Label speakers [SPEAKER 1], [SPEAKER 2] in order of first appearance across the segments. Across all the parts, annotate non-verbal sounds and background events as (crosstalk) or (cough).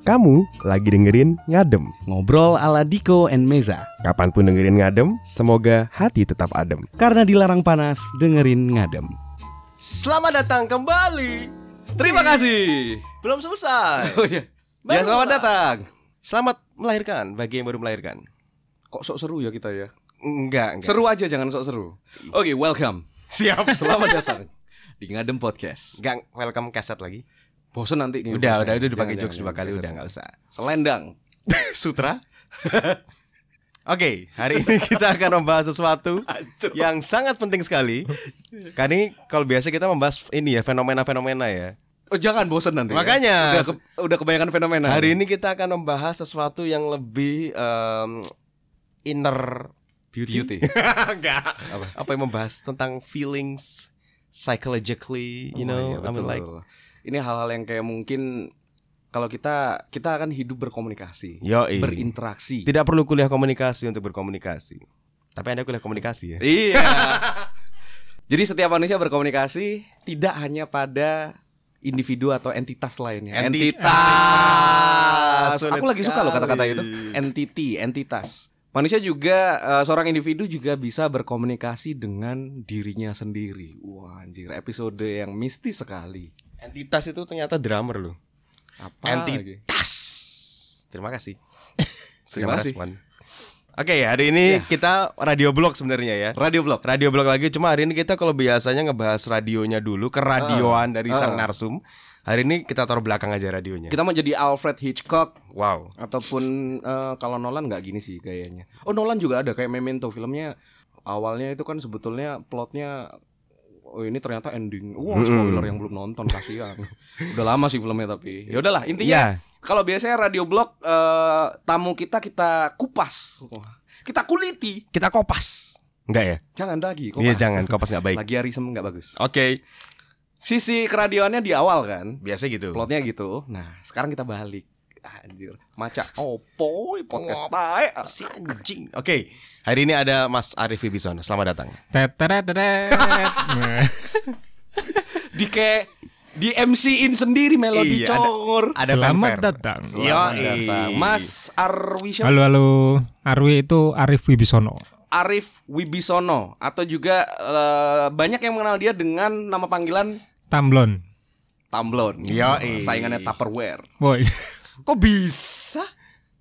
[SPEAKER 1] Kamu lagi dengerin Ngadem.
[SPEAKER 2] Ngobrol ala Diko and Meza.
[SPEAKER 1] Kapanpun dengerin Ngadem, semoga hati tetap adem.
[SPEAKER 2] Karena dilarang panas, dengerin ngadem.
[SPEAKER 3] Selamat datang kembali.
[SPEAKER 4] Terima kasih.
[SPEAKER 3] Belum selesai.
[SPEAKER 4] Iya.
[SPEAKER 3] (laughs)
[SPEAKER 4] Oh iya.
[SPEAKER 3] Baru
[SPEAKER 4] Ya selamat
[SPEAKER 3] mulai.
[SPEAKER 4] datang.
[SPEAKER 3] Selamat melahirkan bagi yang baru melahirkan.
[SPEAKER 4] Kok sok seru ya kita ya?
[SPEAKER 3] Enggak, enggak.
[SPEAKER 4] Seru aja jangan sok seru. Oke, welcome.
[SPEAKER 3] Siap.
[SPEAKER 4] Selamat (laughs) datang di Ngadem Podcast.
[SPEAKER 3] Enggak welcome kaset lagi.
[SPEAKER 4] Bosen nanti nih.
[SPEAKER 3] Udah, Iya,
[SPEAKER 4] bosen.
[SPEAKER 3] udah, udah dipakai
[SPEAKER 4] Jangan,
[SPEAKER 3] jokes
[SPEAKER 4] jangan,
[SPEAKER 3] dua kali
[SPEAKER 4] jangan.
[SPEAKER 3] udah enggak usah.
[SPEAKER 4] Selendang.
[SPEAKER 3] (laughs) Sutra. (laughs) Oke, hari ini kita akan membahas sesuatu yang sangat penting sekali. Karena ini kalau biasa kita membahas ini ya fenomena-fenomena ya.
[SPEAKER 4] Oh, jangan bosen nanti. ya.
[SPEAKER 3] Makanya.
[SPEAKER 4] Udah, ke- udah kebanyakan fenomena.
[SPEAKER 3] Hari ini kita akan membahas sesuatu yang lebih em, inner beauty.
[SPEAKER 4] beauty.
[SPEAKER 3] Enggak.
[SPEAKER 4] Apa?
[SPEAKER 3] Apa? yang membahas tentang feelings psychologically, (laughs) you
[SPEAKER 4] Oh, iya,
[SPEAKER 3] know, I mean
[SPEAKER 4] betul.
[SPEAKER 3] like
[SPEAKER 4] ini hal-hal yang kayak mungkin kalau kita kita akan hidup berkomunikasi,
[SPEAKER 3] yo
[SPEAKER 4] berinteraksi.
[SPEAKER 3] Tidak perlu kuliah komunikasi untuk berkomunikasi. Tapi Anda kuliah komunikasi ya.
[SPEAKER 4] Iya. (laughs) Jadi setiap manusia berkomunikasi tidak hanya pada individu atau entitas lainnya.
[SPEAKER 3] Enti- Ah, sulit
[SPEAKER 4] Aku lagi suka loh kata-kata
[SPEAKER 3] sekali.
[SPEAKER 4] itu. Entity, entitas. Manusia juga eh, seorang individu juga bisa berkomunikasi dengan dirinya sendiri. Wah, anjir, episode yang mistis sekali.
[SPEAKER 3] Entitas itu ternyata drummer loh.
[SPEAKER 4] Apa
[SPEAKER 3] Enti-
[SPEAKER 4] lagi?
[SPEAKER 3] Tas. Terima kasih.
[SPEAKER 4] (laughs) Terima
[SPEAKER 3] Sudah
[SPEAKER 4] kasih.
[SPEAKER 3] merespon. Oke, hari ini
[SPEAKER 4] Ya.
[SPEAKER 3] kita radio blog sebenarnya ya.
[SPEAKER 4] Radio blog.
[SPEAKER 3] Radio blog lagi cuma hari ini kita kalau biasanya ngebahas radionya dulu keradioan dari sang
[SPEAKER 4] Ah.
[SPEAKER 3] narsum. Hari ini kita taruh belakang aja radionya.
[SPEAKER 4] Kita mau jadi Alfred Hitchcock
[SPEAKER 3] Wow.
[SPEAKER 4] ataupun eh, kalau Nolan nggak gini sih gayanya. Oh Nolan juga ada kayak Memento filmnya awalnya itu kan sebetulnya plotnya oh ini ternyata ending. Wah spoiler yang belum nonton
[SPEAKER 3] (laughs)
[SPEAKER 4] kasihan. Udah lama sih filmnya tapi. Ya udahlah
[SPEAKER 3] Iya.
[SPEAKER 4] intinya kalau biasanya radio blog eh, tamu kita kita kupas. Wah, Kita kuliti.
[SPEAKER 3] Kita kopas. Enggak ya?
[SPEAKER 4] Jangan lagi. kupas.
[SPEAKER 3] Iya jangan kopas
[SPEAKER 4] (laughs)
[SPEAKER 3] nggak baik.
[SPEAKER 4] Lagi arisem nggak bagus.
[SPEAKER 3] Oke.
[SPEAKER 4] Sisi keradioannya di awal kan.
[SPEAKER 3] Biasa gitu.
[SPEAKER 4] Plotnya gitu. Nah, sekarang kita balik. Anjir, maca opo podcast tae.
[SPEAKER 3] Si anjing. Oke. Hari ini ada Mas Arif Ibisono. Selamat datang.
[SPEAKER 5] Teteretet. Nah,
[SPEAKER 4] di kayak di MC-in sendiri melodi
[SPEAKER 3] Iya, ada-
[SPEAKER 4] congor.
[SPEAKER 3] (laughs) Ada
[SPEAKER 5] Selamat
[SPEAKER 3] fanfare.
[SPEAKER 5] datang.
[SPEAKER 3] Selamat
[SPEAKER 4] Selamat
[SPEAKER 3] datang.
[SPEAKER 4] datang. Mas Arwi siapa?
[SPEAKER 5] iya. Halo halo. Arwi itu Arif Wibisono.
[SPEAKER 4] Arif Wibisono atau juga eh, banyak yang mengenal dia dengan nama panggilan
[SPEAKER 5] Tamblon.
[SPEAKER 4] Tamblon. Eh,
[SPEAKER 3] Yoi.
[SPEAKER 4] Saingannya Tupperware.
[SPEAKER 5] Boy.
[SPEAKER 3] Kok
[SPEAKER 4] (laughs)
[SPEAKER 3] bisa?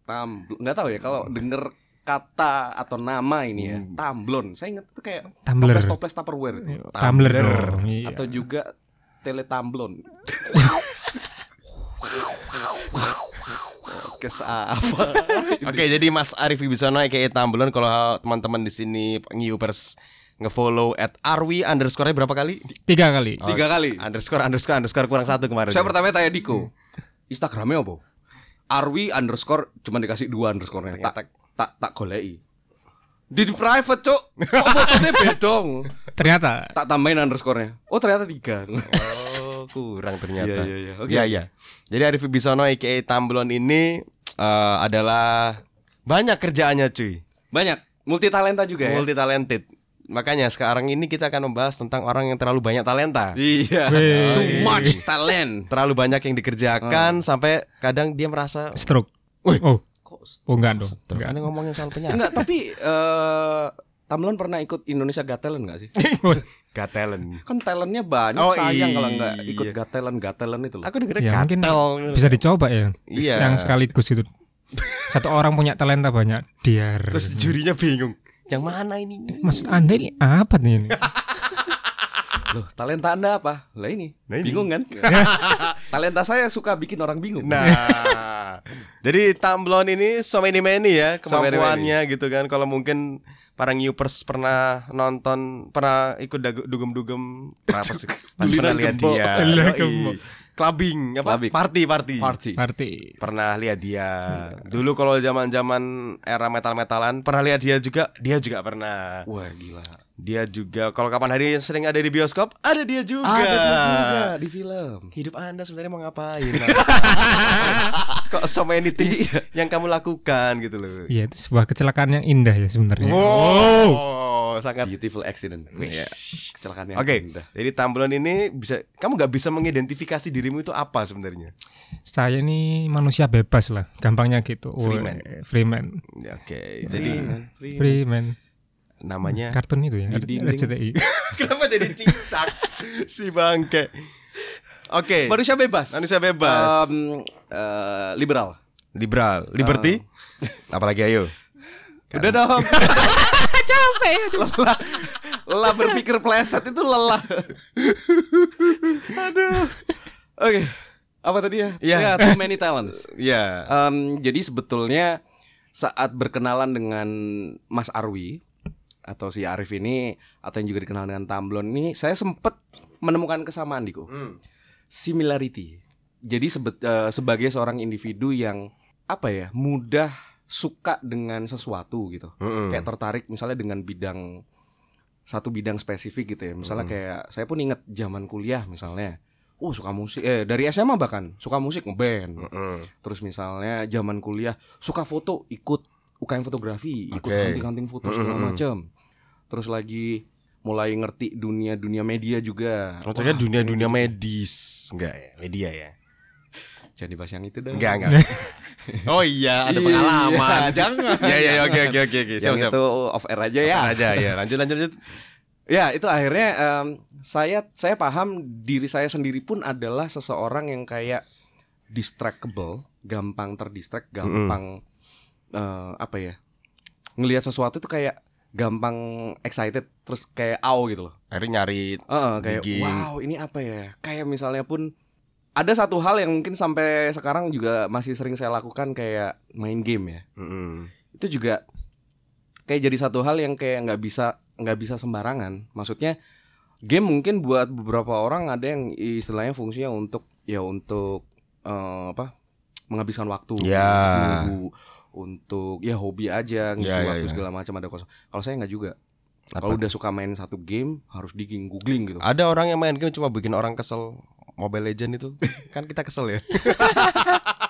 [SPEAKER 4] Tamblon. Nggak tahu ya kalau denger kata atau nama ini ya,
[SPEAKER 3] Hmm.
[SPEAKER 4] Tamblon. Saya ingat itu kayak
[SPEAKER 5] Tumbler.
[SPEAKER 4] toples Tupperware itu.
[SPEAKER 5] Tumbler dong. Iya.
[SPEAKER 4] atau juga
[SPEAKER 5] (laughs)
[SPEAKER 4] Teletamblon. Kes apa?
[SPEAKER 3] Oke, jadi Mas Arif Ibisono aka Tambelon kalau teman-teman di sini newpers ngefollow at Arwi underscore berapa
[SPEAKER 4] (laughs)
[SPEAKER 3] kali?
[SPEAKER 5] Tiga kali.
[SPEAKER 3] Oh.
[SPEAKER 4] Tiga kali.
[SPEAKER 3] Underscore underscore underscore kurang satu kemarin.
[SPEAKER 4] Saya pertama tanya
[SPEAKER 3] Hmm.
[SPEAKER 4] Diko Instagramnya apa? Arwi underscore Cuman dikasih dua underscore
[SPEAKER 3] Ternyata-
[SPEAKER 4] Tak tak tak golei Di, di private
[SPEAKER 3] (laughs)
[SPEAKER 4] cok Kok fotonya beda
[SPEAKER 5] Ternyata
[SPEAKER 4] Tak tambahin underscore-nya Oh ternyata tiga
[SPEAKER 3] (laughs) Oh, kurang ternyata.
[SPEAKER 4] Iya, iya, iya. Oke.
[SPEAKER 3] Iya, iya. Jadi Arif Ibisono aka Tambelon ini eh, adalah banyak kerjaannya cuy.
[SPEAKER 4] Banyak Multi talenta juga ya
[SPEAKER 3] Multi talented. Makanya sekarang ini kita akan membahas tentang orang yang terlalu banyak talenta.
[SPEAKER 4] Iya
[SPEAKER 5] Wih.
[SPEAKER 4] Too much talent
[SPEAKER 3] Terlalu banyak yang
[SPEAKER 4] Ah.
[SPEAKER 3] dikerjakan sampai kadang dia merasa
[SPEAKER 5] stroke.
[SPEAKER 3] Wih.
[SPEAKER 5] Oh,
[SPEAKER 4] Kok
[SPEAKER 5] oh enggak dong.
[SPEAKER 3] Enggak.
[SPEAKER 5] Enggak.
[SPEAKER 3] Anda ngomongin soal penyakit.
[SPEAKER 4] Enggak tapi eh Tamlon pernah ikut Indonesia Got Talent gak
[SPEAKER 3] (laughs)
[SPEAKER 4] sih?
[SPEAKER 3] Got talent.
[SPEAKER 4] Kan talentnya banyak
[SPEAKER 3] Oh,
[SPEAKER 4] Sayang kalau nggak
[SPEAKER 3] iya.
[SPEAKER 4] ikut Got Talent Got Talent itu loh
[SPEAKER 3] Aku dengerin
[SPEAKER 5] Ya, mungkin
[SPEAKER 3] gatel.
[SPEAKER 5] Bisa dicoba ya.
[SPEAKER 3] Iya.
[SPEAKER 5] Yang sekaligus itu. Satu orang punya talenta banyak. Diar.
[SPEAKER 3] Terus jurinya bingung. Yang mana ini?
[SPEAKER 5] Maksud Anda ini apa nih ini?
[SPEAKER 4] Loh talenta anda apa? Lah ini
[SPEAKER 3] Nah, ini.
[SPEAKER 4] Bingung
[SPEAKER 3] (laughs)
[SPEAKER 4] kan? talenta saya suka bikin orang bingung
[SPEAKER 3] Nah, jadi Tamblon ini so many many ya
[SPEAKER 4] So many
[SPEAKER 3] kemampuannya gitu kan. Kalau mungkin para newpers pernah nonton, pernah ikut dagu- dugem-dugem, pernah pas,
[SPEAKER 4] (laughs)
[SPEAKER 3] pas pernah
[SPEAKER 4] Dulinan
[SPEAKER 3] lihat
[SPEAKER 4] gembok.
[SPEAKER 3] dia,
[SPEAKER 5] Dulinan
[SPEAKER 3] Yoi.
[SPEAKER 5] gembok.
[SPEAKER 3] clubbing, apa?
[SPEAKER 4] Clubbing.
[SPEAKER 3] Party, party,
[SPEAKER 4] Party Hmm.
[SPEAKER 5] Arti
[SPEAKER 3] Pernah lihat dia. Dulu kalau zaman-zaman era metal-metalan, pernah lihat dia juga, dia juga pernah.
[SPEAKER 4] Wah gila
[SPEAKER 3] Dia juga kalau kapan hari sering ada di bioskop, ada dia juga.
[SPEAKER 4] Ada dia juga di film
[SPEAKER 3] Hidup Anda sebenarnya mau ngapain? (laughs) Kok so many things yang kamu lakukan gitu loh. Oh.
[SPEAKER 5] Iya itu sebuah kecelakaan yang indah ya sebenarnya.
[SPEAKER 3] Wow, sangat.
[SPEAKER 4] Beautiful accident.
[SPEAKER 3] Wih.
[SPEAKER 4] Ya, Kecelakaan yang
[SPEAKER 3] Nah, iya. Oke.
[SPEAKER 4] indah.
[SPEAKER 3] Jadi tampilan ini bisa kamu nggak bisa mengidentifikasi dirimu itu apa sebenarnya.
[SPEAKER 5] Saya ini manusia bebas lah, gampangnya gitu.
[SPEAKER 3] Free man.
[SPEAKER 5] Wah, Free man.
[SPEAKER 3] Ya, Oke. Jadi
[SPEAKER 4] Free.
[SPEAKER 5] Free man.
[SPEAKER 3] namanya
[SPEAKER 5] Kartun itu ya,
[SPEAKER 4] Di dinding.
[SPEAKER 5] RCTI.
[SPEAKER 3] (laughs) kenapa jadi (laughs) cincak si bangke? Oke.
[SPEAKER 4] Manusia bebas.
[SPEAKER 3] Manusia bebas.
[SPEAKER 4] Em, eh, liberal.
[SPEAKER 3] liberal, liberty. Apalagi ayo.
[SPEAKER 4] Udah dong. Capek. Lelah. Lelah berpikir pleset itu
[SPEAKER 3] (laughs)
[SPEAKER 4] lelah. Aduh. Oke. Apa tadi ya?
[SPEAKER 3] Iya.
[SPEAKER 4] Ya, too many talents.
[SPEAKER 3] Ya.
[SPEAKER 4] Em, jadi sebetulnya saat berkenalan dengan Mas Arwi atau si Arif ini atau yang juga dikenal dengan Tamblon ini saya sempet menemukan kesamaan Diko.
[SPEAKER 3] Hmm.
[SPEAKER 4] Similarity. Jadi sebet- eh, sebagai seorang individu yang apa ya, mudah suka dengan sesuatu gitu.
[SPEAKER 3] Mm-mm.
[SPEAKER 4] Kayak tertarik misalnya dengan bidang satu bidang spesifik gitu ya. Misalnya kayak saya pun inget zaman kuliah misalnya. Oh, suka musik eh dari SMA bahkan suka musik ngeband.
[SPEAKER 3] Mm-mm.
[SPEAKER 4] Terus misalnya zaman kuliah suka foto, ikut UKM fotografi, ikut
[SPEAKER 3] Oke.
[SPEAKER 4] hunting-hunting foto segala
[SPEAKER 3] Mm-mm-mm.
[SPEAKER 4] macam. Terus lagi mulai ngerti dunia-dunia media juga.
[SPEAKER 3] Oh, ternyata dunia-dunia medis enggak ya? Media ya?
[SPEAKER 4] Jangan dibahas yang itu dah.
[SPEAKER 3] Enggak, enggak. (laughs) Oh iya, ada
[SPEAKER 4] Iya,
[SPEAKER 3] pengalaman.
[SPEAKER 4] (laughs) jangan.
[SPEAKER 3] Ya ya ya oke oke oke oke. Siap
[SPEAKER 4] Yang
[SPEAKER 3] siap.
[SPEAKER 4] itu off air aja ya.
[SPEAKER 3] Aja ya, lanjut lanjut lanjut.
[SPEAKER 4] Ya, itu akhirnya em, saya saya paham diri saya sendiri pun adalah seseorang yang kayak distractable, gampang terdistract, gampang eh, apa ya? Ngelihat sesuatu itu kayak gampang excited terus kayak aw gitu loh.
[SPEAKER 3] Akhirnya nyari
[SPEAKER 4] Heeh, kayak
[SPEAKER 3] Digging.
[SPEAKER 4] wow ini apa ya kayak misalnya pun ada satu hal yang mungkin sampai sekarang juga masih sering saya lakukan kayak main game ya
[SPEAKER 3] Mm-mm.
[SPEAKER 4] itu juga kayak jadi satu hal yang kayak nggak bisa nggak bisa sembarangan maksudnya game mungkin buat beberapa orang ada yang istilahnya fungsinya untuk ya untuk eh, apa menghabiskan waktu
[SPEAKER 3] Ya.
[SPEAKER 4] untuk, untuk ya hobi aja ngisi
[SPEAKER 3] Ya, ya,
[SPEAKER 4] waktu
[SPEAKER 3] ya.
[SPEAKER 4] segala macam ada kosong kalau saya nggak juga
[SPEAKER 3] Apa? Ah.
[SPEAKER 4] kalau udah suka main satu game harus digging googling gitu
[SPEAKER 3] Ada orang yang main game cuma bikin orang kesel. Mobile Legend itu kan kita kesel ya.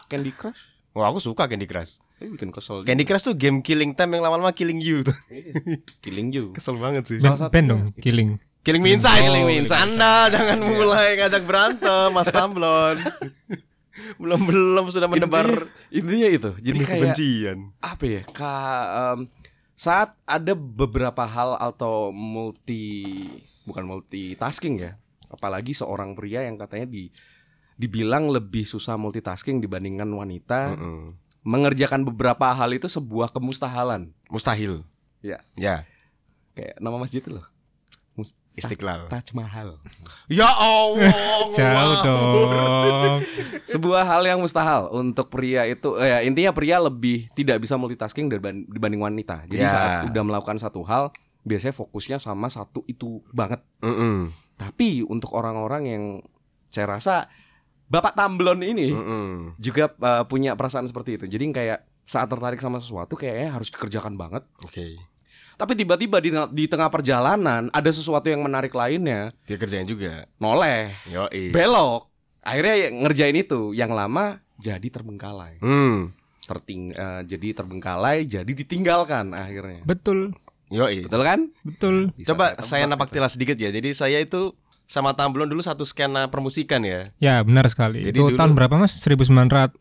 [SPEAKER 4] Candy Crush
[SPEAKER 3] Wah aku suka Candy Crush.
[SPEAKER 4] Eh, bikin kesel
[SPEAKER 3] Candy Crush tuh game killing time yang lama-lama killing you tuh. (laughs)
[SPEAKER 4] killing you
[SPEAKER 3] Kesel banget sih.
[SPEAKER 5] Ben,
[SPEAKER 4] Salah satunya-
[SPEAKER 5] ben dong, killing.
[SPEAKER 3] Nah, Killing me inside,
[SPEAKER 4] Oh,
[SPEAKER 3] killing me
[SPEAKER 4] killing
[SPEAKER 3] inside. Iya. Anda jangan mulai ngajak berantem, Mas (laughs) Tamblon. belum belum sudah
[SPEAKER 4] Intinya-
[SPEAKER 3] mendebar
[SPEAKER 4] intinya itu jadi
[SPEAKER 3] benih
[SPEAKER 4] kayak
[SPEAKER 3] kebencian.
[SPEAKER 4] apa ya ka, em, saat ada beberapa hal atau multi bukan multitasking ya apalagi seorang pria yang katanya di dibilang lebih susah multitasking dibandingkan wanita
[SPEAKER 3] Mm-mm.
[SPEAKER 4] mengerjakan beberapa hal itu sebuah kemustahalan
[SPEAKER 3] Mustahil.
[SPEAKER 4] Ya.
[SPEAKER 3] Ya.
[SPEAKER 4] kayak nama masjid itu loh
[SPEAKER 3] Istiqlal.
[SPEAKER 4] Taj Mahal
[SPEAKER 3] Ya Allah.
[SPEAKER 5] (laughs) Jauh dong.
[SPEAKER 4] (laughs) sebuah hal yang mustahil untuk pria itu eh, ya, intinya pria lebih tidak bisa multitasking dariban- dibanding wanita jadi
[SPEAKER 3] Ya.
[SPEAKER 4] saat udah melakukan satu hal biasanya fokusnya sama satu itu banget
[SPEAKER 3] Mm-mm.
[SPEAKER 4] Tapi untuk orang-orang yang saya rasa Bapak Tamblon ini
[SPEAKER 3] Hmm. Mm-mm.
[SPEAKER 4] juga uh, punya perasaan seperti itu. Jadi kayak saat tertarik sama sesuatu kayaknya harus dikerjakan banget.
[SPEAKER 3] Oke.
[SPEAKER 4] Tapi tiba-tiba di, di tengah perjalanan ada sesuatu yang menarik lainnya,
[SPEAKER 3] Dia kerjain juga.
[SPEAKER 4] noleh,
[SPEAKER 3] Yoi.
[SPEAKER 4] belok. Akhirnya ya ngerjain itu yang lama jadi terbengkalai.
[SPEAKER 3] Hmm.
[SPEAKER 4] Terting uh, jadi terbengkalai, jadi ditinggalkan akhirnya.
[SPEAKER 5] Betul,
[SPEAKER 3] Yoi.
[SPEAKER 4] Betul kan?
[SPEAKER 5] betul.
[SPEAKER 4] Bisa gitu.
[SPEAKER 3] Coba
[SPEAKER 4] ada
[SPEAKER 3] saya
[SPEAKER 4] tempat
[SPEAKER 3] napak tilas sedikit ya. Jadi saya itu sama Tamblon dulu satu skena permusikan ya.
[SPEAKER 5] Ya benar sekali.
[SPEAKER 3] Jadi
[SPEAKER 5] itu
[SPEAKER 3] dulu-
[SPEAKER 5] tahun berapa mas? 1990.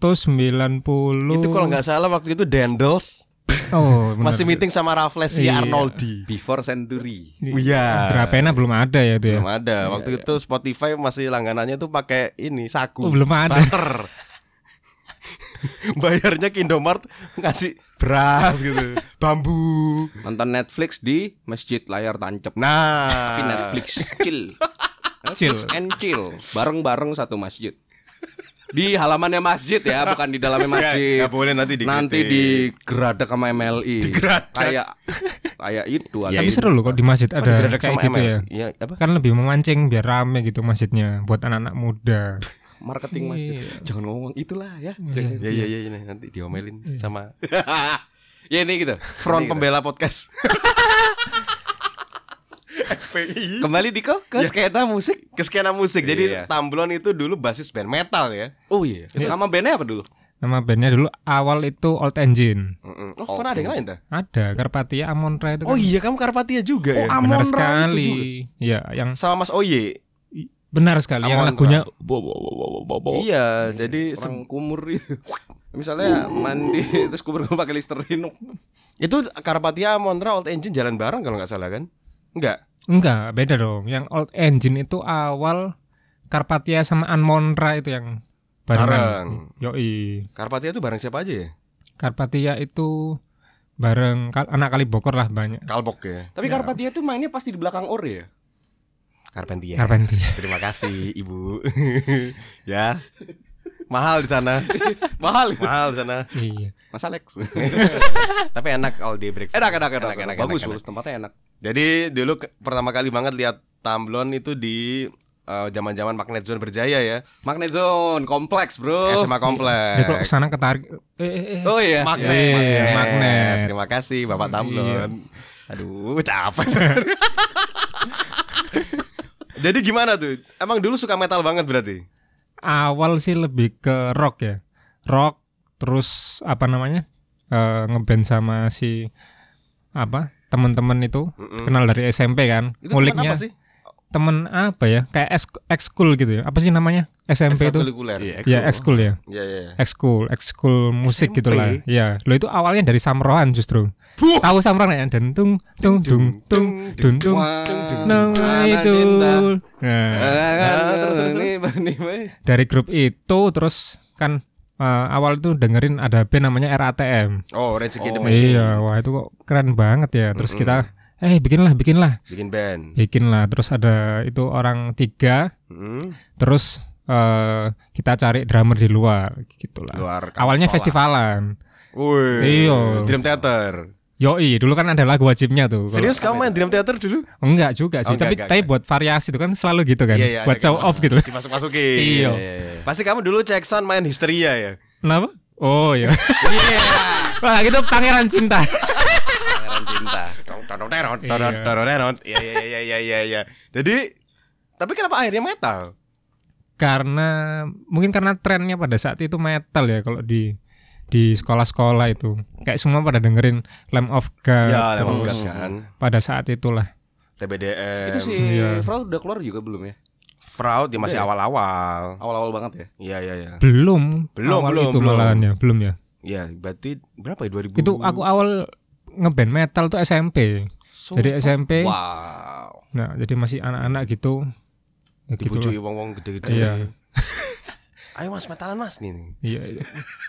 [SPEAKER 3] Itu kalau nggak salah waktu itu Dendels (laughs)
[SPEAKER 5] Oh, benar.
[SPEAKER 3] masih meeting sama Raffles si
[SPEAKER 5] Iya.
[SPEAKER 3] Arnoldi.
[SPEAKER 4] Before century.
[SPEAKER 3] Iya.
[SPEAKER 5] Grapena belum ada ya itu ya.
[SPEAKER 3] Belum ada. Waktu itu Spotify masih langganannya tuh pakai ini saku.
[SPEAKER 5] Oh, belum ada.
[SPEAKER 3] Barter. (laughs) Bayarnya ke Indomart ngasih beras gitu,
[SPEAKER 5] (laughs)
[SPEAKER 3] bambu.
[SPEAKER 4] Nonton Netflix di masjid layar tancap.
[SPEAKER 3] Nah,
[SPEAKER 4] Tapi Netflix Ah. (laughs) chill.
[SPEAKER 5] Chill.
[SPEAKER 4] Netflix and chill. Bareng-bareng satu masjid. Di halamannya masjid ya, bukan di (laughs) dalamnya masjid.
[SPEAKER 3] Nggak boleh nanti dikritik.
[SPEAKER 4] Nanti digeradak sama MLI.
[SPEAKER 3] Digeradak.
[SPEAKER 4] Kayak kayak itu ada.
[SPEAKER 5] Tapi seru loh kok di masjid
[SPEAKER 3] Oh,
[SPEAKER 5] ada
[SPEAKER 3] digerak
[SPEAKER 5] kayak
[SPEAKER 3] sama
[SPEAKER 5] gitu
[SPEAKER 3] ML.
[SPEAKER 5] ya.
[SPEAKER 3] Iya, apa?
[SPEAKER 5] Kan lebih memancing biar rame gitu masjidnya buat anak-anak muda.
[SPEAKER 4] marketing masjid. Jangan ngomong itulah ya.
[SPEAKER 5] Iya,
[SPEAKER 4] Jangan.
[SPEAKER 3] Ya ya ya ya, nanti diomelin sama
[SPEAKER 4] (laughs) ya ini gitu.
[SPEAKER 3] front
[SPEAKER 4] Ini gitu.
[SPEAKER 3] pembela (laughs) podcast. FPI.
[SPEAKER 4] Kembali Diko ke skena musik.
[SPEAKER 3] Ke skena musik. Jadi
[SPEAKER 4] Iya.
[SPEAKER 3] Tamblon itu dulu basis band metal ya.
[SPEAKER 4] Oh iya. Nama bandnya apa dulu?
[SPEAKER 5] Nama bandnya dulu awal itu Old Engine.
[SPEAKER 4] Mm-mm.
[SPEAKER 3] Oh, pernah ada yang lain dah?
[SPEAKER 5] Ada Karpatia Amonra itu kan.
[SPEAKER 3] Oh iya, kamu Karpatia juga ya.
[SPEAKER 5] benar
[SPEAKER 4] Amonra itu
[SPEAKER 5] sekali. Iya, yang
[SPEAKER 3] Sama Mas Oye.
[SPEAKER 5] benar sekali yang
[SPEAKER 3] Amonra.
[SPEAKER 5] lagunya bo- bo- bo- bo- bo- bo-
[SPEAKER 3] Iya, jadi se-
[SPEAKER 4] Orang kumur itu. (laughs) Misalnya (laughs) mandi terus kumur gue pakai Listerine.
[SPEAKER 3] itu Karpatia Montra Old Engine jalan bareng kalau nggak salah kan? Enggak.
[SPEAKER 5] Enggak, beda dong. Yang Old Engine itu awal Karpatia sama Amonra itu yang barengan. Yoi.
[SPEAKER 3] Karpatia itu bareng siapa aja ya?
[SPEAKER 5] Karpatia itu bareng kal- anak kali Bokor lah banyak.
[SPEAKER 3] Kalbok ya.
[SPEAKER 4] Tapi Karpatia tuh mainnya pasti di belakang Or ya.
[SPEAKER 5] Iya. Nah,
[SPEAKER 3] Karpatia.
[SPEAKER 5] Karpatia.
[SPEAKER 3] Terima kasih, Ibu. (laughs) ya. Mahal di sana.
[SPEAKER 4] Mahal. itu.
[SPEAKER 3] Mahal di sana.
[SPEAKER 5] Iya.
[SPEAKER 4] Mas Alex.
[SPEAKER 3] Tapi enak all day breakfast.
[SPEAKER 4] enak enak enak,
[SPEAKER 3] Enak, enak,
[SPEAKER 4] bagus
[SPEAKER 3] enak,
[SPEAKER 4] bagus tempatnya enak
[SPEAKER 3] Jadi dulu ke- pertama kali banget lihat Tamblon itu di eh, zaman-zaman Magnet Zone berjaya ya. Eh,
[SPEAKER 4] Magnet Zone kompleks bro
[SPEAKER 3] SMA
[SPEAKER 5] Dia kalau
[SPEAKER 3] kompleks.
[SPEAKER 5] kesana ketarik. Eh, eh, eh.
[SPEAKER 4] oh iya
[SPEAKER 3] Iya. Magnet.
[SPEAKER 5] Iya, magnet.
[SPEAKER 3] Terima kasih Bapak Tamblon. Aduh, capek. Jadi gimana tuh? Emang dulu suka metal banget berarti?
[SPEAKER 5] Awal sih lebih ke rock ya. Rock terus apa namanya? Eh, ngeband sama si apa? Temen-temen itu
[SPEAKER 3] Mm-mm.
[SPEAKER 5] kenal dari SMP kan.
[SPEAKER 3] Itu
[SPEAKER 5] Nguliknya
[SPEAKER 3] kenapa sih?
[SPEAKER 5] temen apa ya kayak ex- ekskul gitu ya apa sih namanya SMP itu
[SPEAKER 3] Ekstrakurikuler. Iya,
[SPEAKER 5] ya ekskul ya
[SPEAKER 3] iya. iya.
[SPEAKER 5] ekskul ekskul musik
[SPEAKER 3] SMP?
[SPEAKER 5] gitulah ya lo itu awalnya dari Samrohan justru
[SPEAKER 3] Buh!
[SPEAKER 5] tahu Samrohan ya dan tung tung dung tung dung dung nang itu nah,
[SPEAKER 4] Nah, terus terus
[SPEAKER 3] terus.
[SPEAKER 4] nih, nih, nih.
[SPEAKER 5] dari grup itu terus kan eh, awal tuh dengerin ada band namanya RATM
[SPEAKER 3] Oh, Rage Against the
[SPEAKER 4] Oh,
[SPEAKER 3] Machine.
[SPEAKER 5] iya wah itu kok keren banget ya terus kita eh bikinlah bikinlah
[SPEAKER 3] Bikin
[SPEAKER 5] Iya.
[SPEAKER 3] band.
[SPEAKER 5] bikinlah terus ada itu orang tiga
[SPEAKER 3] Mm,
[SPEAKER 5] terus eh kita cari drummer di luar gitulah.
[SPEAKER 3] Luar kampus
[SPEAKER 5] Awalnya
[SPEAKER 3] sekolah.
[SPEAKER 5] festivalan.
[SPEAKER 3] Wih,
[SPEAKER 5] Iya.
[SPEAKER 3] Dream Theater.
[SPEAKER 5] Yoi, dulu kan ada lagu wajibnya tuh. Kalau-
[SPEAKER 3] Serius kamu main Dream Theater dulu?
[SPEAKER 5] Enggak juga
[SPEAKER 3] Oh,
[SPEAKER 5] sih,
[SPEAKER 3] enggak,
[SPEAKER 5] tapi
[SPEAKER 3] enggak,
[SPEAKER 5] tapi
[SPEAKER 3] enggak.
[SPEAKER 5] buat variasi tuh kan selalu gitu kan.
[SPEAKER 3] Iya, iya,
[SPEAKER 5] buat
[SPEAKER 3] ada
[SPEAKER 5] show
[SPEAKER 3] kayak
[SPEAKER 5] off gitu.
[SPEAKER 3] Dimasuk-masukin.
[SPEAKER 5] (laughs) Iya.
[SPEAKER 3] Pasti kamu dulu cek sound main Hysteria ya.
[SPEAKER 5] Kenapa? Oh iya. Wah, gitu pangeran cinta.
[SPEAKER 4] Pangeran cinta
[SPEAKER 3] Toronerot,
[SPEAKER 5] Iya.
[SPEAKER 3] toror- toronerot. Iya, iya, iya, iya, iya, iya. Jadi tapi kenapa akhirnya metal?
[SPEAKER 5] karena mungkin karena trennya pada saat itu metal ya kalau di di sekolah-sekolah itu. Kayak semua pada dengerin Lamb of God.
[SPEAKER 3] Ya, Lamb of
[SPEAKER 5] Eh, terus
[SPEAKER 3] God kan.
[SPEAKER 5] Pada saat itulah.
[SPEAKER 3] TBDM.
[SPEAKER 4] itu si
[SPEAKER 5] Iya.
[SPEAKER 4] Frau udah keluar juga belum ya
[SPEAKER 3] fraud ya masih
[SPEAKER 4] Udah ya?
[SPEAKER 3] awal-awal.
[SPEAKER 4] awal-awal banget ya
[SPEAKER 3] Iya, iya, iya.
[SPEAKER 5] Belum.
[SPEAKER 3] Belum,
[SPEAKER 5] awal
[SPEAKER 3] belum,
[SPEAKER 5] itu
[SPEAKER 3] belum.
[SPEAKER 5] malahan ya, belum ya.
[SPEAKER 3] Iya, berarti berapa ya 2000?
[SPEAKER 4] Hmm.
[SPEAKER 5] Itu aku awal ngeband metal tuh SMP. Jadi SMP.
[SPEAKER 4] wow
[SPEAKER 5] Nah, jadi masih anak-anak gitu. Ya, gitu
[SPEAKER 3] dibujui
[SPEAKER 5] lah.
[SPEAKER 3] wong-wong gede-gede.
[SPEAKER 5] Iya.
[SPEAKER 3] Ayo Mas metalan Mas nih. nih.
[SPEAKER 5] Iya. iya.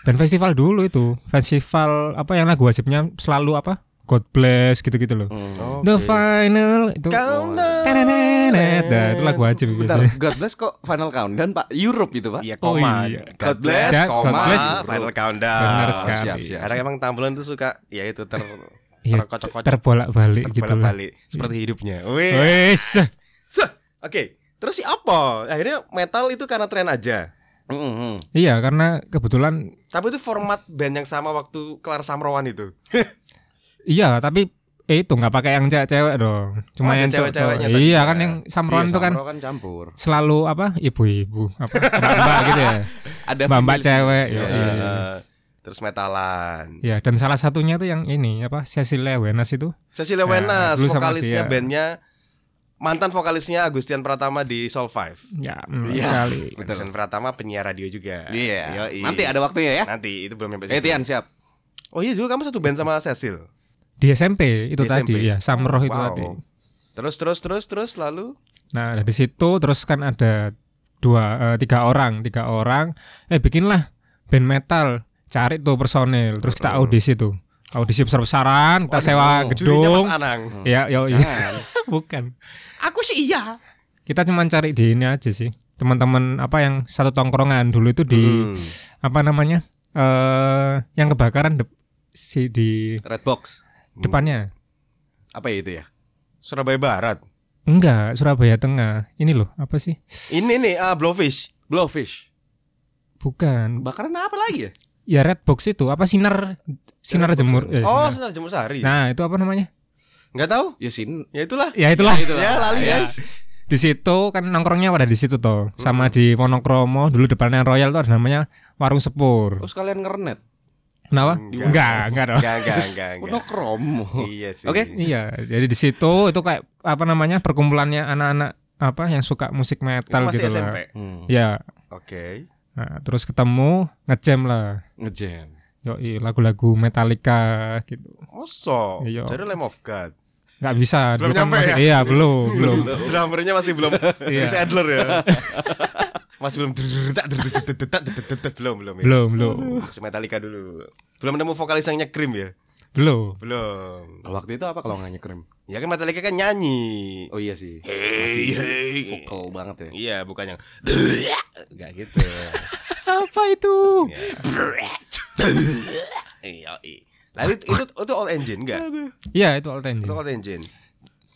[SPEAKER 5] Dan festival dulu itu, festival apa yang lagu wajibnya selalu apa? God bless gitu-gitu loh.
[SPEAKER 4] Hmm.
[SPEAKER 5] The final itu. Oh, iya.
[SPEAKER 3] Countdown.
[SPEAKER 5] Tenenenet. Nah, itu lagu wajib
[SPEAKER 4] Bentar,
[SPEAKER 5] biasanya.
[SPEAKER 4] God bless kok final countdown pak Europe itu pak
[SPEAKER 3] Iya,
[SPEAKER 5] Oh,
[SPEAKER 3] koma.
[SPEAKER 5] iya.
[SPEAKER 3] God bless,
[SPEAKER 5] God
[SPEAKER 3] koma,
[SPEAKER 5] bless.
[SPEAKER 3] final countdown.
[SPEAKER 5] Benar
[SPEAKER 4] Oh,
[SPEAKER 5] sekali.
[SPEAKER 4] siap, siap.
[SPEAKER 3] Karena emang tampilan tuh suka ya itu ter
[SPEAKER 5] Iya,
[SPEAKER 3] terkocok-kocok,
[SPEAKER 5] terbolak-balik gitu lah.
[SPEAKER 3] terbolak-balik seperti hidupnya. Wih.
[SPEAKER 5] Wes.
[SPEAKER 3] Seh, Oke, terus si apa? Akhirnya metal itu karena tren aja.
[SPEAKER 4] Mm-mm.
[SPEAKER 5] Iya, karena kebetulan
[SPEAKER 3] Tapi itu format band yang sama waktu kelar Samrowan itu.
[SPEAKER 5] iya, tapi eh, itu nggak pakai yang cewek-cewek dong.
[SPEAKER 3] Oh,
[SPEAKER 5] Cuma
[SPEAKER 3] ada
[SPEAKER 5] yang cowok-
[SPEAKER 3] cewek-ceweknya tadi.
[SPEAKER 5] Iya, kan yang samron
[SPEAKER 4] Iya,
[SPEAKER 5] tuh kan
[SPEAKER 4] Samro campur
[SPEAKER 5] selalu apa ibu-ibu apa
[SPEAKER 3] (laughs)
[SPEAKER 5] mbak gitu ya
[SPEAKER 4] ada
[SPEAKER 5] mbak-mbak
[SPEAKER 4] family.
[SPEAKER 5] cewek ya,
[SPEAKER 4] Iya,
[SPEAKER 5] iya,
[SPEAKER 4] iya.
[SPEAKER 5] iya.
[SPEAKER 3] Eh, terus metalan.
[SPEAKER 5] Ya, dan salah satunya tuh yang ini apa Cecilia Wenas itu
[SPEAKER 3] Cecilia Wenas,
[SPEAKER 5] Nah, dulu sama
[SPEAKER 3] vokalisnya
[SPEAKER 5] dia.
[SPEAKER 3] bandnya mantan vokalisnya Agustian Pratama di Soul Five.
[SPEAKER 5] ya benar
[SPEAKER 4] Iya.
[SPEAKER 5] sekali
[SPEAKER 4] Betul.
[SPEAKER 3] Agustian Pratama penyiar radio juga.
[SPEAKER 4] Iya.
[SPEAKER 3] Yoi.
[SPEAKER 4] Nanti ada waktunya ya.
[SPEAKER 3] Nanti itu belum nyampe
[SPEAKER 4] Eh
[SPEAKER 3] situ.
[SPEAKER 4] Tian siap.
[SPEAKER 3] Oh iya juga kamu satu band sama Cecil.
[SPEAKER 5] di SMP itu
[SPEAKER 3] Di
[SPEAKER 5] tadi
[SPEAKER 3] SMP.
[SPEAKER 5] ya Samroh itu
[SPEAKER 3] Wow.
[SPEAKER 5] tadi
[SPEAKER 3] Terus terus terus terus lalu
[SPEAKER 5] nah dari situ terus kan ada dua eh, tiga orang tiga orang eh bikinlah band metal cari tuh personil terus kita audisi tuh audisi besar-besaran kita sewa
[SPEAKER 3] jurinya Mas
[SPEAKER 5] gedung
[SPEAKER 3] Anang.
[SPEAKER 5] ya yo
[SPEAKER 3] (laughs)
[SPEAKER 4] Jangan.
[SPEAKER 5] bukan
[SPEAKER 3] Aku sih iya.
[SPEAKER 5] kita cuma cari di ini aja sih teman-teman apa yang satu tongkrongan dulu itu di
[SPEAKER 3] Hmm.
[SPEAKER 5] apa namanya eh yang kebakaran dep- si di
[SPEAKER 3] Hmm.
[SPEAKER 4] Red box.
[SPEAKER 5] depannya
[SPEAKER 4] Apa ya itu ya?
[SPEAKER 3] Surabaya Barat.
[SPEAKER 5] enggak Surabaya Tengah ini loh apa sih
[SPEAKER 3] Ini nih ah, Blowfish.
[SPEAKER 4] Blowfish.
[SPEAKER 5] bukan
[SPEAKER 4] Bakaran apa lagi ya?
[SPEAKER 5] ya red box itu apa sinar sinar jemur eh,
[SPEAKER 3] Oh, Sinar
[SPEAKER 5] sinar.
[SPEAKER 3] Jemur Sari.
[SPEAKER 5] nah itu apa namanya
[SPEAKER 3] Enggak tahu?
[SPEAKER 4] Ya sin.
[SPEAKER 3] Ya itulah.
[SPEAKER 5] ya itulah
[SPEAKER 4] Itu
[SPEAKER 3] Ya, lali, guys.
[SPEAKER 5] di situ kan nongkrongnya pada di situ
[SPEAKER 3] Hmm.
[SPEAKER 5] toh. Sama di Monokromo dulu depannya Royal tuh ada namanya Warung Sepur.
[SPEAKER 4] Terus kalian ngernet.
[SPEAKER 5] Kenapa?
[SPEAKER 3] Enggak.
[SPEAKER 5] Enggak, enggak Oh, dong. Oh.
[SPEAKER 3] Enggak, enggak,
[SPEAKER 5] (laughs)
[SPEAKER 3] enggak, enggak.
[SPEAKER 4] Monokrom.
[SPEAKER 3] Iya sih.
[SPEAKER 4] Oke.
[SPEAKER 5] Iya, jadi di situ itu kayak apa namanya? perkumpulannya anak-anak apa yang suka musik
[SPEAKER 3] Itu
[SPEAKER 5] metal
[SPEAKER 3] masih
[SPEAKER 5] gitu
[SPEAKER 3] SMP.
[SPEAKER 5] lah.
[SPEAKER 4] Hmm.
[SPEAKER 5] Ya,
[SPEAKER 3] Oke.
[SPEAKER 5] nah, terus ketemu ngejam lah.
[SPEAKER 4] Ngejam.
[SPEAKER 5] Yoi, lagu-lagu Metallica gitu.
[SPEAKER 3] Oso.
[SPEAKER 5] Iya.
[SPEAKER 3] Jadi Lamb of God.
[SPEAKER 5] Nggak
[SPEAKER 3] Belum
[SPEAKER 5] bisa. dulu kan
[SPEAKER 3] nyampe
[SPEAKER 5] masih-
[SPEAKER 3] ya?
[SPEAKER 5] Iya,
[SPEAKER 3] (laughs)
[SPEAKER 5] belum, belum.
[SPEAKER 3] Drummernya masih belum
[SPEAKER 5] Iya.
[SPEAKER 3] Chris Adler ya.
[SPEAKER 5] (laughs)
[SPEAKER 3] Masih belum drudrudak, drudrudak, drudrudak, drudrudak, belum belum ya.
[SPEAKER 5] belum, belum,
[SPEAKER 3] Masih Metallica dulu. Belum nemu vokalis yang nyekrim ya?
[SPEAKER 5] belum.
[SPEAKER 3] Belum.
[SPEAKER 4] Waktu itu apa kalau nggak nyekrim?
[SPEAKER 3] Ya kan Metallica kan nyanyi.
[SPEAKER 4] Oh iya sih.
[SPEAKER 3] Hey,
[SPEAKER 4] Masih
[SPEAKER 3] hey.
[SPEAKER 4] Vokal banget ya.
[SPEAKER 3] Iya, bukan yang enggak gitu.
[SPEAKER 5] Apa itu?
[SPEAKER 3] Ya. Iya. iya. Lalu itu itu, itu all engine enggak?
[SPEAKER 5] Iya, itu all time.
[SPEAKER 3] Itu all engine.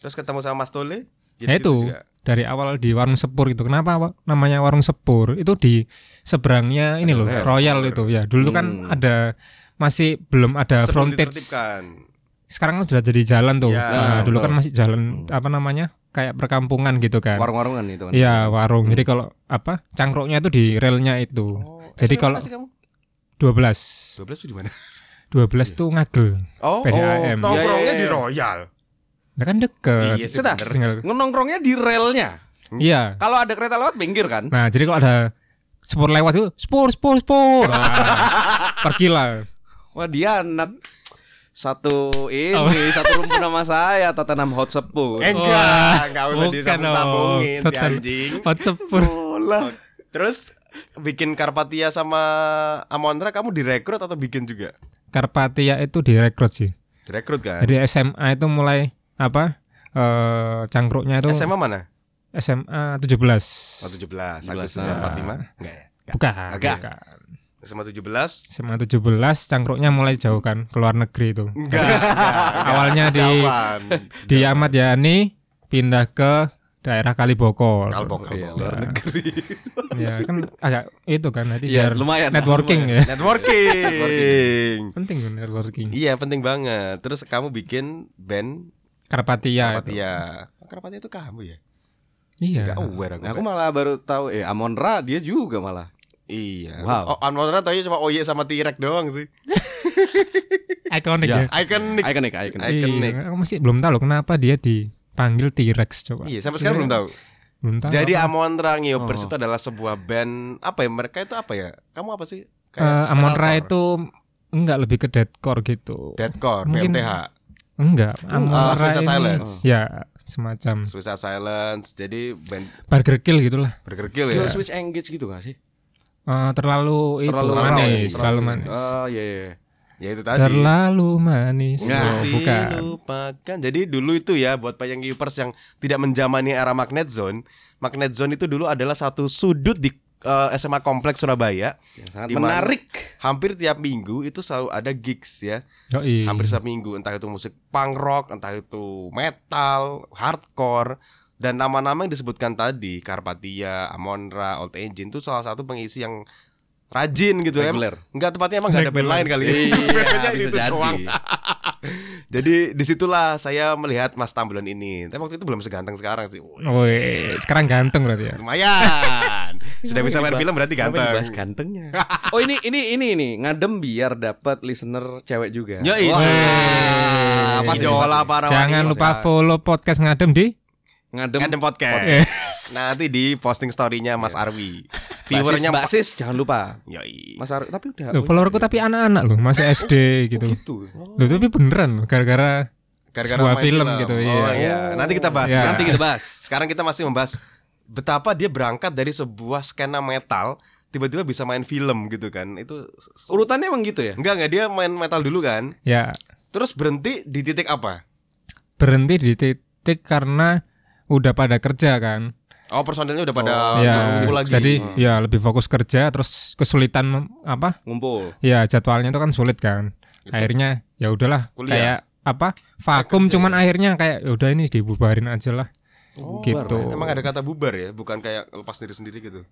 [SPEAKER 3] Terus ketemu sama Mas Tole? di
[SPEAKER 5] Ya
[SPEAKER 3] situ
[SPEAKER 5] itu
[SPEAKER 3] juga.
[SPEAKER 5] dari awal di warung sepur gitu. Kenapa Pak, namanya warung sepur? Itu di seberangnya ini
[SPEAKER 4] Ada
[SPEAKER 5] loh,
[SPEAKER 4] Royal
[SPEAKER 5] Royal itu ya. Dulu
[SPEAKER 4] Hmm.
[SPEAKER 5] kan ada masih belum ada
[SPEAKER 3] Sebelum
[SPEAKER 5] frontage.
[SPEAKER 3] ditertibkan.
[SPEAKER 5] Sekarang kan sudah jadi jalan tuh.
[SPEAKER 3] Ya,
[SPEAKER 5] Nah, dulu
[SPEAKER 4] betul.
[SPEAKER 5] kan masih
[SPEAKER 3] Hmm.
[SPEAKER 5] jalan apa namanya? kayak perkampungan gitu kan.
[SPEAKER 4] Warung-warungan itu kan.
[SPEAKER 5] Iya, warung. Jadi kalau apa? Cangkruknya itu di relnya itu.
[SPEAKER 4] Oh,
[SPEAKER 5] Jadi
[SPEAKER 3] SMP
[SPEAKER 5] kalau-
[SPEAKER 3] masih kamu
[SPEAKER 5] 12.
[SPEAKER 3] 12 tuh di mana?
[SPEAKER 5] 12 tuh ngagel.
[SPEAKER 3] Oh,
[SPEAKER 5] Eh,
[SPEAKER 4] Iya,
[SPEAKER 5] PDAM.
[SPEAKER 3] nongkrongnya
[SPEAKER 4] iya,
[SPEAKER 3] di
[SPEAKER 4] iya.
[SPEAKER 3] Royal.
[SPEAKER 5] Nah kan deket.
[SPEAKER 3] Iya sih,
[SPEAKER 4] Sudah.
[SPEAKER 3] bener.
[SPEAKER 5] Tinggal.
[SPEAKER 4] Nongkrongnya di relnya.
[SPEAKER 5] Iya.
[SPEAKER 4] Kalau ada kereta lewat pinggir kan?
[SPEAKER 5] Nah, jadi kalau ada spor lewat itu spor spor spor.
[SPEAKER 3] (laughs)
[SPEAKER 5] Nah, pergilah.
[SPEAKER 4] Wah dia anak satu ini
[SPEAKER 5] Apa?
[SPEAKER 4] (laughs) satu rumpun nama saya Tottenham Hotspur.
[SPEAKER 3] Eh,
[SPEAKER 5] Wah,
[SPEAKER 3] Enggak, enggak usah
[SPEAKER 5] bukan
[SPEAKER 3] disambung-sambungin
[SPEAKER 5] dong.
[SPEAKER 3] si
[SPEAKER 5] Total.
[SPEAKER 3] anjing.
[SPEAKER 5] Hot spor.
[SPEAKER 3] Terus bikin Karpatia sama Amonra kamu direkrut atau bikin juga?
[SPEAKER 5] Karpatia itu direkrut sih.
[SPEAKER 3] Direkrut kan?
[SPEAKER 5] Jadi SMA itu mulai apa? Eh cangkruknya itu
[SPEAKER 3] SMA
[SPEAKER 5] SMA,
[SPEAKER 3] mana?
[SPEAKER 5] 17.
[SPEAKER 3] Oh, 17. Agustus
[SPEAKER 5] ah.
[SPEAKER 4] 17.
[SPEAKER 3] 45. Enggak ya?
[SPEAKER 5] Bukan.
[SPEAKER 3] Agak.
[SPEAKER 5] bukan.
[SPEAKER 3] SMA 17.
[SPEAKER 5] SMA 17 cangkruknya mulai jauh kan keluar negeri itu.
[SPEAKER 3] Enggak. enggak.
[SPEAKER 5] (laughs) Awalnya di-
[SPEAKER 3] Kejauhan.
[SPEAKER 5] Di Ahmad Yani pindah ke daerah Kalibokor.
[SPEAKER 3] Kalbok,
[SPEAKER 4] Iya,
[SPEAKER 3] kalbok.
[SPEAKER 4] luar negeri.
[SPEAKER 5] Ya kan agak itu kan nanti
[SPEAKER 4] Iya,
[SPEAKER 5] biar
[SPEAKER 4] lumayan.
[SPEAKER 5] networking
[SPEAKER 4] lumayan.
[SPEAKER 5] ya.
[SPEAKER 3] Networking.
[SPEAKER 5] Penting kan networking.
[SPEAKER 3] Iya, penting banget. Terus kamu bikin band
[SPEAKER 5] Karpatia. Ya, itu.
[SPEAKER 3] Karpatia. Karpatia itu kamu ya?
[SPEAKER 5] Iya.
[SPEAKER 3] Enggak oh. aware aku.
[SPEAKER 4] Nah, aku malah baru tahu eh Amonra dia juga malah.
[SPEAKER 3] Iya.
[SPEAKER 4] Wow.
[SPEAKER 3] Oh, Amonra taunya cuma Oye sama Tirek doang sih.
[SPEAKER 5] Ikonik
[SPEAKER 4] Ya.
[SPEAKER 5] ya.
[SPEAKER 3] Iconic.
[SPEAKER 4] Ikonik, ikonik.
[SPEAKER 3] Iya, Ikonik.
[SPEAKER 5] Iya, aku masih belum tahu loh kenapa dia dipanggil T-Rex coba.
[SPEAKER 3] Iya, sampai sekarang belum tahu.
[SPEAKER 5] Belum tahu. Eh,
[SPEAKER 3] Jadi
[SPEAKER 5] apa.
[SPEAKER 3] Amon Ra Ngiopers
[SPEAKER 4] Oh.
[SPEAKER 3] itu adalah sebuah band apa ya? Mereka itu apa ya? Kamu apa sih?
[SPEAKER 5] Eh, Amon Ra
[SPEAKER 3] metalcore,
[SPEAKER 5] itu enggak lebih ke deadcore gitu.
[SPEAKER 3] deathcore,
[SPEAKER 5] Mungkin-
[SPEAKER 3] BMTH,
[SPEAKER 5] Enggak, Amon
[SPEAKER 3] Ah,
[SPEAKER 5] Ra
[SPEAKER 3] Suicide
[SPEAKER 5] ini
[SPEAKER 3] Silence.
[SPEAKER 5] ya semacam
[SPEAKER 3] Suicide Silence. Jadi band
[SPEAKER 5] Burger Kill gitulah.
[SPEAKER 3] Burger Kill
[SPEAKER 4] Kill
[SPEAKER 3] ya.
[SPEAKER 4] switch engage gitu gak sih?
[SPEAKER 5] Eh,
[SPEAKER 4] Terlalu
[SPEAKER 5] terlalu, Iya. itu
[SPEAKER 4] ramai,
[SPEAKER 5] manis,
[SPEAKER 4] terlalu-
[SPEAKER 3] gitu.
[SPEAKER 5] terlalu manis.
[SPEAKER 3] Eh,
[SPEAKER 4] Oh iya iya.
[SPEAKER 3] Ya itu tadi.
[SPEAKER 5] terlalu manis.
[SPEAKER 4] Nggak.
[SPEAKER 5] Oh, bukan.
[SPEAKER 3] Dilupakan. Jadi dulu itu ya buat Payang Ngiopers yang tidak menjamani era Magnet Zone. Magnet Zone itu dulu adalah satu sudut di eh, SMA Kompleks Surabaya.
[SPEAKER 4] Yang sangat
[SPEAKER 3] Di mana?
[SPEAKER 4] menarik.
[SPEAKER 3] Hampir tiap minggu itu selalu ada gigs ya.
[SPEAKER 5] Yoi.
[SPEAKER 3] hampir setiap minggu entah itu musik punk rock entah itu metal hardcore dan nama-nama yang disebutkan tadi Karpatia, Amonra, Old Engine itu salah satu pengisi yang rajin gitu ya.
[SPEAKER 4] Reguler.
[SPEAKER 3] Enggak tepatnya emang enggak ada band lain kali. ya. (laughs) Bandnya
[SPEAKER 4] Iya, bisa
[SPEAKER 3] itu doang.
[SPEAKER 4] jadi.
[SPEAKER 3] Jadi disitulah saya melihat Mas Tambulan ini. Tapi waktu itu belum seganteng sekarang sih. Wih,
[SPEAKER 5] Woi, sekarang ganteng berarti ya.
[SPEAKER 4] (laughs)
[SPEAKER 3] Lumayan. Sudah bisa main
[SPEAKER 4] Kenapa
[SPEAKER 3] film berarti
[SPEAKER 4] Kenapa
[SPEAKER 3] ganteng.
[SPEAKER 4] Iya, dibahas kan. gantengnya. (laughs) oh ini ini ini ini ngadem biar dapat listener cewek juga.
[SPEAKER 3] Ya itu.
[SPEAKER 4] Wah,
[SPEAKER 5] Wih.
[SPEAKER 4] pasti,
[SPEAKER 3] Idola
[SPEAKER 4] pasti.
[SPEAKER 3] para
[SPEAKER 5] Jangan
[SPEAKER 3] wanita.
[SPEAKER 5] lupa follow podcast ngadem di
[SPEAKER 4] ngadem
[SPEAKER 3] Ngadem podcast.
[SPEAKER 5] Eh,
[SPEAKER 3] Nanti di posting story-nya Mas Arwi.
[SPEAKER 4] viewernya
[SPEAKER 3] Viewernya Mas
[SPEAKER 4] Iya. basis jangan lupa.
[SPEAKER 3] Yoi.
[SPEAKER 4] Mas Ar- tapi udah
[SPEAKER 5] loh, followerku tapi anak-anak loh, masih SD
[SPEAKER 4] gitu.
[SPEAKER 5] gitu.
[SPEAKER 4] gitu.
[SPEAKER 5] Loh, tapi beneran loh, gara-gara sebuah
[SPEAKER 3] main
[SPEAKER 5] film gitu,
[SPEAKER 3] Oh,
[SPEAKER 5] iya.
[SPEAKER 3] iya. Nanti kita bahas.
[SPEAKER 5] Iya.
[SPEAKER 3] ya.
[SPEAKER 4] Nanti kita bahas.
[SPEAKER 3] Sekarang kita masih membahas betapa dia berangkat dari sebuah skena metal tiba-tiba bisa main film gitu kan. Itu s-
[SPEAKER 4] Urutannya emang gitu ya.
[SPEAKER 3] enggak enggak dia main metal dulu kan.
[SPEAKER 5] ya
[SPEAKER 3] Terus berhenti di titik apa?
[SPEAKER 5] berhenti di titik karena udah pada kerja kan.
[SPEAKER 3] Oh, personilnya udah pada
[SPEAKER 4] Oh,
[SPEAKER 5] ya,
[SPEAKER 3] nggak kumpul lagi.
[SPEAKER 5] jadi
[SPEAKER 3] Oh.
[SPEAKER 5] ya lebih fokus kerja terus kesulitan mem- apa?
[SPEAKER 4] Ngumpul.
[SPEAKER 5] Ya jadwalnya itu kan sulit kan.
[SPEAKER 3] Gitu.
[SPEAKER 5] Akhirnya ya udahlah
[SPEAKER 3] Kuliah.
[SPEAKER 5] kayak apa? Vakum
[SPEAKER 3] Kerja,
[SPEAKER 5] cuman akhirnya kayak "Ya udah ini dibubarin aja lah.
[SPEAKER 4] Oh,
[SPEAKER 5] gitu.
[SPEAKER 3] Emang ada kata bubar ya, bukan kayak lepas diri sendiri gitu.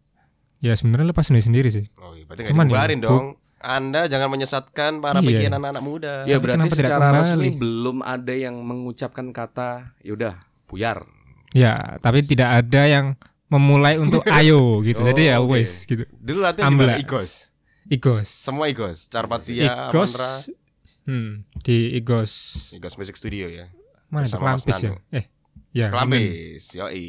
[SPEAKER 5] Ya sebenarnya lepas sendiri-sendiri sih.
[SPEAKER 3] Oh, iya, berarti nggak
[SPEAKER 5] Cuman ya,
[SPEAKER 3] dibubarin
[SPEAKER 5] bu-
[SPEAKER 3] dong. Anda jangan menyesatkan para
[SPEAKER 5] Iya.
[SPEAKER 3] pikiran anak-anak muda.
[SPEAKER 4] Ya berarti
[SPEAKER 5] Kenapa tidak
[SPEAKER 4] secara
[SPEAKER 5] kembali?
[SPEAKER 4] resmi belum ada yang mengucapkan kata yaudah "Ya buyar.
[SPEAKER 5] Ya, tapi tidak ada yang memulai
[SPEAKER 3] (laughs)
[SPEAKER 5] untuk ayo gitu. Jadi ya
[SPEAKER 4] Oh, oke.
[SPEAKER 5] wes gitu.
[SPEAKER 3] Dulu latihan di mana?
[SPEAKER 5] Amblas.
[SPEAKER 3] Igos.
[SPEAKER 5] Igos.
[SPEAKER 3] Semua Igos, Carpatia,
[SPEAKER 5] Igos.
[SPEAKER 3] Amonra,
[SPEAKER 5] Hmm, di Igos.
[SPEAKER 3] Igos Music Studio ya.
[SPEAKER 5] Mana itu
[SPEAKER 3] Bersama Mas
[SPEAKER 5] Klampis ya?
[SPEAKER 3] Nano.
[SPEAKER 5] Eh, ya. Klampis.
[SPEAKER 3] Kelampis, yoi.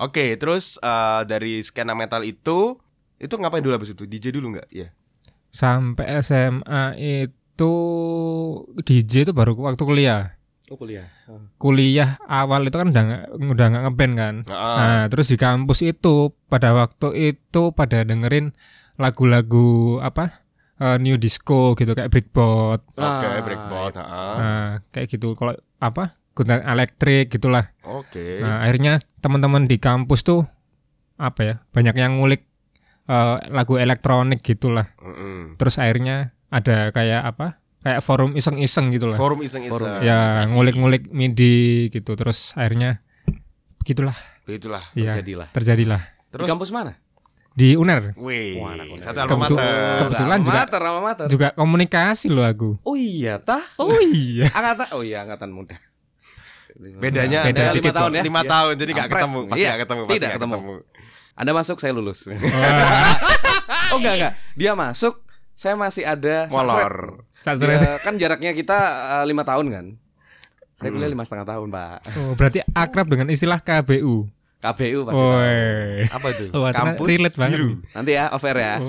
[SPEAKER 3] Oke, terus eh, dari skena metal itu itu ngapain dulu habis itu? DJ dulu nggak? Iya.
[SPEAKER 5] Sampai SMA itu DJ itu baru waktu kuliah.
[SPEAKER 4] Oh kuliah. Ah.
[SPEAKER 5] Kuliah awal itu kan udah nggak- udah nggak ngeband kan.
[SPEAKER 3] Heeh.
[SPEAKER 5] Nah, terus di kampus itu pada waktu itu pada dengerin lagu-lagu apa? eh, new disco gitu kayak Brickbot.
[SPEAKER 3] Oke,
[SPEAKER 4] Ah,
[SPEAKER 3] breakbot, heeh.
[SPEAKER 5] Nah, kayak gitu kalau apa? Gunting elektrik gitulah.
[SPEAKER 3] Oke.
[SPEAKER 5] Nah, akhirnya teman-teman di kampus tuh apa ya? Banyak yang ngulik eh, lagu elektronik gitulah.
[SPEAKER 3] Mm-mm.
[SPEAKER 5] Terus akhirnya ada kayak apa? Kayak forum iseng-iseng gitulah.
[SPEAKER 3] Forum iseng-iseng.
[SPEAKER 5] ya, ngulik-ngulik MIDI gitu. Terus akhirnya begitulah
[SPEAKER 3] Begitulah.
[SPEAKER 5] ya
[SPEAKER 4] Jadilah.
[SPEAKER 5] terjadilah
[SPEAKER 4] Di
[SPEAKER 3] Terus
[SPEAKER 4] kampus mana?
[SPEAKER 5] di UNER.
[SPEAKER 3] Wih,
[SPEAKER 4] Wah, anak kota.
[SPEAKER 3] satu alma
[SPEAKER 5] Kebetul-
[SPEAKER 3] mater.
[SPEAKER 5] kebetulan juga-
[SPEAKER 4] Alma mater, alma mater.
[SPEAKER 5] Juga komunikasi loh aku.
[SPEAKER 4] Oh iya tah.
[SPEAKER 5] Oh (laughs) iya.
[SPEAKER 4] Angkatan oh iya angkatan muda.
[SPEAKER 3] Bedanya
[SPEAKER 5] Beda
[SPEAKER 3] Anda lima
[SPEAKER 5] dikit
[SPEAKER 3] tahun
[SPEAKER 4] loh.
[SPEAKER 3] ya. Lima
[SPEAKER 4] Iya.
[SPEAKER 3] tahun jadi nggak
[SPEAKER 4] Kampret.
[SPEAKER 3] ketemu, pasti
[SPEAKER 4] Iya,
[SPEAKER 3] nggak ketemu, pasti
[SPEAKER 4] tidak
[SPEAKER 3] nggak
[SPEAKER 4] ketemu.
[SPEAKER 3] ketemu.
[SPEAKER 4] Anda masuk saya lulus. oh enggak enggak. Dia masuk saya masih ada
[SPEAKER 3] Molor.
[SPEAKER 5] Sasret.
[SPEAKER 4] Ya, kan jaraknya kita eh, lima tahun kan. Saya kuliah lima setengah tahun pak.
[SPEAKER 5] Oh, berarti akrab dengan istilah KBU.
[SPEAKER 4] KBU pasti. tahu.
[SPEAKER 5] Woi.
[SPEAKER 3] Apa itu?
[SPEAKER 5] Wah, ternyata
[SPEAKER 3] Kampus
[SPEAKER 5] relate banget.
[SPEAKER 3] biru.
[SPEAKER 4] Nanti ya offer ya.
[SPEAKER 5] Oh.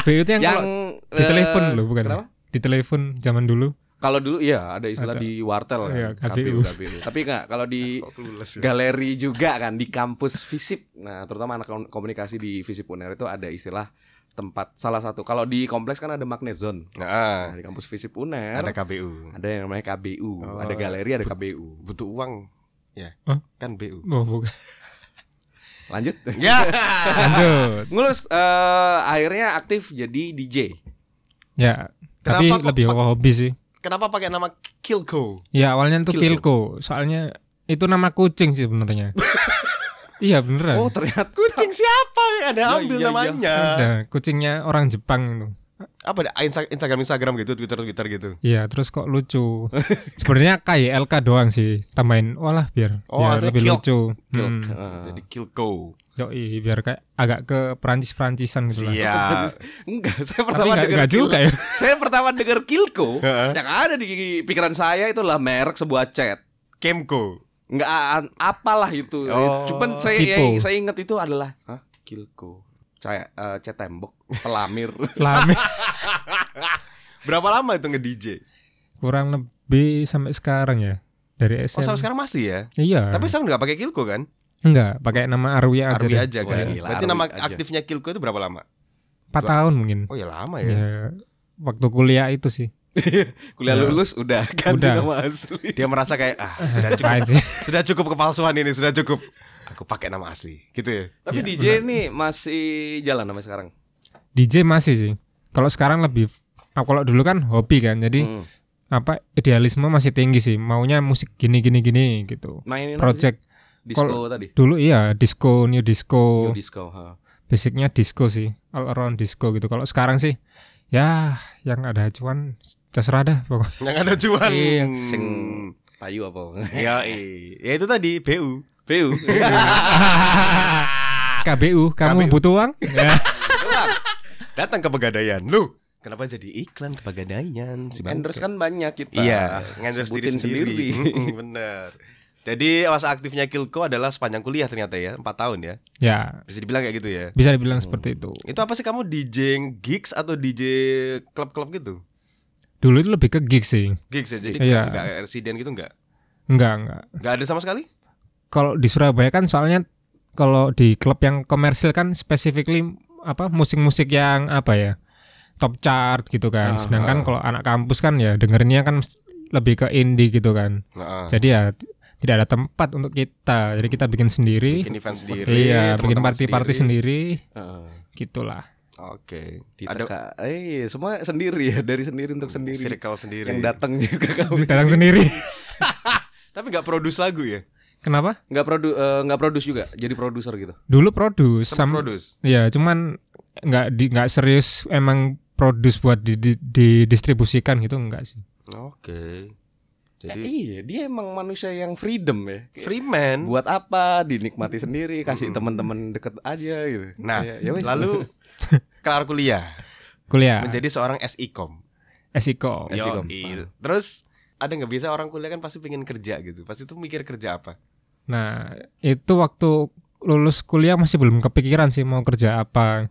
[SPEAKER 5] KBU itu yang,
[SPEAKER 4] Yang
[SPEAKER 5] kalau di telepon
[SPEAKER 4] eh,
[SPEAKER 5] loh bukan? ya?
[SPEAKER 4] kenapa?
[SPEAKER 5] Di telepon zaman dulu.
[SPEAKER 4] Kalau dulu iya ada istilah
[SPEAKER 5] Ada.
[SPEAKER 4] di wartel kan.
[SPEAKER 5] Iya, KBU.
[SPEAKER 4] KBU. Tapi enggak kalau di
[SPEAKER 3] Kok kelulus ya?
[SPEAKER 4] galeri juga kan di kampus FISIP. Nah, terutama anak kom- komunikasi di FISIP UNER itu ada istilah tempat salah satu. Kalau di kompleks kan ada magnet zone.
[SPEAKER 3] Nah,
[SPEAKER 4] Nah, di kampus FISIP UNER
[SPEAKER 3] ada
[SPEAKER 4] ada,
[SPEAKER 3] KBU.
[SPEAKER 4] yang namanya KBU,
[SPEAKER 3] Oh.
[SPEAKER 4] ada galeri, ada KBU.
[SPEAKER 3] Butuh uang. Ya.
[SPEAKER 5] Hah?
[SPEAKER 3] Kan BU.
[SPEAKER 5] Oh, bukan.
[SPEAKER 4] Lanjut.
[SPEAKER 3] (laughs) Ya.
[SPEAKER 5] Lanjut.
[SPEAKER 4] Ngulus eh, akhirnya aktif jadi DJ.
[SPEAKER 5] Ya,
[SPEAKER 3] Kenapa
[SPEAKER 5] tapi
[SPEAKER 3] kok
[SPEAKER 5] lebih
[SPEAKER 3] pak-
[SPEAKER 5] hobi sih.
[SPEAKER 3] Kenapa pakai nama Kilko?
[SPEAKER 5] Ya, awalnya itu
[SPEAKER 4] Kilko.
[SPEAKER 5] Kilko. Soalnya itu nama kucing sih sebenarnya. iya,
[SPEAKER 3] Nah.
[SPEAKER 5] beneran.
[SPEAKER 4] Oh, ternyata
[SPEAKER 3] Kucing siapa yang ada
[SPEAKER 4] Ya,
[SPEAKER 3] ambil
[SPEAKER 4] iya, iya.
[SPEAKER 3] namanya?
[SPEAKER 5] Ada kucingnya orang Jepang itu.
[SPEAKER 3] (laughs) Apa ada Insta- Instagram Instagram gitu, Twitter Twitter gitu.
[SPEAKER 5] Iya, terus kok lucu. sebenarnya KYLK doang sih. Tambahin walah biar
[SPEAKER 3] Oh,
[SPEAKER 5] biar
[SPEAKER 3] artinya
[SPEAKER 5] lebih
[SPEAKER 3] Kilk.
[SPEAKER 5] lucu.
[SPEAKER 4] Gil-
[SPEAKER 5] Hmm.
[SPEAKER 4] eh,
[SPEAKER 3] Jadi Kilko.
[SPEAKER 5] Yoi, biar kayak agak ke Perancis-Perancisan gitu lah.
[SPEAKER 3] Siap.
[SPEAKER 4] (laughs) enggak, saya
[SPEAKER 5] Tapi
[SPEAKER 4] pertama
[SPEAKER 5] enggak,
[SPEAKER 4] dengar Kil-
[SPEAKER 5] juga ya.
[SPEAKER 4] Saya pertama dengar Kilko
[SPEAKER 3] Heeh.
[SPEAKER 4] yang ada di pikiran saya itulah merek sebuah cat.
[SPEAKER 3] Kemko.
[SPEAKER 4] Enggak a- apalah itu.
[SPEAKER 3] Oh.
[SPEAKER 4] Cuman saya
[SPEAKER 5] Stipo.
[SPEAKER 4] yang saya ingat itu adalah Hah? Kilko. Saya eh, cat tembok, pelamir. (laughs)
[SPEAKER 5] Lame.
[SPEAKER 3] Berapa lama itu nge-DJ?
[SPEAKER 5] Kurang lebih sampai sekarang ya. Dari
[SPEAKER 3] Oh,
[SPEAKER 5] SM.
[SPEAKER 3] sampai sekarang masih ya.
[SPEAKER 4] Hmm.
[SPEAKER 5] Iya.
[SPEAKER 3] Tapi sekarang nggak pakai Kilko kan?
[SPEAKER 5] enggak, pakai nama Arwia aja.
[SPEAKER 3] Arwi
[SPEAKER 5] deh.
[SPEAKER 3] aja
[SPEAKER 4] Ah, Wah,
[SPEAKER 3] kan.
[SPEAKER 4] gila,
[SPEAKER 3] Berarti
[SPEAKER 4] Arwi
[SPEAKER 3] nama
[SPEAKER 4] aja.
[SPEAKER 3] aktifnya Kilko itu berapa lama?
[SPEAKER 5] 4 tahun mungkin.
[SPEAKER 3] Oh ya lama
[SPEAKER 5] ya.
[SPEAKER 4] Iya.
[SPEAKER 3] ya.
[SPEAKER 5] waktu kuliah itu sih.
[SPEAKER 4] Kuliah
[SPEAKER 5] Ya.
[SPEAKER 4] lulus udah ganti
[SPEAKER 5] Udah.
[SPEAKER 4] nama asli.
[SPEAKER 3] Dia merasa kayak ah sudah
[SPEAKER 4] (laughs)
[SPEAKER 3] cukup,
[SPEAKER 5] Apaan sih?
[SPEAKER 3] sudah cukup kepalsuan ini, sudah cukup. Aku pakai nama asli, gitu ya.
[SPEAKER 4] Tapi
[SPEAKER 5] Ya,
[SPEAKER 4] DJ ini masih jalan sampai sekarang.
[SPEAKER 5] DJ masih sih. Kalau sekarang lebih ah, kalau dulu kan hobi kan. Jadi
[SPEAKER 4] Hmm.
[SPEAKER 5] apa idealisme masih tinggi sih. Maunya musik gini gini gini gitu.
[SPEAKER 4] Mainin apa sih?
[SPEAKER 5] Project
[SPEAKER 4] disco
[SPEAKER 5] kalau-
[SPEAKER 4] tadi.
[SPEAKER 5] dulu iya disco, new disco.
[SPEAKER 4] New disco, ha.
[SPEAKER 5] Basicnya disco sih, all around disco gitu. Kalau sekarang sih ya yang ada acuan terserah dah pokoknya. (laughs)
[SPEAKER 3] Yang ada cuan.
[SPEAKER 5] Iya,
[SPEAKER 4] sing. Payu apa? (laughs)
[SPEAKER 3] Ya, iya. ya itu tadi BU.
[SPEAKER 4] View.
[SPEAKER 5] KBU,
[SPEAKER 3] KBU.
[SPEAKER 5] kamu butuh uang? Ya.
[SPEAKER 3] Datang ke pegadaian. Lu, kenapa jadi iklan ke pegadaian? Si bangke.
[SPEAKER 4] Endorse kan banyak kita.
[SPEAKER 3] Iya, endorse diri
[SPEAKER 4] sebutin
[SPEAKER 3] sendiri.
[SPEAKER 4] sendiri.
[SPEAKER 3] Mm-mm, (laughs) bener. Jadi masa aktifnya Kilko adalah sepanjang kuliah ternyata ya, 4 tahun ya.
[SPEAKER 5] ya,
[SPEAKER 3] Bisa dibilang kayak gitu ya.
[SPEAKER 4] Oh.
[SPEAKER 5] bisa dibilang seperti itu.
[SPEAKER 3] Itu apa sih kamu DJ gigs atau DJ klub-klub gitu?
[SPEAKER 5] Dulu itu lebih ke gig sih.
[SPEAKER 3] Gigs ya, jadi
[SPEAKER 5] Iya.
[SPEAKER 3] nggak residen gitu nggak?
[SPEAKER 5] Enggak, enggak.
[SPEAKER 3] Nggak ada sama sekali?
[SPEAKER 5] Kalau di Surabaya kan soalnya kalau di klub yang komersil kan specifically apa musik-musik yang apa ya? top chart gitu kan.
[SPEAKER 4] Ah,
[SPEAKER 5] Sedangkan kalau anak kampus kan ya dengerinnya kan lebih ke indie gitu kan.
[SPEAKER 3] Heeh.
[SPEAKER 5] Jadi ya t- tidak ada tempat untuk kita. Jadi kita bikin sendiri.
[SPEAKER 3] Bikin event sendiri,
[SPEAKER 5] iya,
[SPEAKER 3] teman-teman
[SPEAKER 5] bikin party-party sendiri.
[SPEAKER 4] Heeh.
[SPEAKER 3] (laughs)
[SPEAKER 5] gitulah.
[SPEAKER 3] Oke. Ada
[SPEAKER 4] Diteka. Eh, semua sendiri ya, dari sendiri untuk sendiri.
[SPEAKER 3] circle sendiri.
[SPEAKER 4] Yang datang (laughs) juga kan.
[SPEAKER 3] Oh,
[SPEAKER 4] kamu.
[SPEAKER 5] Ditarang
[SPEAKER 3] iya.
[SPEAKER 5] sendiri. (laughs)
[SPEAKER 3] Tapi nggak produce lagu ya?
[SPEAKER 5] Kenapa?
[SPEAKER 4] Enggak produ eh, nggak produce juga, jadi produser gitu.
[SPEAKER 5] Dulu produce
[SPEAKER 3] Sama
[SPEAKER 5] sam
[SPEAKER 3] produce.
[SPEAKER 5] ya cuman nggak di nggak serius emang produce buat di- di- didistribusikan gitu enggak sih.
[SPEAKER 3] Oke.
[SPEAKER 4] Eh,
[SPEAKER 3] Jadi
[SPEAKER 4] iya, dia emang manusia yang freedom ya.
[SPEAKER 3] free man.
[SPEAKER 4] Buat apa? Dinikmati sendiri, kasih teman-teman deket aja gitu.
[SPEAKER 3] Hmm. Nah,
[SPEAKER 4] Ya- ya wes. (laughs)
[SPEAKER 5] (laughs)
[SPEAKER 3] lalu kelar kuliah
[SPEAKER 5] Kuliah
[SPEAKER 3] menjadi seorang SIKOM.
[SPEAKER 5] SIKO.
[SPEAKER 4] Ya. SIKOM.
[SPEAKER 3] Yoi. Terus ada nggak biasa orang kuliah kan pasti pengen kerja gitu. Pasti tuh mikir kerja apa?
[SPEAKER 5] Nah, itu waktu lulus kuliah masih belum kepikiran sih mau kerja apa.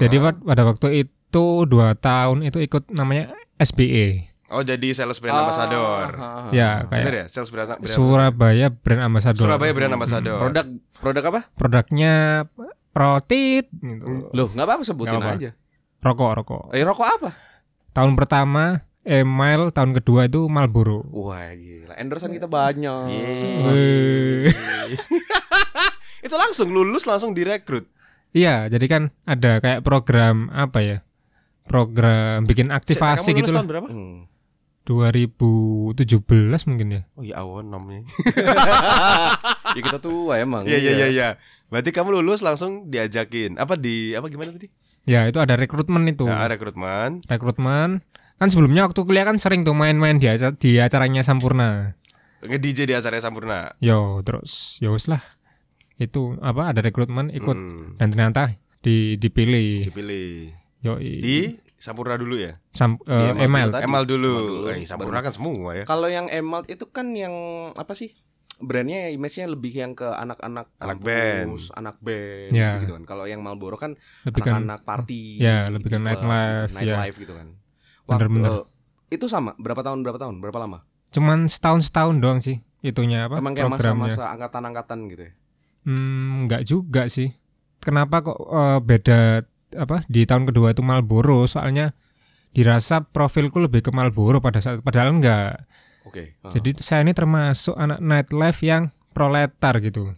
[SPEAKER 5] Jadi
[SPEAKER 3] Nah.
[SPEAKER 5] wad- pada waktu itu dua tahun itu ikut namanya SBE.
[SPEAKER 3] Oh, jadi sales brand
[SPEAKER 4] Ah,
[SPEAKER 3] ambassador.
[SPEAKER 4] ah, ah.
[SPEAKER 5] Ya,
[SPEAKER 3] Bener ya?
[SPEAKER 5] kayak
[SPEAKER 3] Sales brand brand-
[SPEAKER 5] Surabaya Brand Ambassador.
[SPEAKER 3] Surabaya brand
[SPEAKER 5] Hmm,
[SPEAKER 3] ambassador.
[SPEAKER 4] Produk produk apa?
[SPEAKER 5] Produknya rotit
[SPEAKER 3] Hmm.
[SPEAKER 5] gitu.
[SPEAKER 4] Loh, nggak apa-apa sebutin
[SPEAKER 5] Nggak apa-apa.
[SPEAKER 4] aja.
[SPEAKER 5] Rokok, rokok.
[SPEAKER 4] Eh, rokok apa?
[SPEAKER 5] Tahun pertama Email, tahun kedua itu Marlboro.
[SPEAKER 4] Wah, gila. Endorsean kita banyak.
[SPEAKER 3] Yeay. (laughs) Itu langsung lulus langsung direkrut.
[SPEAKER 5] Iya, jadi kan ada kayak program apa ya? Program bikin
[SPEAKER 3] Sik, nah, kamu
[SPEAKER 5] aktivasi
[SPEAKER 3] lulus
[SPEAKER 5] gitu lah.
[SPEAKER 3] tahun berapa?
[SPEAKER 4] Hmm.
[SPEAKER 5] 2017 mungkin ya.
[SPEAKER 3] Oh ya awon namanya.
[SPEAKER 4] ya kita tua emang.
[SPEAKER 3] Iya iya iya iya. Berarti kamu lulus langsung diajakin apa di apa gimana tadi?
[SPEAKER 5] Ya, itu ada rekrutmen itu.
[SPEAKER 3] Nah, rekrutmen.
[SPEAKER 5] rekrutmen kan sebelumnya waktu kuliah kan sering tuh main-main di, aca- di acaranya Sampurna
[SPEAKER 3] Nge-DJ di acaranya Sampurna.
[SPEAKER 5] yo terus yo wis lah itu apa ada rekrutmen ikut
[SPEAKER 3] Mm,
[SPEAKER 5] dan ternyata di dipilih
[SPEAKER 3] dipilih.
[SPEAKER 5] yo
[SPEAKER 3] Di Sampurna dulu ya.
[SPEAKER 5] sam, eh,
[SPEAKER 4] Iya,
[SPEAKER 5] email
[SPEAKER 4] Tadi.
[SPEAKER 3] Emal
[SPEAKER 4] Emal
[SPEAKER 3] dulu.
[SPEAKER 4] dulu.
[SPEAKER 3] Eh, Sampurna kan semua ya.
[SPEAKER 4] Kalau yang Emerald itu kan yang apa sih? Brandnya image-nya lebih yang ke anak-anak
[SPEAKER 3] Anak
[SPEAKER 4] kampus, anak band
[SPEAKER 5] Ya.
[SPEAKER 4] gitu kan. Kalau yang Marlboro kan
[SPEAKER 5] lebih kan
[SPEAKER 4] anak-anak party.
[SPEAKER 5] Ya,
[SPEAKER 4] di-
[SPEAKER 5] lebih
[SPEAKER 4] di
[SPEAKER 5] ke
[SPEAKER 4] club,
[SPEAKER 5] nightlife,
[SPEAKER 4] gitu,
[SPEAKER 5] ya.
[SPEAKER 4] nightlife gitu kan.
[SPEAKER 5] Bener-bener.
[SPEAKER 4] eh, itu sama berapa tahun berapa tahun berapa lama?
[SPEAKER 5] cuman setahun setahun doang sih itunya apa
[SPEAKER 4] Emang kayak
[SPEAKER 5] programnya
[SPEAKER 4] masa-masa angkatan-angkatan gitu ya.
[SPEAKER 5] Hmm, nggak juga sih kenapa kok eh, beda apa di tahun kedua itu Marlboro soalnya dirasa profilku lebih ke Marlboro pada saat padahal enggak
[SPEAKER 4] Oke. heeh.
[SPEAKER 5] Jadi saya ini termasuk anak nightlife yang proletar gitu.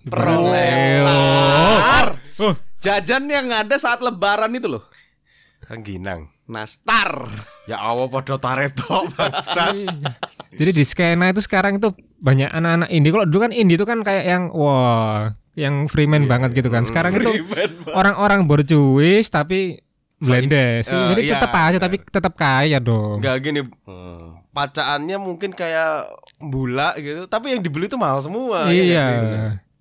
[SPEAKER 4] Proletar.
[SPEAKER 5] Oh.
[SPEAKER 4] Jajan yang ada saat lebaran itu loh. Nah,
[SPEAKER 3] Kan Ginang.
[SPEAKER 4] Nastar.
[SPEAKER 3] Ya Allah pada tareto (laughs) bangsa.
[SPEAKER 5] Iya. Jadi di skena itu sekarang itu banyak anak-anak indie. Kalau dulu kan indie itu kan kayak yang wah, yang freeman
[SPEAKER 3] Iya,
[SPEAKER 5] banget gitu kan. Sekarang itu orang-orang borjuis tapi
[SPEAKER 3] So,
[SPEAKER 5] blendes.
[SPEAKER 3] eh,
[SPEAKER 5] Jadi
[SPEAKER 3] iya,
[SPEAKER 5] tetap aja
[SPEAKER 3] benar.
[SPEAKER 5] tapi tetap kaya dong.
[SPEAKER 3] Enggak gini, pacaannya mungkin kayak bula gitu, tapi yang dibeli itu mahal semua. ya
[SPEAKER 5] iya.
[SPEAKER 3] nggak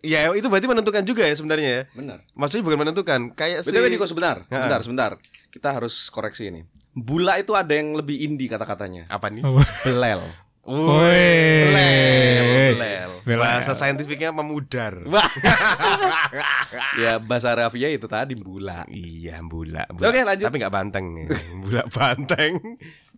[SPEAKER 3] sih? Ya itu berarti menentukan juga ya sebenarnya ya.
[SPEAKER 4] Benar.
[SPEAKER 3] Maksudnya bukan menentukan, kayak si
[SPEAKER 4] BTW Niko sebentar,
[SPEAKER 3] Heeh.
[SPEAKER 4] sebentar, sebentar. Kita harus koreksi ini. Bula itu ada yang lebih indie kata-katanya.
[SPEAKER 3] apa nih?
[SPEAKER 5] (laughs) Apa?
[SPEAKER 4] Belel.
[SPEAKER 3] Woi,
[SPEAKER 5] Eh. Weh.
[SPEAKER 4] Belel.
[SPEAKER 5] Belel.
[SPEAKER 3] bahasa saintifiknya memudar.
[SPEAKER 4] Wah. ya bahasa Rafia itu tadi bula.
[SPEAKER 3] Iya, bula. bula.
[SPEAKER 4] Oke, lanjut.
[SPEAKER 3] Tapi nggak banteng. (laughs) bula banteng.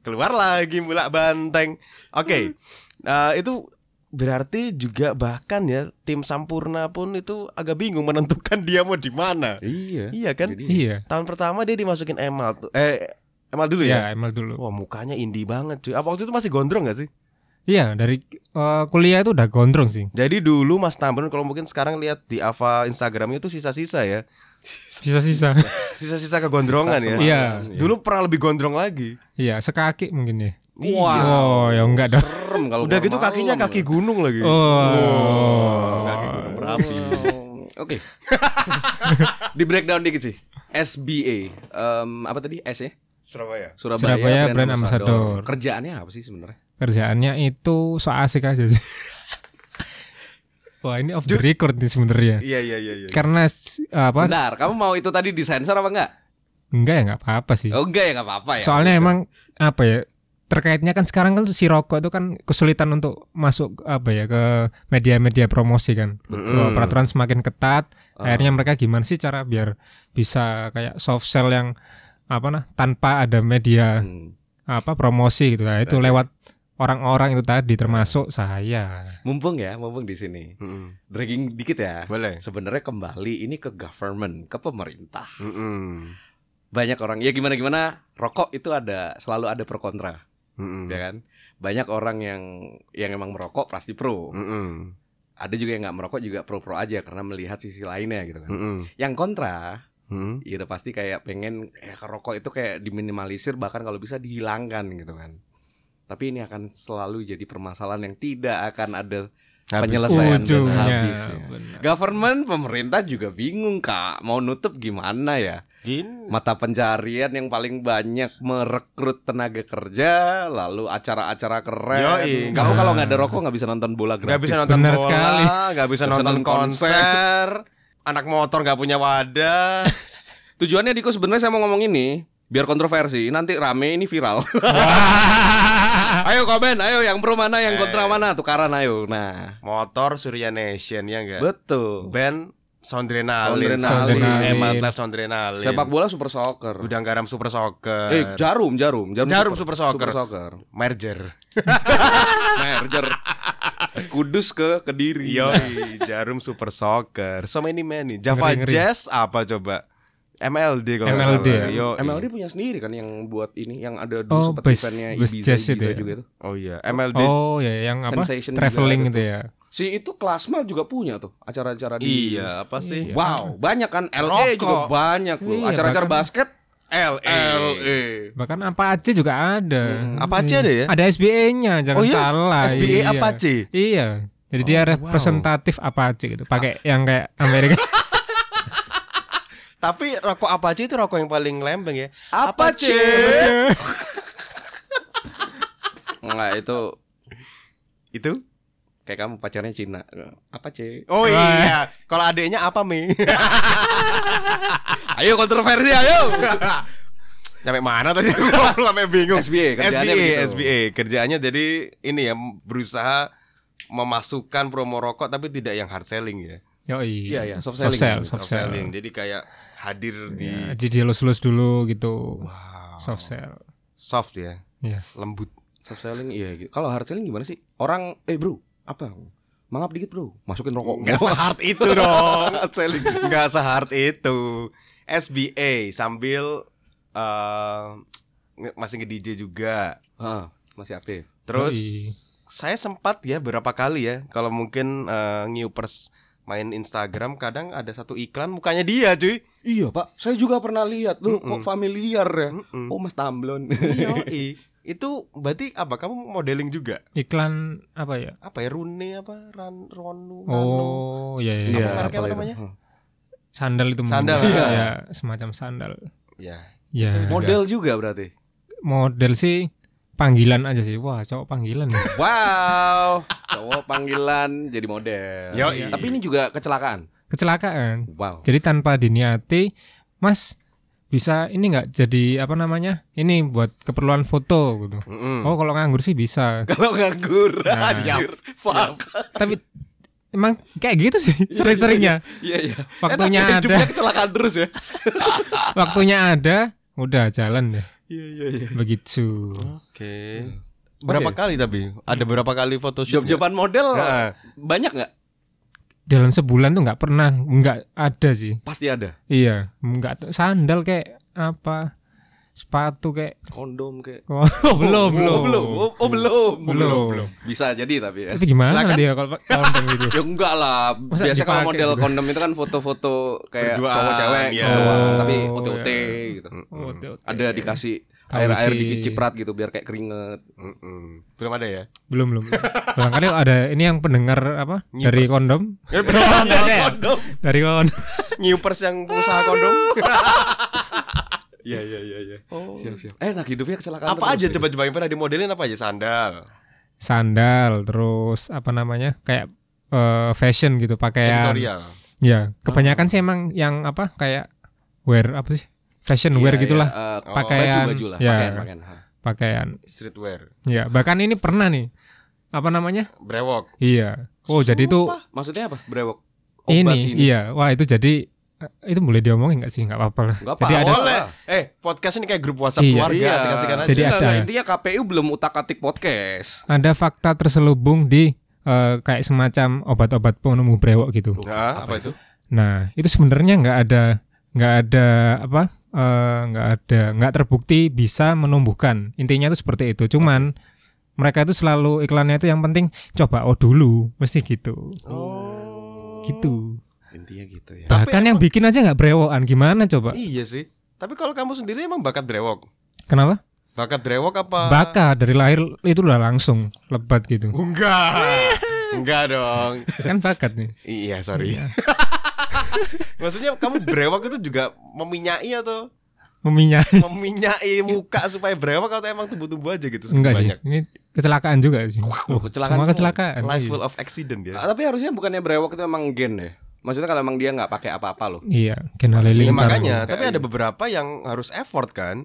[SPEAKER 3] Keluar lagi bula banteng. Oke. eh, itu berarti juga bahkan ya tim Sampurna pun itu agak bingung menentukan dia mau di mana.
[SPEAKER 4] Iya.
[SPEAKER 3] Iya kan?
[SPEAKER 5] Iya.
[SPEAKER 3] Tahun pertama dia dimasukin Emal tuh. Eh, Emal dulu ya.
[SPEAKER 4] Iya.
[SPEAKER 5] Ya, Emel dulu.
[SPEAKER 3] Wah, mukanya indie banget cuy. Apa waktu itu masih gondrong gak sih?
[SPEAKER 5] Iya, dari eh, kuliah itu udah gondrong sih.
[SPEAKER 3] Jadi dulu Mas Tamron kalau mungkin sekarang lihat di Ava Instagramnya itu sisa-sisa ya.
[SPEAKER 5] Sisa-sisa.
[SPEAKER 3] Sisa-sisa kegondrongan ya.
[SPEAKER 5] Iya.
[SPEAKER 3] Dulu pernah lebih gondrong lagi.
[SPEAKER 5] Iya, sekaki mungkin ya.
[SPEAKER 3] Iya.
[SPEAKER 5] Oh, ya enggak dong.
[SPEAKER 4] Serem kalau
[SPEAKER 3] Udah
[SPEAKER 4] keluar
[SPEAKER 3] gitu kakinya
[SPEAKER 4] malam.
[SPEAKER 3] kaki gunung lagi.
[SPEAKER 5] Oh.
[SPEAKER 3] Wow, kaki gunung (laughs) berapi.
[SPEAKER 4] Wow. Oke. Di breakdown dikit sih. SBA. Em, apa tadi? S ya?
[SPEAKER 3] Surabaya.
[SPEAKER 4] Surabaya,
[SPEAKER 5] Surabaya Brand Ambassador.
[SPEAKER 4] Kerjaannya apa sih sebenarnya?
[SPEAKER 5] kerjaannya itu so asik aja sih. (laughs) Wah ini off the record nih sebenarnya.
[SPEAKER 3] Iya iya iya iya.
[SPEAKER 5] Karena s- apa?
[SPEAKER 4] Bentar, kamu mau itu tadi disensor apa enggak?
[SPEAKER 5] Enggak ya nggak apa-apa sih.
[SPEAKER 4] Oh, enggak ya enggak apa-apa ya.
[SPEAKER 5] Soalnya
[SPEAKER 4] Udah.
[SPEAKER 5] emang apa ya? Terkaitnya kan sekarang kan si rokok itu kan kesulitan untuk masuk apa ya ke media-media promosi kan. Kalau Peraturan semakin ketat,
[SPEAKER 4] Ah.
[SPEAKER 5] akhirnya mereka gimana sih cara biar bisa kayak soft sell yang apa nah tanpa ada media
[SPEAKER 4] Hmm.
[SPEAKER 5] apa promosi gitu. Nah, itu
[SPEAKER 4] Iya,
[SPEAKER 5] lewat orang-orang itu tadi termasuk saya.
[SPEAKER 4] Mumpung ya, mumpung di sini.
[SPEAKER 3] Mm-mm.
[SPEAKER 4] Dragging dikit ya.
[SPEAKER 3] Boleh.
[SPEAKER 4] Sebenarnya kembali ini ke government, ke pemerintah.
[SPEAKER 3] Mm-mm.
[SPEAKER 4] Banyak orang ya gimana gimana, rokok itu ada selalu ada pro kontra,
[SPEAKER 3] Mm-mm.
[SPEAKER 4] ya kan? Banyak orang yang yang emang merokok pasti pro.
[SPEAKER 3] Mm-mm.
[SPEAKER 4] Ada juga yang nggak merokok juga pro-pro aja karena melihat sisi lainnya gitu kan.
[SPEAKER 3] Mm-mm.
[SPEAKER 4] Yang kontra,
[SPEAKER 3] Mm-mm.
[SPEAKER 4] ya udah pasti kayak pengen ya rokok itu kayak diminimalisir bahkan kalau bisa dihilangkan gitu kan. Tapi ini akan selalu jadi permasalahan yang tidak akan ada
[SPEAKER 3] Habis.
[SPEAKER 4] penyelesaian dan
[SPEAKER 5] Ujungnya,
[SPEAKER 4] habis ya.
[SPEAKER 5] benar.
[SPEAKER 4] Government pemerintah juga bingung kak mau nutup gimana ya
[SPEAKER 3] Gini.
[SPEAKER 4] mata pencarian yang paling banyak merekrut tenaga kerja, lalu acara-acara keren.
[SPEAKER 3] Yoi.
[SPEAKER 4] Kamu kalau nggak ada rokok nggak bisa nonton bola gratis.
[SPEAKER 3] Gak bisa nonton
[SPEAKER 5] Benar
[SPEAKER 3] bola,
[SPEAKER 5] sekali.
[SPEAKER 3] gak bisa
[SPEAKER 4] Nggak bisa
[SPEAKER 3] nonton
[SPEAKER 4] nonton konser.
[SPEAKER 3] konser, anak motor gak punya wadah.
[SPEAKER 4] Tujuannya Diko sebenarnya saya mau ngomong ini biar kontroversi. Nanti rame ini viral.
[SPEAKER 5] Ah.
[SPEAKER 4] (laughs) ayo komen, ayo yang pro mana,
[SPEAKER 5] Eh.
[SPEAKER 4] yang kontra mana, tukaran ayo. Nah,
[SPEAKER 3] Motor Surya Nation ya enggak?
[SPEAKER 4] betul.
[SPEAKER 3] Band Soundrenalin.
[SPEAKER 4] Soundrenalin.
[SPEAKER 5] Soundrenalin.
[SPEAKER 3] Hemat Live Soundrenalin.
[SPEAKER 4] Sepak bola super soccer.
[SPEAKER 3] Gudang Garam Super Soccer.
[SPEAKER 4] Eh, jarum, jarum, jarum,
[SPEAKER 3] Jarum Super Soccer.
[SPEAKER 4] Super soccer.
[SPEAKER 3] Merger.
[SPEAKER 5] (laughs)
[SPEAKER 4] Merger. Kudus ke Kediri.
[SPEAKER 5] Iya.
[SPEAKER 3] Yoi, Jarum Super Soccer. So many many. Java
[SPEAKER 5] Ngeri, ngeri.
[SPEAKER 3] Jazz apa coba? MLD kalau nggak
[SPEAKER 5] MLD
[SPEAKER 3] salah.
[SPEAKER 5] ya?
[SPEAKER 3] Yoi.
[SPEAKER 4] MLD punya sendiri kan yang buat ini yang ada dulu
[SPEAKER 5] Oh,
[SPEAKER 4] sempat
[SPEAKER 5] base-
[SPEAKER 4] eventnya
[SPEAKER 5] base
[SPEAKER 4] Ibiza,
[SPEAKER 5] jazz
[SPEAKER 4] Ibiza
[SPEAKER 5] itu ya?
[SPEAKER 4] juga itu.
[SPEAKER 3] Oh iya, MLD.
[SPEAKER 5] Oh ya yang apa?
[SPEAKER 4] Sensation juga gitu. ada
[SPEAKER 5] Traveling itu
[SPEAKER 4] tuh.
[SPEAKER 5] ya.
[SPEAKER 4] Si itu Klasma juga punya tuh acara-acara di
[SPEAKER 3] Iya, apa sih?
[SPEAKER 4] Wow, banyak kan LA
[SPEAKER 3] Rokok.
[SPEAKER 4] juga banyak loh.
[SPEAKER 5] Iya,
[SPEAKER 4] Acara-acara
[SPEAKER 5] bahkan-
[SPEAKER 4] basket
[SPEAKER 5] Eh.
[SPEAKER 4] E.
[SPEAKER 3] LA.
[SPEAKER 4] LA.
[SPEAKER 5] Bahkan apa aja juga ada. Iya.
[SPEAKER 3] Apa aja deh ya?
[SPEAKER 5] Ada SBA-nya, jangan
[SPEAKER 3] Oh iya,
[SPEAKER 5] salah.
[SPEAKER 3] SBA
[SPEAKER 5] iya.
[SPEAKER 3] Apache.
[SPEAKER 5] Iya. Jadi
[SPEAKER 3] Oh,
[SPEAKER 5] dia representatif Apache gitu.
[SPEAKER 3] Ah.
[SPEAKER 5] Pakai yang kayak
[SPEAKER 3] (laughs)
[SPEAKER 5] Amerika.
[SPEAKER 3] Tapi rokok apa aja itu rokok yang paling lembeng ya.
[SPEAKER 4] Apa
[SPEAKER 3] Apache.
[SPEAKER 4] Enggak itu
[SPEAKER 3] Itu?
[SPEAKER 4] kayak kamu pacarnya Cina. Apa C?
[SPEAKER 3] Oh iya. Kalau adeknya apa
[SPEAKER 4] (laughs)
[SPEAKER 3] Mi?
[SPEAKER 4] Ayo kontroversi ayo.
[SPEAKER 3] Sampai mana tadi? (laughs) Aku Sampai bingung.
[SPEAKER 4] SBA,
[SPEAKER 3] SBA,
[SPEAKER 4] kerjaannya begitu.
[SPEAKER 3] SBA. kerjaannya jadi ini ya berusaha memasukkan promo rokok tapi tidak yang hard selling ya.
[SPEAKER 5] Yoi.
[SPEAKER 4] Iya, iya, soft
[SPEAKER 5] Soft
[SPEAKER 4] selling.
[SPEAKER 5] sell,
[SPEAKER 3] Soft
[SPEAKER 5] soft sell.
[SPEAKER 3] selling. Jadi kayak hadir di
[SPEAKER 5] Ya, Jadi dielus-elus dulu gitu. Soft sell.
[SPEAKER 3] soft ya,
[SPEAKER 5] Iya.
[SPEAKER 3] lembut.
[SPEAKER 4] Soft selling iya gitu. Kalau hard selling gimana sih? Orang eh bro, apa? Mangap dikit bro, masukin rokok.
[SPEAKER 3] Enggak
[SPEAKER 4] (laughs)
[SPEAKER 3] sehard itu dong.
[SPEAKER 4] hard selling.
[SPEAKER 3] Enggak sehard itu. SBA sambil eh, nge- masih nge-DJ juga.
[SPEAKER 4] Ah, masih aktif.
[SPEAKER 3] Terus
[SPEAKER 5] Yoi.
[SPEAKER 3] saya sempat ya berapa kali ya kalau mungkin eh, newpers main Instagram kadang ada satu iklan mukanya dia cuy.
[SPEAKER 4] Iya pak, saya juga pernah lihat lu kok familiar ya.
[SPEAKER 3] Mm-mm.
[SPEAKER 4] Oh mas Tamblon.
[SPEAKER 3] Yoi. itu berarti apa kamu modeling juga?
[SPEAKER 5] Iklan apa ya?
[SPEAKER 3] Apa ya Rune apa Ran Ronu Ranu?
[SPEAKER 5] Oh, iya iya.
[SPEAKER 3] Apa
[SPEAKER 4] Iya,
[SPEAKER 3] merek apa
[SPEAKER 4] apa
[SPEAKER 3] namanya?
[SPEAKER 4] namanya?
[SPEAKER 5] Sandal itu mungkin.
[SPEAKER 3] Sandal,
[SPEAKER 5] Iya,
[SPEAKER 3] iya.
[SPEAKER 5] semacam sandal.
[SPEAKER 3] Ya.
[SPEAKER 5] Ya.
[SPEAKER 4] Model juga berarti.
[SPEAKER 5] model sih panggilan aja sih. Wah, cowok
[SPEAKER 3] (laughs)
[SPEAKER 5] panggilan. ya.
[SPEAKER 4] Wow, cowok panggilan jadi model.
[SPEAKER 3] Yoi.
[SPEAKER 4] Tapi ini juga kecelakaan.
[SPEAKER 5] Kecelakaan.
[SPEAKER 4] Wow.
[SPEAKER 5] Jadi tanpa diniati, Mas bisa ini nggak jadi apa namanya? Ini buat keperluan foto gitu.
[SPEAKER 4] Hmm.
[SPEAKER 3] Mm-mm.
[SPEAKER 5] Oh, kalau nganggur sih
[SPEAKER 4] (laughs)
[SPEAKER 5] bisa.
[SPEAKER 4] Kalau nganggur,
[SPEAKER 5] Nah.
[SPEAKER 4] anjir. Fuck.
[SPEAKER 5] Tapi emang kayak gitu sih sering-seringnya.
[SPEAKER 4] Iya iya.
[SPEAKER 5] Waktunya
[SPEAKER 4] Enak ya,
[SPEAKER 5] ada,
[SPEAKER 4] hidupnya kecelakaan terus ya.
[SPEAKER 5] waktunya ada, udah jalan deh.
[SPEAKER 4] Iya iya iya.
[SPEAKER 5] Begitu.
[SPEAKER 3] Oke. Berapa
[SPEAKER 4] Oke.
[SPEAKER 3] kali tapi? Ada berapa kali foto shoot? nggak?
[SPEAKER 4] Job-joban model
[SPEAKER 3] Nah,
[SPEAKER 4] banyak nggak?
[SPEAKER 5] Dalam sebulan tuh nggak pernah nggak ada sih.
[SPEAKER 4] Pasti ada.
[SPEAKER 5] Iya, nggak t- sandal kayak apa? Sepatu kayak (laughs)
[SPEAKER 4] Kondom kayak.
[SPEAKER 5] oh, belum, belum,
[SPEAKER 4] Oh, belum. Oh, oh, belum.
[SPEAKER 5] Belum.
[SPEAKER 4] Bisa jadi tapi ya.
[SPEAKER 5] Tapi gimana
[SPEAKER 3] Silakan.
[SPEAKER 5] dia kalau kalau kayak
[SPEAKER 4] (laughs)
[SPEAKER 5] gitu?
[SPEAKER 4] Ya enggak lah.
[SPEAKER 5] Masa
[SPEAKER 4] Biasanya kalau
[SPEAKER 5] dipakai
[SPEAKER 4] model
[SPEAKER 5] gitu?
[SPEAKER 4] kondom itu kan foto-foto kayak
[SPEAKER 3] Berduaan,
[SPEAKER 4] cowok cewek
[SPEAKER 3] iya.
[SPEAKER 4] doang, tapi
[SPEAKER 5] Oh,
[SPEAKER 4] OTOT gitu.
[SPEAKER 5] Oh, oke, oke.
[SPEAKER 4] Ada dikasih
[SPEAKER 5] Tahu
[SPEAKER 4] air-air
[SPEAKER 5] sih.
[SPEAKER 4] dikit ciprat gitu biar kayak keringet.
[SPEAKER 3] mm-mm. Belum ada ya?
[SPEAKER 5] belum belum. belum. Barangkali ada ini yang pendengar apa
[SPEAKER 3] Newpers.
[SPEAKER 5] dari kondom?
[SPEAKER 3] Eh, belum ada ya? (laughs)
[SPEAKER 5] Dari kondom.
[SPEAKER 3] Newpers yang pengusaha kondom.
[SPEAKER 4] Iya iya iya iya. Siap siap. Eh, nah hidupnya kecelakaan.
[SPEAKER 3] Apa aja
[SPEAKER 4] terus, ya.
[SPEAKER 3] coba-coba yang pernah dimodelin apa aja? Sandal.
[SPEAKER 5] Sandal, terus apa namanya? Kayak eh, fashion gitu pakaian.
[SPEAKER 3] Editorial.
[SPEAKER 5] Ya, kebanyakan sih emang yang apa kayak wear apa sih? Fashion
[SPEAKER 4] Iya,
[SPEAKER 5] wear
[SPEAKER 4] iya,
[SPEAKER 5] gitulah,
[SPEAKER 4] eh,
[SPEAKER 3] Oh,
[SPEAKER 5] pakaian.
[SPEAKER 4] baju-baju lah,
[SPEAKER 5] ya,
[SPEAKER 4] pakaian, pakaian. Ha.
[SPEAKER 5] pakaian.
[SPEAKER 3] Streetwear.
[SPEAKER 5] Ya, bahkan ini pernah nih. Apa namanya?
[SPEAKER 3] Brewok.
[SPEAKER 5] Iya. Oh, jadi itu
[SPEAKER 3] Sumpah.
[SPEAKER 4] Maksudnya apa? Brewok. Oh,
[SPEAKER 5] ini, iya. Wah, itu jadi eh, itu boleh diomongin nggak sih? Nggak apa-apa lah.
[SPEAKER 4] Enggak
[SPEAKER 5] Jadi ada
[SPEAKER 3] Boleh. Eh, podcast ini kayak grup WhatsApp
[SPEAKER 5] Iya.
[SPEAKER 3] keluarga,
[SPEAKER 4] Iya.
[SPEAKER 3] asik-asikan aja.
[SPEAKER 5] Jadi
[SPEAKER 4] Enggak,
[SPEAKER 5] ada.
[SPEAKER 4] enggak, intinya KPU belum utak-atik podcast.
[SPEAKER 5] ada fakta terselubung di eh, kayak semacam obat-obat penumbuh brewok gitu.
[SPEAKER 3] Nah, apa itu?
[SPEAKER 5] Nah, itu sebenarnya nggak ada nggak ada apa eh, nggak ada nggak terbukti bisa menumbuhkan. Intinya itu seperti itu. Cuman mereka itu selalu iklannya itu yang penting coba oh dulu, mesti gitu.
[SPEAKER 3] Oh.
[SPEAKER 5] Gitu.
[SPEAKER 4] Intinya gitu ya.
[SPEAKER 3] Tapi
[SPEAKER 5] Bahkan yang bikin aja nggak brewokan gimana coba?
[SPEAKER 3] Iya sih. Tapi kalau kamu sendiri emang bakat brewok.
[SPEAKER 5] Kenapa?
[SPEAKER 3] Bakat brewok apa?
[SPEAKER 5] Baka dari lahir itu udah langsung lebat gitu.
[SPEAKER 3] Oh, (laughs) Enggak. Enggak dong.
[SPEAKER 5] Kan bakat nih.
[SPEAKER 3] Iya, sorry. Maksudnya kamu brewok itu juga meminyai atau
[SPEAKER 5] Meminya
[SPEAKER 3] meminyai muka supaya brewok atau emang tumbuh-tumbuh aja gitu
[SPEAKER 5] enggak sih.
[SPEAKER 3] banyak.
[SPEAKER 5] Ini kecelakaan juga sih.
[SPEAKER 4] Wah, kecelakaan
[SPEAKER 5] Semua
[SPEAKER 4] semua.
[SPEAKER 5] kecelakaan.
[SPEAKER 3] Life
[SPEAKER 5] Iya.
[SPEAKER 3] full of accident ya.
[SPEAKER 4] Ah, tapi harusnya bukannya brewok itu emang gen ya? Maksudnya kalau emang dia nggak pakai apa-apa loh.
[SPEAKER 5] Iya, Ken
[SPEAKER 3] Ya,
[SPEAKER 5] Halilintar.
[SPEAKER 3] makanya,
[SPEAKER 4] Kayak
[SPEAKER 3] tapi
[SPEAKER 4] gitu.
[SPEAKER 3] ada beberapa yang harus effort kan.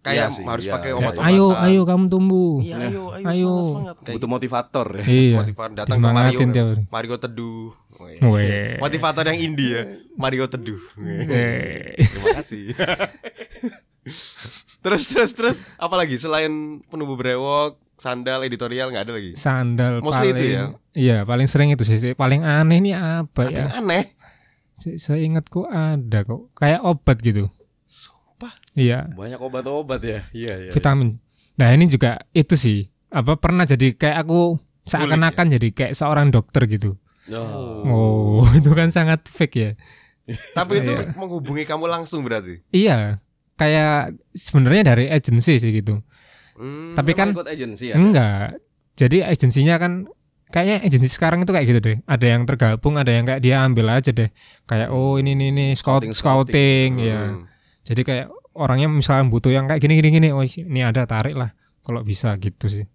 [SPEAKER 4] Iya
[SPEAKER 3] Kayak
[SPEAKER 4] sih,
[SPEAKER 3] harus
[SPEAKER 4] iya.
[SPEAKER 3] pakai
[SPEAKER 4] Kayak,
[SPEAKER 3] obat-obatan.
[SPEAKER 5] Ayo, ayo kamu tumbuh.
[SPEAKER 3] Iya, ayo, ayo,
[SPEAKER 5] Ayo.
[SPEAKER 3] semangat, semangat. Kayak
[SPEAKER 4] Butuh motivator ya.
[SPEAKER 5] Iya.
[SPEAKER 3] Motivator datang ke Mario.
[SPEAKER 5] Disemangatin tiap hari.
[SPEAKER 3] Mario Teduh. Weh.
[SPEAKER 5] Weh.
[SPEAKER 3] Motivator yang indie ya. Mario Teduh. Weh.
[SPEAKER 5] Eh,
[SPEAKER 3] Terima kasih. (laughs) terus terus terus apalagi selain penumbuh brewok, sandal, editorial nggak ada lagi.
[SPEAKER 5] Iya. sandal
[SPEAKER 3] Mostly
[SPEAKER 5] paling
[SPEAKER 3] itu ya?
[SPEAKER 5] Iya, paling sering itu sih. Paling aneh ini
[SPEAKER 3] Ada
[SPEAKER 5] apa ya?
[SPEAKER 3] yang aneh.
[SPEAKER 5] Saya ingatku ada kok. Kayak obat gitu.
[SPEAKER 3] Sumpah.
[SPEAKER 5] Iya.
[SPEAKER 4] Banyak obat-obat ya. Iya, iya.
[SPEAKER 5] vitamin. Nah ini juga itu sih apa pernah jadi kayak aku seakan-akan
[SPEAKER 3] ya?
[SPEAKER 5] jadi kayak seorang dokter gitu.
[SPEAKER 3] iya.
[SPEAKER 4] Oh.
[SPEAKER 5] Oh (laughs) itu kan sangat fake ya.
[SPEAKER 3] Tapi itu
[SPEAKER 5] Saya.
[SPEAKER 3] menghubungi kamu langsung berarti.
[SPEAKER 5] Iya kayak sebenarnya dari agensi sih gitu.
[SPEAKER 3] Hmm,
[SPEAKER 5] Tapi kan
[SPEAKER 4] ikut agensi ya.
[SPEAKER 5] enggak. Jadi agensinya kan kayaknya agensi sekarang itu kayak gitu deh. Ada yang tergabung, ada yang kayak dia ambil aja deh. Kayak oh ini ini ini scout
[SPEAKER 4] Scouting,
[SPEAKER 5] scouting,
[SPEAKER 4] scouting.
[SPEAKER 5] ya.
[SPEAKER 3] hmm.
[SPEAKER 5] Jadi kayak orangnya misalnya butuh yang kayak gini gini gini. Oh ini ada tarik lah kalau bisa gitu sih.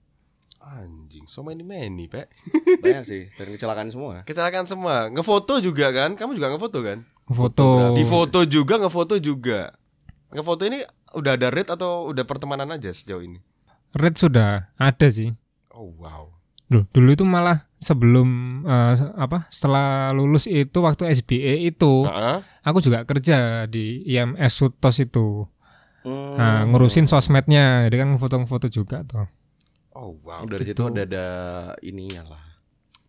[SPEAKER 3] Anjing, so many many, Pak.
[SPEAKER 4] Banyak sih dari kecelakaan semua.
[SPEAKER 3] Kecelakaan semua. Ngefoto juga kan? Kamu juga ngefoto kan?
[SPEAKER 5] Foto.
[SPEAKER 3] Di foto juga, ngefoto juga. Ngefoto ini udah ada rate atau udah pertemanan aja sejauh ini?
[SPEAKER 5] Red sudah ada sih.
[SPEAKER 3] Oh wow.
[SPEAKER 5] Loh, dulu itu malah sebelum eh, apa setelah lulus itu waktu SBA itu
[SPEAKER 4] Ah.
[SPEAKER 3] Heeh.
[SPEAKER 5] aku juga kerja di IMS Sutos itu
[SPEAKER 4] Hmm.
[SPEAKER 5] nah, ngurusin sosmednya jadi kan foto-foto juga tuh
[SPEAKER 3] Oh wow.
[SPEAKER 4] dari situ
[SPEAKER 5] gitu.
[SPEAKER 4] ada ada ininya lah.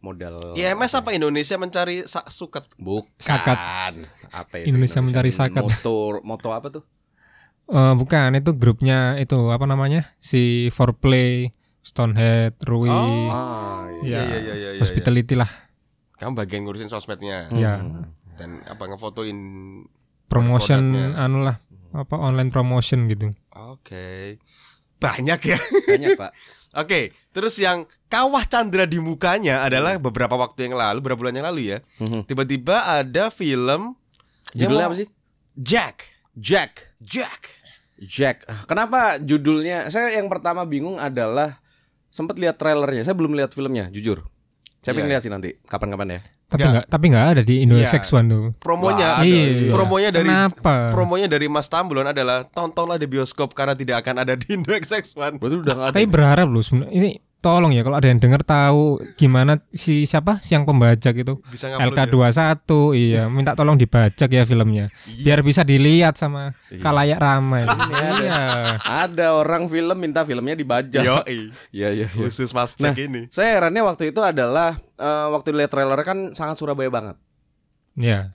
[SPEAKER 4] Modal
[SPEAKER 3] IMS apa Indonesia mencari sa- suket?
[SPEAKER 4] Bukan.
[SPEAKER 5] Sakat.
[SPEAKER 4] Kan. Apa itu?
[SPEAKER 5] Indonesia mencari sakat.
[SPEAKER 4] Motor, moto apa tuh?
[SPEAKER 5] Eh, bukan itu grupnya itu apa namanya si Foreplay Stonehead Rui
[SPEAKER 3] Oh,
[SPEAKER 4] Ah,
[SPEAKER 5] iya.
[SPEAKER 3] iya iya iya. iya,
[SPEAKER 5] Hospitality lah
[SPEAKER 3] iya. Kamu bagian ngurusin sosmednya
[SPEAKER 4] Hmm.
[SPEAKER 5] Iya.
[SPEAKER 3] dan apa ngefotoin.
[SPEAKER 5] promotion
[SPEAKER 3] Produknya.
[SPEAKER 5] anu lah
[SPEAKER 3] Hmm.
[SPEAKER 5] apa online promotion gitu
[SPEAKER 3] Oke. Banyak ya. (laughs)
[SPEAKER 4] Banyak, Pak.
[SPEAKER 3] Oke, terus yang kawah Chandra di mukanya adalah beberapa waktu yang lalu, beberapa bulan yang lalu ya.
[SPEAKER 4] Mhm.
[SPEAKER 3] Tiba-tiba ada film yang
[SPEAKER 4] Judulnya
[SPEAKER 3] mau-
[SPEAKER 4] apa sih?
[SPEAKER 3] Jack.
[SPEAKER 4] Jack.
[SPEAKER 3] Jack.
[SPEAKER 4] Jack. Ah, Kenapa judulnya? Saya yang pertama bingung adalah sempat lihat trailernya. Saya belum lihat filmnya, jujur. Saya pengen
[SPEAKER 3] Iya.
[SPEAKER 4] lihat sih nanti kapan-kapan ya.
[SPEAKER 5] tapi
[SPEAKER 3] Nggak.
[SPEAKER 5] nggak tapi nggak ada di Indonesia
[SPEAKER 3] Iya.
[SPEAKER 5] One tuh
[SPEAKER 3] Promonya
[SPEAKER 4] Wah, ada.
[SPEAKER 5] Iya.
[SPEAKER 3] promonya dari
[SPEAKER 5] kenapa
[SPEAKER 3] promonya dari Mas Tambulon adalah tontonlah di bioskop karena tidak akan ada di Indo XX1.
[SPEAKER 4] Berarti udah nggak ada. ya?
[SPEAKER 5] Tapi berharap loh sebenarnya ini tolong ya kalau ada yang dengar tahu gimana si siapa si yang pembajak itu
[SPEAKER 3] Bisa ngupload ya?
[SPEAKER 5] LK21 iya minta tolong dibajak ya filmnya
[SPEAKER 3] Iya.
[SPEAKER 5] biar bisa dilihat sama kalayak ramai iya
[SPEAKER 4] Ada orang film minta filmnya dibajak.
[SPEAKER 3] Yo,
[SPEAKER 4] Iya, iya, iya.
[SPEAKER 3] khusus Mas Jack ini.
[SPEAKER 4] Saya herannya waktu itu adalah eh, waktu lihat trailer kan sangat Surabaya banget.
[SPEAKER 5] iya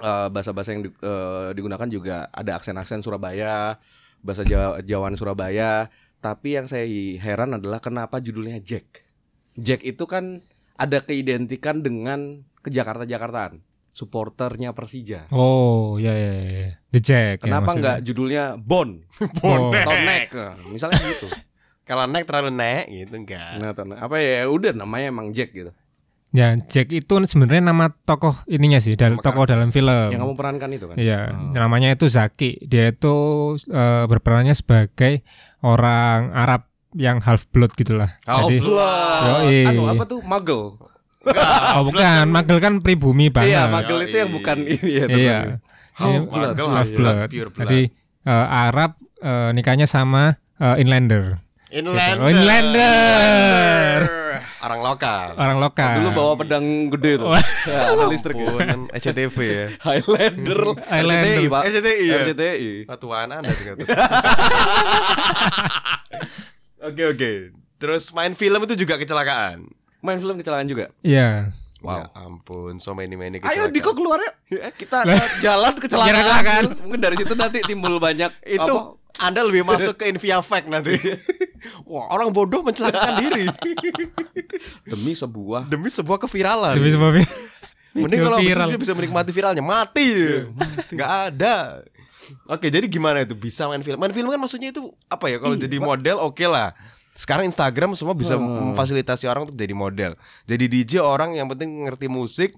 [SPEAKER 4] Eh, bahasa-bahasa yang di- eh, digunakan juga ada aksen-aksen Surabaya, bahasa Jawa Jawaan Surabaya. Tapi yang saya heran adalah kenapa judulnya Jack. Jack itu kan ada keidentikan dengan ke Jakarta-Jakartaan, supporternya Persija.
[SPEAKER 5] oh iya iya iya. The Jack ya
[SPEAKER 4] Kenapa
[SPEAKER 5] maksudnya.
[SPEAKER 4] nggak judulnya Bon
[SPEAKER 5] Bonek.
[SPEAKER 4] atau
[SPEAKER 3] (laughs)
[SPEAKER 4] Nek? Nah, Misalnya gitu.
[SPEAKER 3] Kalau naik terlalu naik gitu enggak.
[SPEAKER 4] Nah, atau Nek. apa ya udah namanya emang Jack gitu.
[SPEAKER 5] ya Jack itu sebenarnya nama tokoh ininya sih dal- tokoh dalam film
[SPEAKER 4] Yang kamu perankan itu kan.
[SPEAKER 5] Iya, namanya itu Zaki. Dia itu eh, berperannya sebagai orang Arab yang half blood gitulah.
[SPEAKER 3] Half
[SPEAKER 5] Jadi,
[SPEAKER 4] Wah,
[SPEAKER 5] Yoi.
[SPEAKER 4] anu apa tuh magel?
[SPEAKER 5] oh bukan, magel kan pribumi banget.
[SPEAKER 4] Iya, magel itu yang
[SPEAKER 3] Yoi.
[SPEAKER 4] bukan ini ya.
[SPEAKER 5] Iya.
[SPEAKER 4] teman.
[SPEAKER 5] Iya,
[SPEAKER 4] Half blood.
[SPEAKER 3] Magel,
[SPEAKER 5] half
[SPEAKER 3] iya.
[SPEAKER 5] blood.
[SPEAKER 3] Pure blood.
[SPEAKER 5] Jadi eh, Arab eh, nikahnya sama eh, inlander.
[SPEAKER 3] Inlander.
[SPEAKER 5] Oh, inlander.
[SPEAKER 3] Orang lokal.
[SPEAKER 5] Orang lokal.
[SPEAKER 4] Dulu bawa pedang gede
[SPEAKER 5] (laughs)
[SPEAKER 4] tuh. Ya, ada Ah, listrik
[SPEAKER 3] Ampun, SCTV ya.
[SPEAKER 4] Highlander.
[SPEAKER 5] Highlander.
[SPEAKER 4] RCTI, Pak.
[SPEAKER 3] SCTI ya.
[SPEAKER 4] RCTI.
[SPEAKER 3] Ketuaan Anda
[SPEAKER 4] (laughs)
[SPEAKER 3] ternyata. Oke oke. Terus main film itu juga kecelakaan.
[SPEAKER 4] Main film kecelakaan juga.
[SPEAKER 5] Iya.
[SPEAKER 3] Ya ampun, so many many
[SPEAKER 4] Ayo
[SPEAKER 3] kecelakaan.
[SPEAKER 4] Diko keluar ya. Kita jalan kecelakaan.
[SPEAKER 5] Kecelakaan.
[SPEAKER 4] Mungkin dari situ nanti timbul banyak
[SPEAKER 3] itu
[SPEAKER 4] apa,
[SPEAKER 3] Anda lebih masuk ke Invia Fact nanti. Wah, orang bodoh mencelakakan diri
[SPEAKER 4] demi sebuah
[SPEAKER 3] demi sebuah
[SPEAKER 4] Iya.
[SPEAKER 3] keviralan.
[SPEAKER 5] Demi sebab
[SPEAKER 3] Mending
[SPEAKER 5] Demi
[SPEAKER 3] kalau
[SPEAKER 5] viral. Iya,
[SPEAKER 3] dia bisa menikmati viralnya mati. Enggak ada. Oke, jadi gimana itu bisa main film? Main film kan maksudnya itu apa ya?
[SPEAKER 5] Iya.
[SPEAKER 3] Kalau jadi model oke lah. Sekarang
[SPEAKER 5] Ah.
[SPEAKER 3] Instagram semua bisa memfasilitasi orang untuk jadi model. Jadi DJ orang yang penting ngerti musik,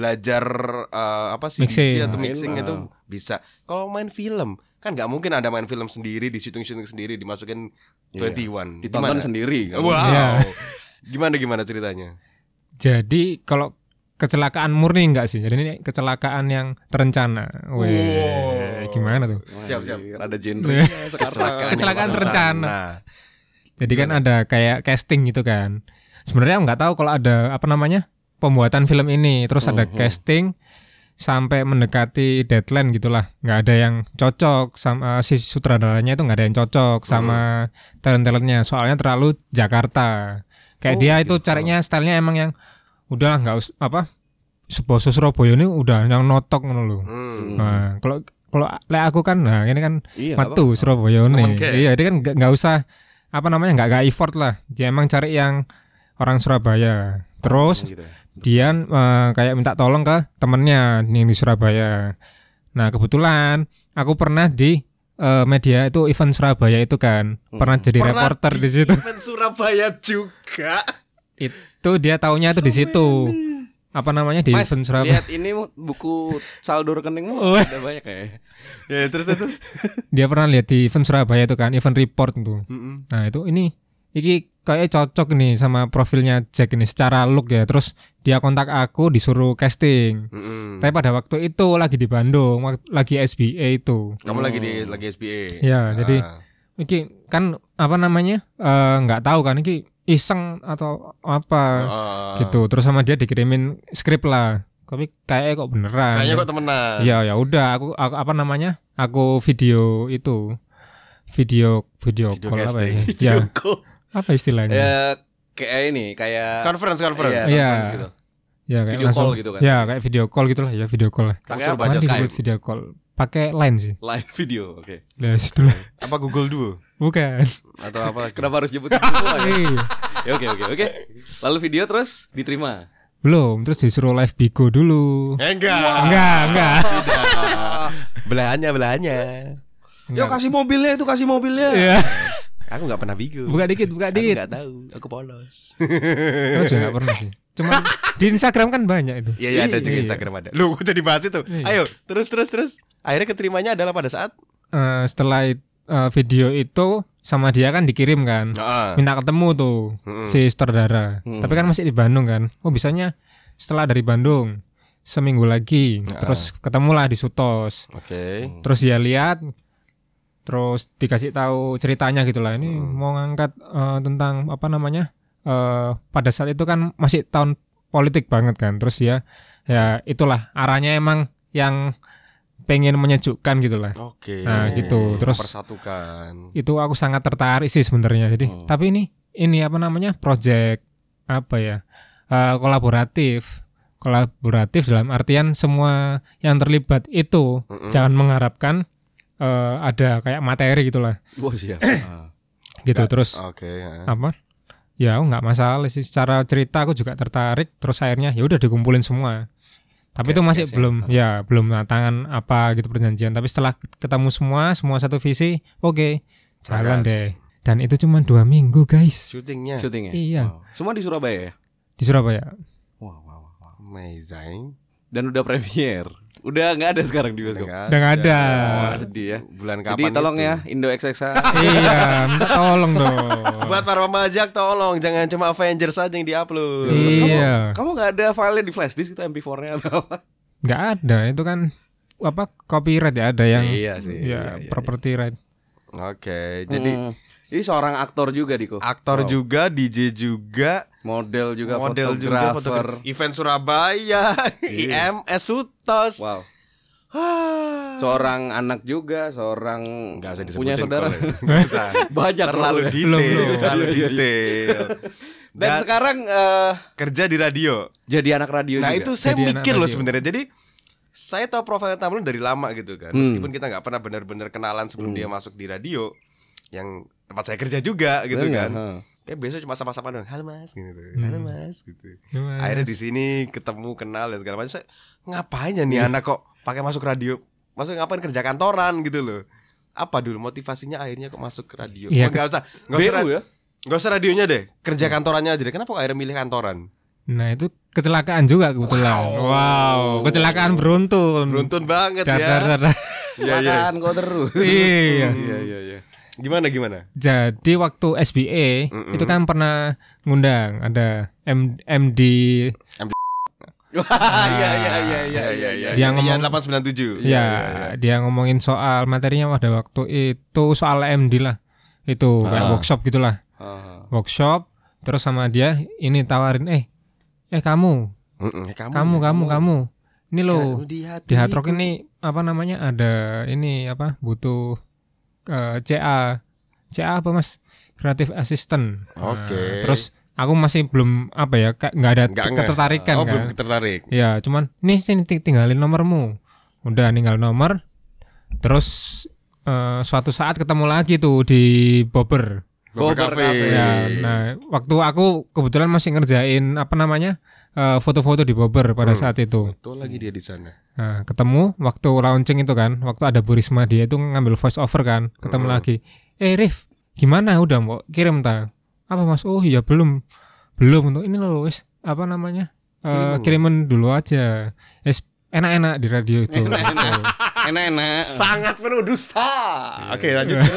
[SPEAKER 3] eh,
[SPEAKER 5] Mixing.
[SPEAKER 3] atau
[SPEAKER 5] Main,
[SPEAKER 3] mixing
[SPEAKER 4] eh.
[SPEAKER 3] itu bisa. Kalau main film kan nggak mungkin ada main film sendiri dihitung-hitung sendiri dimasukin
[SPEAKER 4] Iya.
[SPEAKER 3] 21.
[SPEAKER 4] Ditonton
[SPEAKER 3] Gimana?
[SPEAKER 4] sendiri kan.
[SPEAKER 3] Wow.
[SPEAKER 5] Iya.
[SPEAKER 3] Gimana gimana ceritanya?
[SPEAKER 5] Jadi kalau kecelakaan murni enggak sih? Jadi ini kecelakaan yang terencana. Wih,
[SPEAKER 3] Wow.
[SPEAKER 5] gimana tuh?
[SPEAKER 4] Wah,
[SPEAKER 3] Siap, siap.
[SPEAKER 4] iya, Ada genre
[SPEAKER 5] Iya.
[SPEAKER 4] sekarang.
[SPEAKER 3] Kecelakaan.
[SPEAKER 5] Kecelakaan terencana. Jadi kan ada kayak casting gitu kan. Sebenarnya nggak tahu kalau ada apa namanya pembuatan film ini, terus ada
[SPEAKER 4] Mhm.
[SPEAKER 5] casting sampai mendekati deadline gitulah. Nggak ada yang cocok sama eh, si sutradaranya itu nggak ada yang cocok sama talent-talentnya. Soalnya terlalu Jakarta. Kayak
[SPEAKER 4] Oh,
[SPEAKER 5] dia
[SPEAKER 4] gitu.
[SPEAKER 5] itu caranya stylenya emang yang udah nggak us- apa Seposo Surabaya ini udah yang notok ngono lho.
[SPEAKER 3] Hmm.
[SPEAKER 5] Nah, kalau kalau lek aku kan nah ini kan
[SPEAKER 4] Iya, nggak
[SPEAKER 5] Metu Surabaya
[SPEAKER 3] Temen
[SPEAKER 5] nih.
[SPEAKER 3] ke.
[SPEAKER 5] Iya, dia kan nggak nggak usah apa namanya nggak nggak effort lah. Dia emang cari yang orang Surabaya.
[SPEAKER 4] apa-apa.
[SPEAKER 5] Terus
[SPEAKER 4] Gitu ya.
[SPEAKER 5] dia eh, kayak minta tolong ke temennya yang di Surabaya. Nah kebetulan aku pernah di eh, media itu event Surabaya itu kan pernah
[SPEAKER 4] Hmm.
[SPEAKER 5] jadi
[SPEAKER 3] Pernah
[SPEAKER 5] reporter di situ.
[SPEAKER 3] event Surabaya juga.
[SPEAKER 5] Itu dia taunya itu di situ. Apa namanya di
[SPEAKER 4] Mas,
[SPEAKER 5] event Surabaya?
[SPEAKER 4] lihat ini Mu, buku saldo rekeningmu
[SPEAKER 5] Wah. Iya.
[SPEAKER 4] ada banyak ya.
[SPEAKER 3] ya terus terus.
[SPEAKER 5] Dia pernah lihat di event Surabaya itu kan event report itu.
[SPEAKER 3] Mm-mm.
[SPEAKER 5] Nah itu ini iki kayak cocok nih sama profilnya Jack ini secara look ya. Terus dia kontak aku disuruh casting.
[SPEAKER 3] Mm-mm.
[SPEAKER 5] Tapi pada waktu itu lagi di Bandung, wak- lagi SBA itu.
[SPEAKER 3] Kamu lagi di lagi SBA.
[SPEAKER 5] Ya, jadi
[SPEAKER 3] Ah.
[SPEAKER 5] iki kan apa namanya? eh, nggak tahu kan iki iseng atau apa
[SPEAKER 3] Ah.
[SPEAKER 5] gitu. Terus sama dia dikirimin skrip lah. Tapi kayaknya kok beneran.
[SPEAKER 3] Kayaknya kok temenan.
[SPEAKER 5] Ya ya udah aku, aku apa namanya? Aku video itu video video,
[SPEAKER 3] Video
[SPEAKER 5] call apa
[SPEAKER 3] (laughs) casting.
[SPEAKER 5] ya? ya apa istilahnya?
[SPEAKER 4] Ya kayak ini kayak
[SPEAKER 3] Conference conference.
[SPEAKER 4] Iya,
[SPEAKER 5] Iya.
[SPEAKER 4] conference gitu.
[SPEAKER 5] Ya kayak
[SPEAKER 4] Video
[SPEAKER 5] langsung,
[SPEAKER 4] call gitu kan?
[SPEAKER 5] Ya kayak video call gitu lah ya video call lah.
[SPEAKER 3] Kamu
[SPEAKER 4] Pakai
[SPEAKER 3] suruh
[SPEAKER 4] apa?
[SPEAKER 3] baca
[SPEAKER 5] Apaan disebut
[SPEAKER 3] Skype.
[SPEAKER 5] video call? Pakai line sih.
[SPEAKER 4] Live video, oke.
[SPEAKER 5] Ya situ lah. (laughs)
[SPEAKER 3] Apa Google Duo
[SPEAKER 5] Bukan.
[SPEAKER 3] atau apa? lagi?
[SPEAKER 4] Kenapa harus nyebut gitu (laughs)
[SPEAKER 3] Oh,
[SPEAKER 4] semua
[SPEAKER 3] iya.
[SPEAKER 4] ya?
[SPEAKER 5] Eh,
[SPEAKER 4] Ya, Oke, oke, oke. Lalu video terus diterima.
[SPEAKER 5] Belum, terus disuruh live Bigo dulu.
[SPEAKER 3] Eh, enggak.
[SPEAKER 5] Enggak, enggak.
[SPEAKER 3] belahannya belahannya.
[SPEAKER 5] Enggak.
[SPEAKER 4] kasih mobilnya itu, kasih mobilnya.
[SPEAKER 5] Iya.
[SPEAKER 3] Aku nggak pernah bigo.
[SPEAKER 5] Buka dikit, buka
[SPEAKER 3] Aku
[SPEAKER 5] dikit.
[SPEAKER 3] nggak tahu. Aku polos. (laughs)
[SPEAKER 5] Aku juga nggak pernah sih. Cuman di Instagram kan banyak itu.
[SPEAKER 3] Iya iya ada juga
[SPEAKER 5] Iya.
[SPEAKER 3] Instagram ada. Lu kok jadi bahas itu. Ayo terus terus terus. Akhirnya keterimanya adalah pada saat.
[SPEAKER 5] Eh, setelah it- eh, video itu sama dia kan dikirim kan.
[SPEAKER 3] Nah, ah.
[SPEAKER 5] Minta ketemu tuh
[SPEAKER 3] Mm-mm.
[SPEAKER 5] si sutradara.
[SPEAKER 4] Mm.
[SPEAKER 5] Tapi kan masih di Bandung kan. Oh, bisanya setelah dari Bandung seminggu lagi.
[SPEAKER 3] Ah.
[SPEAKER 5] Terus ketemulah di Sutos.
[SPEAKER 3] Oke.
[SPEAKER 5] terus dia lihat terus dikasih tahu ceritanya gitulah ini
[SPEAKER 3] Hmm.
[SPEAKER 5] mau ngangkat eh, tentang apa namanya eh, pada saat itu kan masih tahun politik banget kan terus ya ya itulah arahnya emang yang pengen menyejukkan gitu gitulah
[SPEAKER 3] Oke.
[SPEAKER 5] Nah, gitu. Terus-
[SPEAKER 3] persatukan.
[SPEAKER 5] itu aku sangat tertarik sih sebenarnya jadi
[SPEAKER 4] Hmm.
[SPEAKER 5] tapi ini ini apa namanya project apa ya eh, kolaboratif kolaboratif dalam artian semua yang terlibat itu
[SPEAKER 3] Mm-mm.
[SPEAKER 5] jangan mengharapkan eh, ada kayak materi gitulah
[SPEAKER 4] Wah, siap. Ah.
[SPEAKER 5] gitu
[SPEAKER 3] Nggak-
[SPEAKER 5] terus
[SPEAKER 3] Oke. ya.
[SPEAKER 5] apa ya aku nggak masalah sih secara cerita aku juga tertarik terus akhirnya ya udah dikumpulin semua tapi itu
[SPEAKER 4] Case-case
[SPEAKER 5] masih
[SPEAKER 4] ya.
[SPEAKER 5] belum ya belum tangan apa gitu perjanjian tapi setelah ketemu semua semua satu visi oke jalan
[SPEAKER 3] Berangkat.
[SPEAKER 5] deh dan itu cuma dua minggu guys
[SPEAKER 3] Syutingnya
[SPEAKER 4] Syutingnya.
[SPEAKER 5] Iya.
[SPEAKER 4] ya? Wow. Semua di Surabaya ya?
[SPEAKER 5] di
[SPEAKER 4] (laughs)
[SPEAKER 5] Surabaya
[SPEAKER 4] Wah, wah, wah. wah.
[SPEAKER 3] amazing.
[SPEAKER 4] Dan udah premier. Udah nggak ada sekarang di bioskop.
[SPEAKER 3] Dengan-
[SPEAKER 5] udah nggak ada
[SPEAKER 4] Wah, sedih ya.
[SPEAKER 3] Bulan kapan?
[SPEAKER 4] Jadi tolong
[SPEAKER 3] itu?
[SPEAKER 4] ya Indo XXA. (laughs)
[SPEAKER 5] iya minta tolong dong
[SPEAKER 3] Buat para pembajak tolong jangan cuma Avengers saja yang diupload.
[SPEAKER 4] Terus kamu-
[SPEAKER 5] iya
[SPEAKER 4] Kamu nggak ada filenya di flash disk itu MP4-nya atau apa?
[SPEAKER 5] nggak ada itu kan apa copyright ya ada yang
[SPEAKER 4] Iya sih, iya,
[SPEAKER 5] ya
[SPEAKER 4] iya,
[SPEAKER 5] property right
[SPEAKER 3] Oke, jadi
[SPEAKER 4] Hmm. (laughs) Jadi seorang aktor juga Diko.
[SPEAKER 3] aktor
[SPEAKER 4] Wow.
[SPEAKER 3] juga, DJ juga,
[SPEAKER 4] model juga
[SPEAKER 3] model juga,
[SPEAKER 4] fotografer. Iya.
[SPEAKER 3] fotografer, event Surabaya, IMS Sutos.
[SPEAKER 4] Wow.
[SPEAKER 3] Ah.
[SPEAKER 4] Seorang anak juga, seorang
[SPEAKER 3] Nggak usah disebutin
[SPEAKER 4] punya saudara. (laughs)
[SPEAKER 3] kalau ya. Nggak usah.
[SPEAKER 4] Banyak
[SPEAKER 3] terlalu
[SPEAKER 4] loh.
[SPEAKER 3] detail,
[SPEAKER 5] Belum, belum.
[SPEAKER 3] terlalu
[SPEAKER 4] Iya, iya,
[SPEAKER 3] detail.
[SPEAKER 4] Dan
[SPEAKER 3] Dan
[SPEAKER 4] sekarang eh,
[SPEAKER 3] kerja di radio.
[SPEAKER 4] jadi anak radio
[SPEAKER 3] Nah
[SPEAKER 4] Iya juga.
[SPEAKER 3] itu saya
[SPEAKER 5] Jadi anak
[SPEAKER 3] mikir loh
[SPEAKER 5] radio.
[SPEAKER 3] sebenarnya. Jadi saya tahu profilnya Tamlin dari lama gitu kan.
[SPEAKER 4] Hmm.
[SPEAKER 3] Meskipun kita nggak pernah benar-benar kenalan sebelum dia masuk di radio yang tempat saya kerja juga gitu kan.
[SPEAKER 4] Bener nggak? Heeh.
[SPEAKER 3] Kayak biasa cuma sapa-sapa doang. Halo Mas gitu. Halo Mas gitu.
[SPEAKER 5] Gimana?
[SPEAKER 3] Akhirnya di sini ketemu kenal dan segala macam. Saya ngapain ya nih anak kok pakai masuk radio? Maksudnya ngapain kerja kantoran gitu loh. Apa dulu motivasinya akhirnya kok masuk ke radio?
[SPEAKER 5] Iya,
[SPEAKER 3] Enggak usah. Enggak usah,
[SPEAKER 4] BU ya.
[SPEAKER 3] nggak usah radionya deh. Kerja kantorannya aja deh. Kenapa kok akhirnya milih kantoran?
[SPEAKER 5] Nah itu kecelakaan juga kebetulan. Wow, kecelakaan beruntun.
[SPEAKER 3] Beruntun banget
[SPEAKER 5] Dar, dar,
[SPEAKER 3] ya.
[SPEAKER 5] dar,
[SPEAKER 3] Iya,
[SPEAKER 5] dar.
[SPEAKER 3] iya.
[SPEAKER 4] Kecelakaan kau terus.
[SPEAKER 5] Iya.
[SPEAKER 4] Iya iya iya.
[SPEAKER 3] Gimana gimana?
[SPEAKER 5] Jadi waktu SBA
[SPEAKER 3] Mm-mm.
[SPEAKER 5] itu kan pernah ngundang ada M- Nah, ya, MD (laughs)
[SPEAKER 4] Wah, (laughs) Iya iya iya iya iya iya.
[SPEAKER 5] Dia ngomong-
[SPEAKER 3] 897.
[SPEAKER 5] ya
[SPEAKER 3] iya.
[SPEAKER 5] dia ngomongin soal materinya pada waktu itu soal MD lah itu kayak
[SPEAKER 3] Ah.
[SPEAKER 5] workshop gitulah
[SPEAKER 4] Ah.
[SPEAKER 5] workshop terus sama dia ini tawarin eh eh kamu
[SPEAKER 3] Mm-mm. ya Kamu,
[SPEAKER 5] kamu kamu kamu ini loh
[SPEAKER 3] Kamu di hati.
[SPEAKER 5] di Hard Rock ini apa namanya ada ini apa butuh eh, CA CA apa mas Creative Assistant Nah,
[SPEAKER 3] Oke.
[SPEAKER 5] terus aku masih belum apa ya kayak nggak ada
[SPEAKER 3] Nggak ngeh.
[SPEAKER 5] ketertarikan
[SPEAKER 3] Oh,
[SPEAKER 5] kan
[SPEAKER 3] belum tertarik.
[SPEAKER 5] ya cuman nih sini ting- tinggalin nomormu udah ninggal nomor terus eh, suatu saat ketemu lagi tuh di Bobber
[SPEAKER 3] Bobber
[SPEAKER 4] Bobber
[SPEAKER 3] Cafe.
[SPEAKER 4] Cafe.
[SPEAKER 5] ya nah waktu aku kebetulan masih ngerjain apa namanya eh, foto-foto di Bobber pada
[SPEAKER 3] Hmm.
[SPEAKER 5] saat itu
[SPEAKER 3] Betul lagi dia di
[SPEAKER 4] (laughs)
[SPEAKER 3] sana.
[SPEAKER 5] Nah, ketemu waktu launching itu kan, waktu ada Bu Risma dia itu ngambil voice over kan, ketemu
[SPEAKER 3] Mm-mm.
[SPEAKER 5] lagi. Eh Rif, gimana udah mau kirim ta? Apa Mas? Oh iya belum. Belum untuk ini loh wis apa namanya?
[SPEAKER 3] Kiriman.
[SPEAKER 5] Eh, kiriman dulu aja. Es enak-enak di radio itu. Gitu.
[SPEAKER 4] Enak-enak.
[SPEAKER 3] Sangat penuh dusta. Iya. Oke, lanjut.
[SPEAKER 5] Gitu.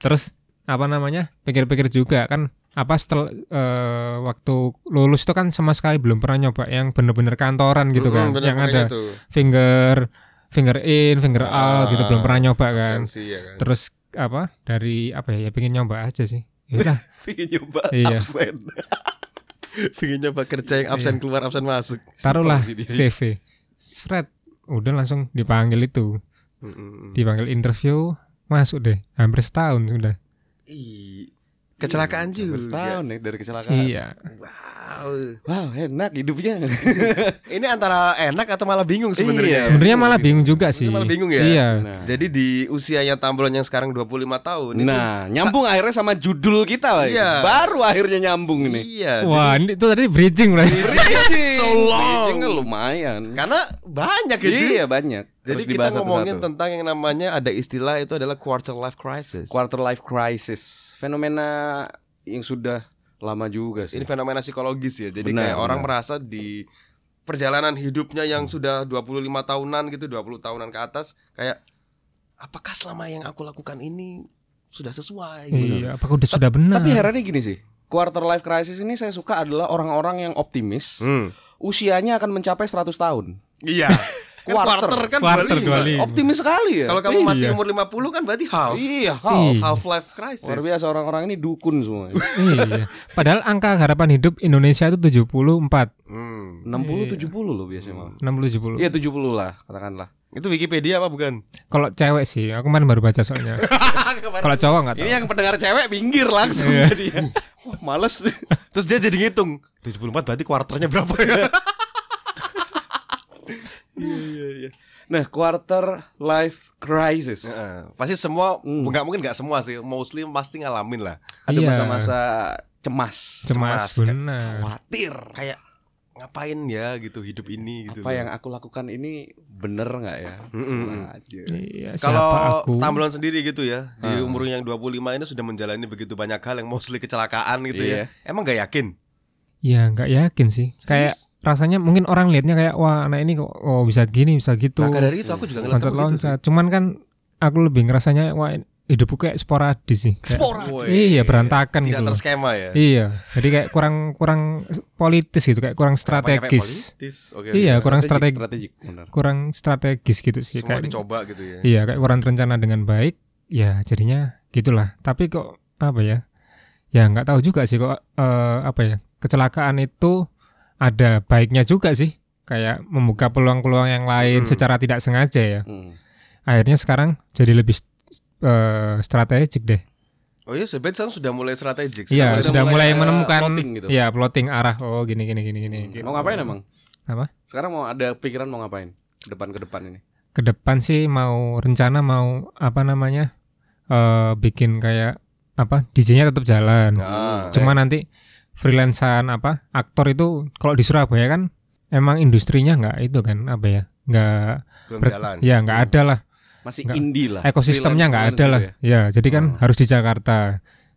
[SPEAKER 5] Terus apa namanya? Pikir-pikir juga kan apa setelah eh, waktu lulus itu kan sama sekali belum pernah nyoba yang bener-bener kantoran (laughs) gitu kan,
[SPEAKER 3] Mm-mm, bener,
[SPEAKER 5] yang
[SPEAKER 3] makanya
[SPEAKER 5] ada
[SPEAKER 3] tuh.
[SPEAKER 5] finger finger in, finger out gitu
[SPEAKER 3] Ah,
[SPEAKER 5] belum pernah nyoba kan.
[SPEAKER 3] Absensi, ya
[SPEAKER 4] (laughs)
[SPEAKER 3] kan.
[SPEAKER 5] Terus apa? Dari apa ya? Ya pengen nyoba aja sih. Ya Yaudah.
[SPEAKER 3] Pengen nyoba
[SPEAKER 5] Iya.
[SPEAKER 3] absen. (laughs) Pengen nyoba kerja yang absen keluar absen masuk.
[SPEAKER 5] taruhlah
[SPEAKER 4] Simpel
[SPEAKER 3] Iya,
[SPEAKER 4] sih dia.
[SPEAKER 5] CV. Spread. Udah langsung dipanggil itu,
[SPEAKER 3] Mm-mm.
[SPEAKER 5] dipanggil interview, masuk deh. Hampir setahun sudah.
[SPEAKER 3] Ih, Kecelakaan
[SPEAKER 4] Iya, Hampir
[SPEAKER 3] juga.
[SPEAKER 4] Setahun nih dari kecelakaan.
[SPEAKER 5] Iya.
[SPEAKER 3] Wow.
[SPEAKER 4] Wow, enak hidupnya.
[SPEAKER 3] Iya. Ini antara enak atau malah bingung
[SPEAKER 4] Iya.
[SPEAKER 3] sebenarnya.
[SPEAKER 5] Sebenarnya malah bingung juga sih.
[SPEAKER 3] Malah bingung ya?
[SPEAKER 5] Iya.
[SPEAKER 4] Nah,
[SPEAKER 3] Jadi di usia yang tambulan yang sekarang 25 tahun
[SPEAKER 4] (laughs) nah, nyambung akhirnya sama judul kita, Pak.
[SPEAKER 3] Iya.
[SPEAKER 4] Baru akhirnya nyambung
[SPEAKER 3] itu
[SPEAKER 4] ini.
[SPEAKER 3] iya.
[SPEAKER 5] Wah, ini itu tadi bridging (laughs) berarti.
[SPEAKER 3] Bridging. So long.
[SPEAKER 4] Bridging-nya lumayan.
[SPEAKER 3] Karena banyak ya, Ji.
[SPEAKER 4] Iya, banyak.
[SPEAKER 3] Jadi
[SPEAKER 4] Harus
[SPEAKER 3] kita
[SPEAKER 4] dibahas
[SPEAKER 3] ngomongin
[SPEAKER 4] satu-satu.
[SPEAKER 3] tentang yang namanya ada istilah itu adalah quarter life crisis.
[SPEAKER 4] quarter life crisis. Fenomena yang sudah lama juga sih.
[SPEAKER 3] Ini fenomena psikologis ya. Jadi kayak
[SPEAKER 4] Benar,
[SPEAKER 3] orang
[SPEAKER 4] benar.
[SPEAKER 3] merasa di perjalanan hidupnya yang sudah 25 tahunan gitu, 20 tahunan ke atas kayak apakah selama yang aku lakukan ini sudah sesuai gitu.
[SPEAKER 5] Iya, apakah udah sudah benar?
[SPEAKER 4] Tapi herannya gini sih. Quarter life crisis ini saya suka adalah orang-orang yang optimis.
[SPEAKER 3] Hmm.
[SPEAKER 4] Usianya akan mencapai 100 tahun. (laughs)
[SPEAKER 3] Iya. Kan quarter,
[SPEAKER 4] Quarter.
[SPEAKER 3] kan
[SPEAKER 5] Quarter
[SPEAKER 3] 25.
[SPEAKER 5] 25. Iya.
[SPEAKER 4] Optimis sekali ya.
[SPEAKER 3] Kalau kamu mati
[SPEAKER 5] Iya.
[SPEAKER 3] umur 50 kan berarti half.
[SPEAKER 4] Iya, half.
[SPEAKER 5] Iya.
[SPEAKER 3] Half life crisis.
[SPEAKER 4] Luar biasa orang-orang ini dukun (laughs) semua.
[SPEAKER 5] iya. Padahal angka harapan hidup Indonesia itu 74,
[SPEAKER 3] Hmm.
[SPEAKER 4] 60 70 loh biasanya mah.
[SPEAKER 5] 60 70.
[SPEAKER 4] Iya 70 lah katakanlah.
[SPEAKER 3] Itu Wikipedia apa bukan?
[SPEAKER 5] Kalau cewek sih, aku kemarin baru baca soalnya. Kalau cowok nggak tahu.
[SPEAKER 4] Ini yang pendengar cewek pinggir langsung jadi. ya. (laughs) Wah, males.
[SPEAKER 3] Terus dia jadi ngitung 74 berarti kuarternya berapa ya?
[SPEAKER 4] Iya, Nah, quarter life
[SPEAKER 3] (laughs)
[SPEAKER 4] crisis.
[SPEAKER 3] Heeh. pasti semua
[SPEAKER 4] Hmm.
[SPEAKER 3] nggak mungkin nggak semua sih mostly pasti ngalamin lah
[SPEAKER 4] Ada
[SPEAKER 5] Iya.
[SPEAKER 4] masa-masa cemas.
[SPEAKER 5] cemas,
[SPEAKER 3] cemas,
[SPEAKER 5] benar.
[SPEAKER 4] khawatir
[SPEAKER 3] kayak ngapain ya gitu hidup ini gitu
[SPEAKER 4] apa yang aku lakukan ini bener nggak ya
[SPEAKER 3] Mm-mm.
[SPEAKER 4] Wah, aja.
[SPEAKER 5] Iya, siapa
[SPEAKER 3] kalau
[SPEAKER 5] aku?
[SPEAKER 3] tambulan sendiri gitu ya di
[SPEAKER 4] Ah.
[SPEAKER 3] umur yang 25 ini sudah menjalani begitu banyak hal yang mostly kecelakaan gitu
[SPEAKER 4] Iya.
[SPEAKER 3] ya emang nggak yakin
[SPEAKER 5] Ya nggak yakin sih. Kayak rasanya mungkin orang liatnya kayak wah anak ini kok oh, bisa gini bisa gitu.
[SPEAKER 3] maka dari itu aku juga ngeliat kamu gitu
[SPEAKER 5] Loncat-loncat. Cuman kan aku lebih ngerasanya wah hidupku kayak sporadis sih. Kayak-
[SPEAKER 3] Sporadis.
[SPEAKER 5] (laughs) Iya berantakan
[SPEAKER 3] sih.
[SPEAKER 5] gitu.
[SPEAKER 3] tidak
[SPEAKER 5] loh.
[SPEAKER 3] terskema ya
[SPEAKER 5] Iya. Jadi kayak kurang kurang politis gitu kayak kurang
[SPEAKER 3] Apanya kayak
[SPEAKER 5] strategis.
[SPEAKER 3] politis? Oke,
[SPEAKER 5] Iya
[SPEAKER 3] oke.
[SPEAKER 5] kurang strategi
[SPEAKER 4] strategik bener
[SPEAKER 5] kurang strategis gitu sih.
[SPEAKER 3] semua
[SPEAKER 5] kayak
[SPEAKER 3] dicoba gitu ya
[SPEAKER 5] Iya, kayak kurang terencana dengan baik, ya jadinya gitulah. Tapi kok apa ya? Ya nggak tahu juga sih kok eh, apa ya? Kecelakaan itu ada baiknya juga sih, kayak membuka peluang-peluang yang lain
[SPEAKER 3] Hmm.
[SPEAKER 5] secara tidak sengaja ya.
[SPEAKER 4] Hmm.
[SPEAKER 5] Akhirnya sekarang jadi lebih eh, strategik deh.
[SPEAKER 3] oh iya sebenarnya sekarang sudah mulai strategis
[SPEAKER 4] sudah
[SPEAKER 5] Iya, sudah mulai,
[SPEAKER 4] mulai ada
[SPEAKER 5] menemukan
[SPEAKER 4] plotting gitu.
[SPEAKER 5] ya plotting arah oh gini gini gini gini. gitu.
[SPEAKER 4] Hmm. mau ngapain emang
[SPEAKER 5] Apa?
[SPEAKER 4] sekarang mau ada pikiran mau ngapain ke depan ke depan ini
[SPEAKER 5] ke depan sih mau rencana mau apa namanya eh bikin kayak apa DJ-nya tetap
[SPEAKER 4] Hmm,
[SPEAKER 5] jalan.
[SPEAKER 3] Ah.
[SPEAKER 5] Cuma nanti freelancean apa aktor itu kalau di Surabaya kan emang industrinya nggak itu kan apa ya nggak
[SPEAKER 3] belum
[SPEAKER 5] ber-
[SPEAKER 3] jalan
[SPEAKER 5] ya nggak ada lah
[SPEAKER 4] masih
[SPEAKER 5] Nggak.
[SPEAKER 4] indie lah gitu ya?
[SPEAKER 5] ekosistemnya nggak ada lah
[SPEAKER 4] Freelance-freelance
[SPEAKER 5] ya. jadi kan
[SPEAKER 4] Hmm.
[SPEAKER 5] harus di Jakarta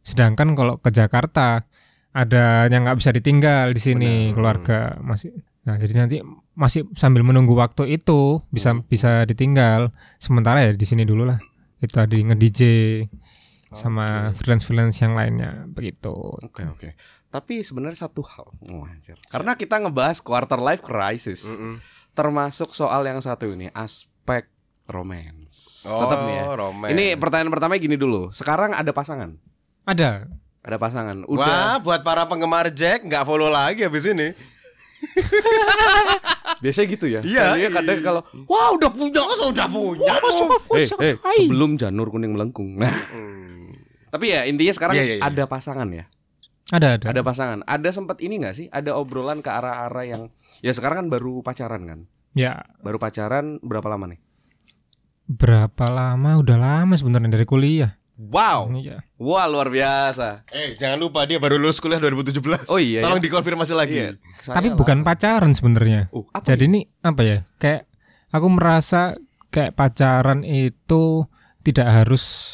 [SPEAKER 5] sedangkan kalau ke Jakarta ada yang nggak bisa ditinggal di sini
[SPEAKER 3] Benar.
[SPEAKER 5] keluarga masih nah jadi nanti masih sambil menunggu waktu itu bisa bisa ditinggal sementara ya di sini dulu lah itu tadi nge DJ sama freelance freelance yang lainnya begitu
[SPEAKER 4] Oke oke. Tapi sebenarnya satu hal. Oh, anjir. Karena kita ngebahas quarter life crisis,
[SPEAKER 3] Mm-mm.
[SPEAKER 4] termasuk soal yang satu ini aspek romance.
[SPEAKER 3] Oh,
[SPEAKER 4] Tetap nih ya.
[SPEAKER 3] romance.
[SPEAKER 4] Ini pertanyaan pertama gini dulu. Sekarang ada pasangan?
[SPEAKER 5] ada
[SPEAKER 4] Ada pasangan.
[SPEAKER 3] Wah,
[SPEAKER 4] Udah.
[SPEAKER 3] buat para penggemar Jack nggak follow lagi habis ini.
[SPEAKER 4] Biasanya gitu ya.
[SPEAKER 3] Iya.
[SPEAKER 4] Biasanya kadang kalau
[SPEAKER 3] Wah, udah punya,
[SPEAKER 4] oh,
[SPEAKER 3] sudah punya.
[SPEAKER 4] eh, eh, sebelum janur kuning melengkung. Nah, tapi ya intinya sekarang
[SPEAKER 3] Iya, iya, iya.
[SPEAKER 4] ada pasangan ya.
[SPEAKER 5] ada ada,
[SPEAKER 4] Ada pasangan. Ada sempat ini nggak sih? Ada obrolan ke arah-arah yang ya sekarang kan baru pacaran kan?
[SPEAKER 5] ya
[SPEAKER 4] Baru pacaran berapa lama nih?
[SPEAKER 5] berapa lama udah lama sebenarnya dari kuliah
[SPEAKER 3] Wow.
[SPEAKER 5] Ini ya.
[SPEAKER 4] Wah, luar biasa.
[SPEAKER 3] Eh, jangan lupa dia baru lulus kuliah 2017.
[SPEAKER 4] Oh, iya,
[SPEAKER 3] Tolong dikonfirmasi lagi.
[SPEAKER 4] Iya. saya
[SPEAKER 5] tapi
[SPEAKER 4] lah.
[SPEAKER 5] bukan pacaran sebenarnya
[SPEAKER 4] Oh, apa
[SPEAKER 5] Jadi ini apa ya? Kayak aku merasa kayak pacaran itu tidak harus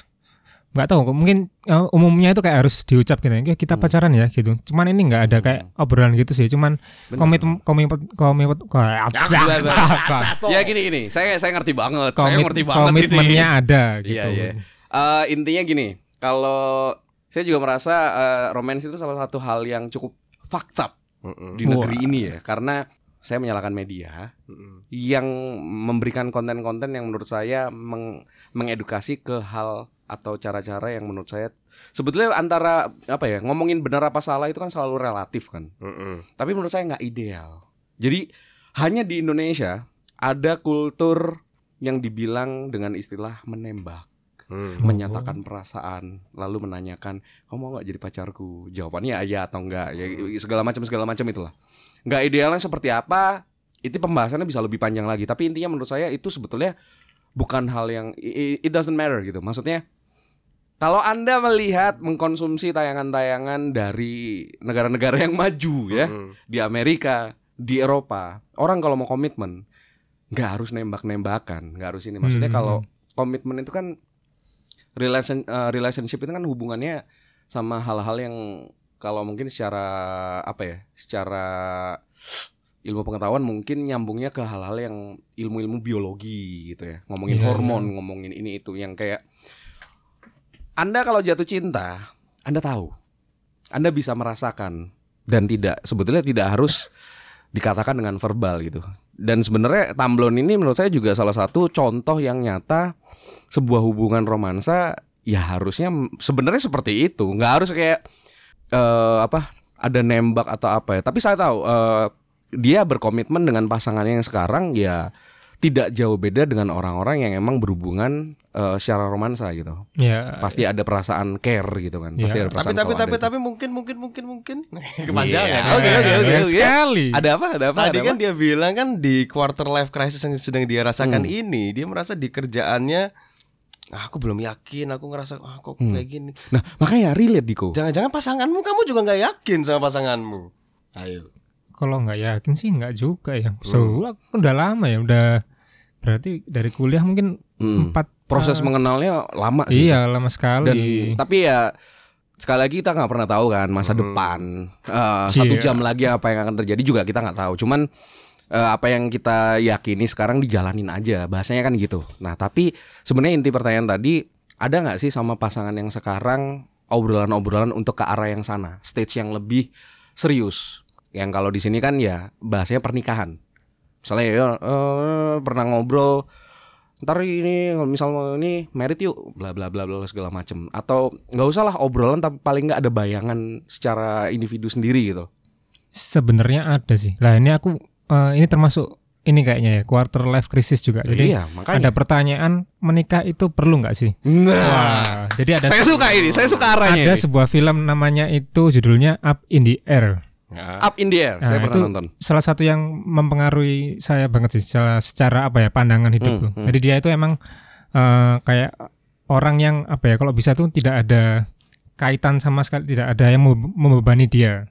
[SPEAKER 5] nggak tahu mungkin eh, umumnya itu kayak harus diucap gitu ya kita
[SPEAKER 4] Hmm.
[SPEAKER 5] pacaran ya gitu cuman ini nggak ada kayak obrolan gitu sih cuman
[SPEAKER 4] Bener.
[SPEAKER 5] komit komit komit
[SPEAKER 4] Ya gini gini, saya saya ngerti banget. saya
[SPEAKER 5] komit
[SPEAKER 4] ngerti banget ini.
[SPEAKER 5] komitmennya ada gitu
[SPEAKER 4] Iya, iya. Eh, intinya gini, kalau saya juga merasa eh, romance itu salah satu hal yang cukup fakta
[SPEAKER 3] Mm-mm.
[SPEAKER 4] di negeri ini ya, karena saya menyalahkan media
[SPEAKER 3] Mm-mm.
[SPEAKER 4] yang memberikan konten-konten yang menurut saya meng- mengedukasi ke hal atau cara-cara yang menurut saya sebetulnya antara apa ya ngomongin benar apa salah itu kan selalu relatif kan
[SPEAKER 3] Mm-mm.
[SPEAKER 4] tapi menurut saya nggak ideal. Jadi hanya di Indonesia ada kultur yang dibilang dengan istilah menembak,
[SPEAKER 3] Mm.
[SPEAKER 4] menyatakan perasaan, lalu menanyakan kamu mau nggak jadi pacarku? Jawabannya iya atau enggak, ya, segala macam segala macam itulah. Nggak idealnya seperti apa? Itu pembahasannya bisa lebih panjang lagi. Tapi intinya menurut saya itu sebetulnya bukan hal yang i- i- it doesn't matter gitu. Maksudnya kalau Anda melihat mengkonsumsi tayangan-tayangan dari negara-negara yang maju ya,
[SPEAKER 3] Mm-mm.
[SPEAKER 4] di Amerika, di Eropa, orang kalau mau komitmen nggak harus nembak-nembakan, nggak harus ini. Maksudnya
[SPEAKER 5] Hmm.
[SPEAKER 4] kalau komitmen itu kan relation eh, relationship itu kan hubungannya sama hal-hal yang kalau mungkin secara apa ya, secara ilmu pengetahuan mungkin nyambungnya ke hal-hal yang ilmu-ilmu biologi gitu ya, ngomongin
[SPEAKER 5] Iya,
[SPEAKER 4] hormon, ngomongin ini itu yang kayak Anda kalau jatuh cinta, Anda tahu, Anda bisa merasakan dan tidak sebetulnya tidak harus dikatakan dengan verbal gitu. Dan sebenarnya Tamblon ini menurut saya juga salah satu contoh yang nyata sebuah hubungan romansa ya harusnya m- sebenarnya seperti itu, nggak harus kayak eh apa ada nembak atau apa ya. Tapi saya tahu eh, dia berkomitmen dengan pasangannya yang sekarang ya tidak jauh beda dengan orang-orang yang emang berhubungan eh, secara romansa gitu.
[SPEAKER 5] ya
[SPEAKER 4] Pasti ada perasaan care gitu kan. Pasti ada
[SPEAKER 5] Iya.
[SPEAKER 3] Tapi
[SPEAKER 4] perasaan
[SPEAKER 3] tapi
[SPEAKER 4] kalau
[SPEAKER 3] tapi
[SPEAKER 4] ada itu.
[SPEAKER 3] tapi mungkin mungkin mungkin mungkin (laughs) kepanjangan. ya.
[SPEAKER 4] Iya. Oke, oke, oke,
[SPEAKER 5] Banyak
[SPEAKER 4] oke.
[SPEAKER 5] sekali
[SPEAKER 4] ada apa? Ada apa?
[SPEAKER 3] Tadi
[SPEAKER 4] ada
[SPEAKER 3] kan
[SPEAKER 4] apa?
[SPEAKER 3] dia bilang kan di quarter life crisis yang sedang dia rasakan ini, dia merasa di kerjaannya "Ah, aku belum yakin, aku ngerasa ah, kok
[SPEAKER 4] Hmm.
[SPEAKER 3] kayak gini.
[SPEAKER 4] Nah, makanya relate Diko.
[SPEAKER 3] Jangan-jangan pasanganmu kamu juga nggak yakin sama pasanganmu. Ayo.
[SPEAKER 5] kalau nggak yakin sih nggak juga ya
[SPEAKER 4] Hmm.
[SPEAKER 5] so aku udah lama ya udah berarti dari kuliah mungkin
[SPEAKER 4] Mm.
[SPEAKER 5] empat
[SPEAKER 4] Proses
[SPEAKER 5] eh,
[SPEAKER 4] mengenalnya lama sih.
[SPEAKER 5] Iya lama
[SPEAKER 4] Dan
[SPEAKER 5] sekali.
[SPEAKER 4] tapi ya sekali lagi kita nggak pernah tahu kan masa
[SPEAKER 3] Hmm.
[SPEAKER 4] depan Eh,
[SPEAKER 5] Iya.
[SPEAKER 4] satu jam lagi apa yang akan terjadi juga kita nggak tahu. Cuman eh, apa yang kita yakini sekarang dijalanin aja bahasanya kan gitu. Nah tapi sebenarnya inti pertanyaan tadi ada nggak sih sama pasangan yang sekarang obrolan-obrolan untuk ke arah yang sana, stage yang lebih serius. Yang kalau di sini kan ya bahasanya pernikahan. Misalnya ya eh, pernah ngobrol ntar ini kalau misal mau ini merit yuk bla bla bla bla segala macem atau nggak usah lah obrolan tapi paling nggak ada bayangan secara individu sendiri gitu
[SPEAKER 5] Sebenarnya ada sih. Lah ini aku eh, ini termasuk ini kayaknya ya quarter life crisis juga. Jadi
[SPEAKER 4] iya
[SPEAKER 5] ada
[SPEAKER 4] makanya
[SPEAKER 5] pertanyaan menikah itu perlu nggak sih?
[SPEAKER 4] nah
[SPEAKER 5] Wah, jadi ada
[SPEAKER 4] saya suka ini saya suka arahnya
[SPEAKER 5] ada
[SPEAKER 4] ini.
[SPEAKER 5] sebuah film namanya itu judulnya Up in the Air.
[SPEAKER 3] Ya.
[SPEAKER 4] up in the air saya
[SPEAKER 5] Nah,
[SPEAKER 4] pernah
[SPEAKER 5] itu
[SPEAKER 4] nonton
[SPEAKER 5] Salah satu yang mempengaruhi saya banget sih secara, secara apa ya pandangan hidupku.
[SPEAKER 4] Hmm, hmm.
[SPEAKER 5] Jadi dia itu emang eh, kayak orang yang apa ya kalau bisa tuh tidak ada kaitan sama sekali tidak ada yang membe- membebani dia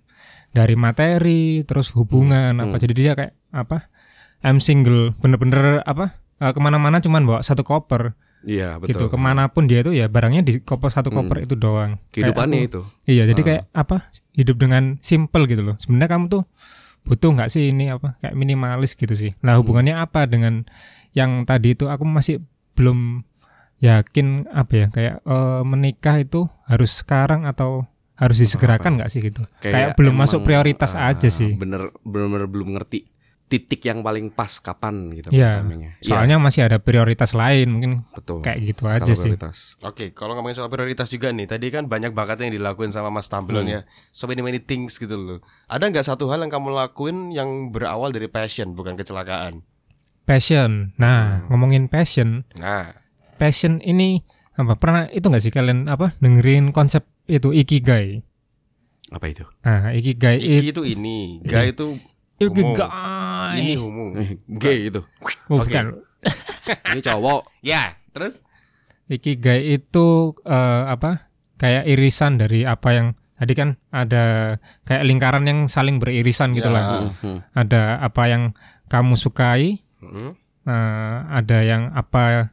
[SPEAKER 5] dari materi terus hubungan
[SPEAKER 4] Hmm,
[SPEAKER 5] apa jadi dia kayak apa I'm single bener-bener apa eh, kemana-mana cuman bawa satu koper
[SPEAKER 4] Iya betul.
[SPEAKER 5] gitu
[SPEAKER 4] Hmm.
[SPEAKER 5] kemanapun dia itu ya barangnya di koper satu koper itu doang
[SPEAKER 4] Kehidupannya
[SPEAKER 5] Kayak
[SPEAKER 4] itu.
[SPEAKER 5] aku- iya jadi
[SPEAKER 4] Ah.
[SPEAKER 5] kayak apa hidup dengan simple gitu loh sebenarnya kamu tuh butuh nggak sih ini apa kayak minimalis gitu sih nah
[SPEAKER 4] Hmm.
[SPEAKER 5] hubungannya apa dengan yang tadi itu aku masih belum yakin apa ya kayak eh, menikah itu harus sekarang atau harus
[SPEAKER 4] Ah.
[SPEAKER 5] disegerakan nggak sih gitu Kayak belum masuk prioritas aja sih.
[SPEAKER 4] Bener, bener belum ngerti titik yang paling pas kapan gitu.
[SPEAKER 5] Iya,
[SPEAKER 4] pertamanya. Iya,
[SPEAKER 5] soalnya masih ada prioritas lain mungkin
[SPEAKER 4] betul.
[SPEAKER 5] kayak gitu
[SPEAKER 4] Skala
[SPEAKER 5] aja sih
[SPEAKER 4] prioritas.
[SPEAKER 3] Oke, kalau ngomongin soal prioritas juga nih, tadi kan banyak banget yang dilakuin sama Mas Tamblon ya. So many many things gitu loh. Ada nggak satu hal yang kamu lakuin yang berawal dari passion, bukan kecelakaan?
[SPEAKER 5] passion
[SPEAKER 4] Hmm.
[SPEAKER 5] nah ngomongin passion
[SPEAKER 3] Nah,
[SPEAKER 5] passion ini apa pernah itu nggak sih kalian apa dengerin konsep itu ikigai
[SPEAKER 4] Apa itu? (laughs)
[SPEAKER 5] nah ikigai it-
[SPEAKER 3] Iki itu (laughs) ini, Ga itu homo.
[SPEAKER 5] ikigai
[SPEAKER 3] ini homo.
[SPEAKER 4] Gay itu.
[SPEAKER 5] Oh,
[SPEAKER 3] Oke.
[SPEAKER 5] bukan.
[SPEAKER 4] Ini cowok.
[SPEAKER 3] Ya, terus
[SPEAKER 5] ikigai itu eh, apa kayak irisan dari apa yang tadi kan ada kayak lingkaran yang saling beririsan gitu
[SPEAKER 3] Ya.
[SPEAKER 5] lah
[SPEAKER 4] Mhm.
[SPEAKER 5] ada apa yang kamu sukai
[SPEAKER 3] Hmm,
[SPEAKER 5] eh, ada yang apa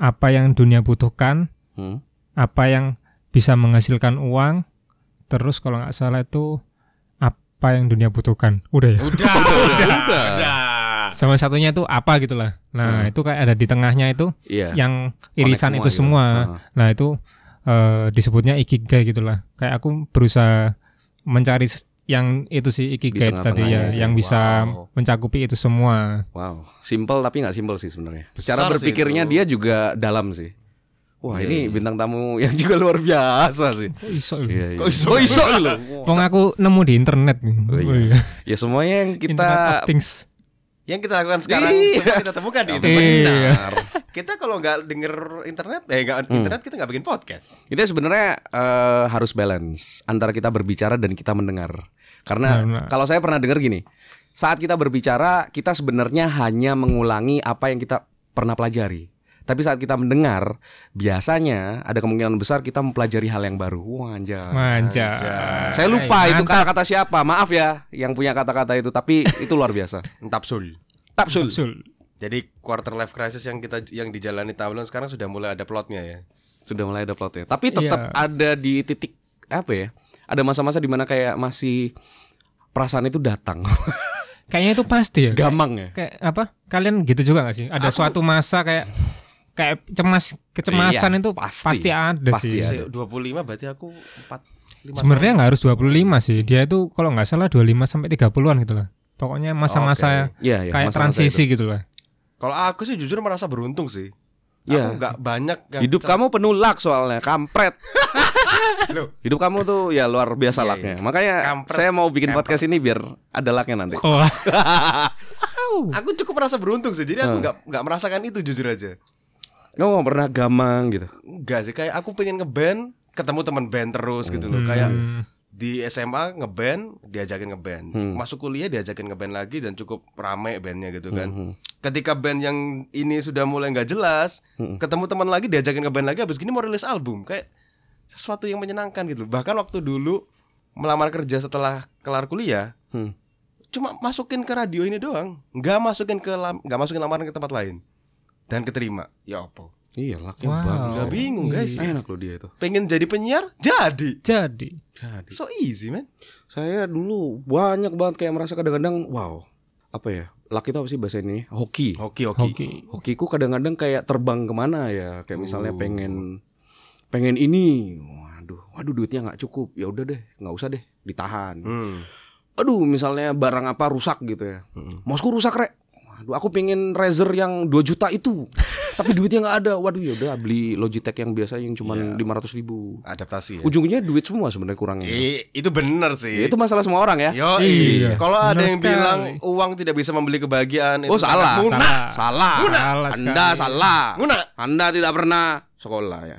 [SPEAKER 5] apa yang dunia butuhkan
[SPEAKER 4] Hmm.
[SPEAKER 5] apa yang bisa menghasilkan uang terus kalau nggak salah itu apa yang dunia butuhkan udah ya
[SPEAKER 3] Udah, udah, udah.
[SPEAKER 5] sama satunya itu apa gitulah nah itu kayak ada di tengahnya itu
[SPEAKER 4] Iya.
[SPEAKER 5] yang irisan
[SPEAKER 4] Connect
[SPEAKER 5] itu semua
[SPEAKER 4] gitu.
[SPEAKER 5] nah itu eh, disebutnya ikigai gitulah kayak aku berusaha mencari s- yang itu sih ikigai itu tadi ya
[SPEAKER 4] tengah-tengahnya itu.
[SPEAKER 5] yang bisa
[SPEAKER 3] Wow.
[SPEAKER 5] mencakupi itu semua
[SPEAKER 4] Ah, Wow, simple tapi nggak simple sih sebenarnya.
[SPEAKER 3] Besar
[SPEAKER 4] Cara
[SPEAKER 3] sih
[SPEAKER 4] berpikirnya
[SPEAKER 3] itu.
[SPEAKER 4] dia juga dalam sih. Wah,
[SPEAKER 3] Iya,
[SPEAKER 4] ini
[SPEAKER 3] iya.
[SPEAKER 4] bintang tamu (laughs) yang juga luar biasa
[SPEAKER 3] (laughs)
[SPEAKER 4] sih.
[SPEAKER 5] Kok iso ya? lho?
[SPEAKER 4] Iya,
[SPEAKER 3] Kok iso iso lo?
[SPEAKER 5] Wong aku nemu di internet
[SPEAKER 4] Oh, iya.
[SPEAKER 5] Oh, iya.
[SPEAKER 4] Ya semuanya yang
[SPEAKER 5] Internet of
[SPEAKER 4] kita
[SPEAKER 5] things
[SPEAKER 3] Yang kita lakukan sekarang
[SPEAKER 4] Iya.
[SPEAKER 3] semua kita temukan di internet.
[SPEAKER 5] Iya.
[SPEAKER 3] Kita kalau nggak denger internet, eh nggak internet kita nggak bikin podcast.
[SPEAKER 4] Ini sebenarnya eh, harus balance antara kita berbicara dan kita mendengar. Karena
[SPEAKER 5] Benar.
[SPEAKER 4] kalau saya pernah dengar gini, saat kita berbicara kita sebenarnya hanya mengulangi apa yang kita pernah pelajari. Tapi saat kita mendengar, biasanya ada kemungkinan besar kita mempelajari hal yang baru. Wah, anjay.
[SPEAKER 5] manja
[SPEAKER 3] Anjay.
[SPEAKER 4] Eh, Saya lupa
[SPEAKER 5] Hai,
[SPEAKER 4] itu
[SPEAKER 5] Eh, mantap.
[SPEAKER 4] kata-kata siapa. Maaf ya yang punya kata-kata itu, tapi itu luar
[SPEAKER 5] (laughs)
[SPEAKER 4] biasa.
[SPEAKER 3] Entap sul.
[SPEAKER 4] Tapsul.
[SPEAKER 5] Sul.
[SPEAKER 3] Jadi quarter life crisis yang kita yang dijalani tahun sekarang sudah mulai ada plotnya ya.
[SPEAKER 4] Sudah mulai ada plotnya. Tapi tetap
[SPEAKER 5] Iya.
[SPEAKER 4] ada di titik apa ya? Ada masa-masa di mana kayak masih perasaan itu datang. (laughs)
[SPEAKER 5] kayaknya itu pasti ya Kayak-
[SPEAKER 4] Gamang ya.
[SPEAKER 5] kayak apa kalian gitu juga gak sih ada suatu masa kayak kayak cemas kecemasan
[SPEAKER 4] Iya,
[SPEAKER 5] itu
[SPEAKER 4] pasti.
[SPEAKER 5] pasti, ada
[SPEAKER 4] Pasti
[SPEAKER 5] sih
[SPEAKER 3] Se-
[SPEAKER 4] ada.
[SPEAKER 3] 25 berarti aku 4 5
[SPEAKER 5] Iya, sebenarnya nggak harus 25 sih dia itu kalau nggak salah 25 sampai 30-an gitu lah pokoknya masa-masa
[SPEAKER 4] Iya, iya,
[SPEAKER 5] kayak
[SPEAKER 4] masa-masa
[SPEAKER 5] transisi gitu lah
[SPEAKER 3] Kalau aku sih jujur merasa beruntung sih.
[SPEAKER 4] Iya.
[SPEAKER 3] Aku nggak banyak yang
[SPEAKER 4] Hidup
[SPEAKER 3] kecelakaan.
[SPEAKER 4] kamu penuh luck soalnya, kampret.
[SPEAKER 3] (laughs) Loh. Iya,
[SPEAKER 4] Hidup kamu tuh ya luar biasa lucknya. Makanya
[SPEAKER 3] Kampret.
[SPEAKER 4] saya mau bikin
[SPEAKER 3] Kampret.
[SPEAKER 4] podcast ini biar ada lucknya nanti.
[SPEAKER 5] oh
[SPEAKER 3] Aku cukup merasa beruntung sih. Jadi aku nggak nggak merasakan itu jujur aja.
[SPEAKER 4] Kamu nggak pernah gamang gitu.
[SPEAKER 3] Enggak sih kayak aku pengen ngeband, ketemu teman band terus gitu loh. Kayak di SMA ngeband diajakin ngeband masuk kuliah diajakin ngeband lagi dan cukup rame bandnya gitu
[SPEAKER 4] Hmm.
[SPEAKER 3] kan
[SPEAKER 4] Mhm.
[SPEAKER 3] ketika band yang ini sudah mulai nggak jelas ketemu teman lagi diajakin ngeband lagi habis gini mau rilis album kayak sesuatu yang menyenangkan gitu bahkan waktu dulu melamar kerja setelah kelar kuliah
[SPEAKER 4] Hmm.
[SPEAKER 3] cuma masukin ke radio ini doang nggak masukin ke lam- nggak masukin lamaran ke tempat lain dan keterima ya opo
[SPEAKER 4] Iya, lucknya
[SPEAKER 5] Wow. Iya.
[SPEAKER 4] bagus.
[SPEAKER 3] nggak bingung guys
[SPEAKER 4] Enak loh dia itu.
[SPEAKER 3] pengen jadi penyiar jadi
[SPEAKER 5] jadi
[SPEAKER 4] Jadi,
[SPEAKER 3] so easy man
[SPEAKER 4] saya dulu banyak banget kayak merasa kadang-kadang wow, apa ya? Luck itu apa sih bahasa ini? Hoki.
[SPEAKER 3] hoki hoki
[SPEAKER 5] hoki
[SPEAKER 4] Hokiku kadang-kadang kayak terbang kemana ya kayak misalnya
[SPEAKER 3] Oh.
[SPEAKER 4] pengen pengen ini waduh waduh duitnya nggak cukup ya udah deh nggak usah deh ditahan
[SPEAKER 3] Hmm.
[SPEAKER 4] aduh misalnya barang apa rusak gitu ya
[SPEAKER 3] Mm-mm.
[SPEAKER 4] mosku rusak rek waduh aku pengen Razer yang 2 juta
[SPEAKER 3] (laughs)
[SPEAKER 4] itu tapi duitnya nggak ada waduh ya udah beli Logitech yang biasa yang cuma
[SPEAKER 3] Iya.
[SPEAKER 4] lima ratus ribu
[SPEAKER 3] adaptasi ya.
[SPEAKER 4] ujungnya duit semua sebenarnya kurangnya
[SPEAKER 3] Eh, itu bener
[SPEAKER 4] Ya,
[SPEAKER 3] sih.
[SPEAKER 4] Iya. itu masalah semua orang ya
[SPEAKER 3] Yo,
[SPEAKER 5] Iya.
[SPEAKER 3] kalau
[SPEAKER 5] Bener
[SPEAKER 3] ada yang
[SPEAKER 5] sekali.
[SPEAKER 3] bilang uang tidak bisa membeli kebahagiaan, itu
[SPEAKER 4] oh salah
[SPEAKER 3] sangat
[SPEAKER 4] salah salah,
[SPEAKER 5] Salah
[SPEAKER 4] anda
[SPEAKER 5] sekali.
[SPEAKER 4] salah
[SPEAKER 3] Nguna.
[SPEAKER 4] anda tidak pernah sekolah ya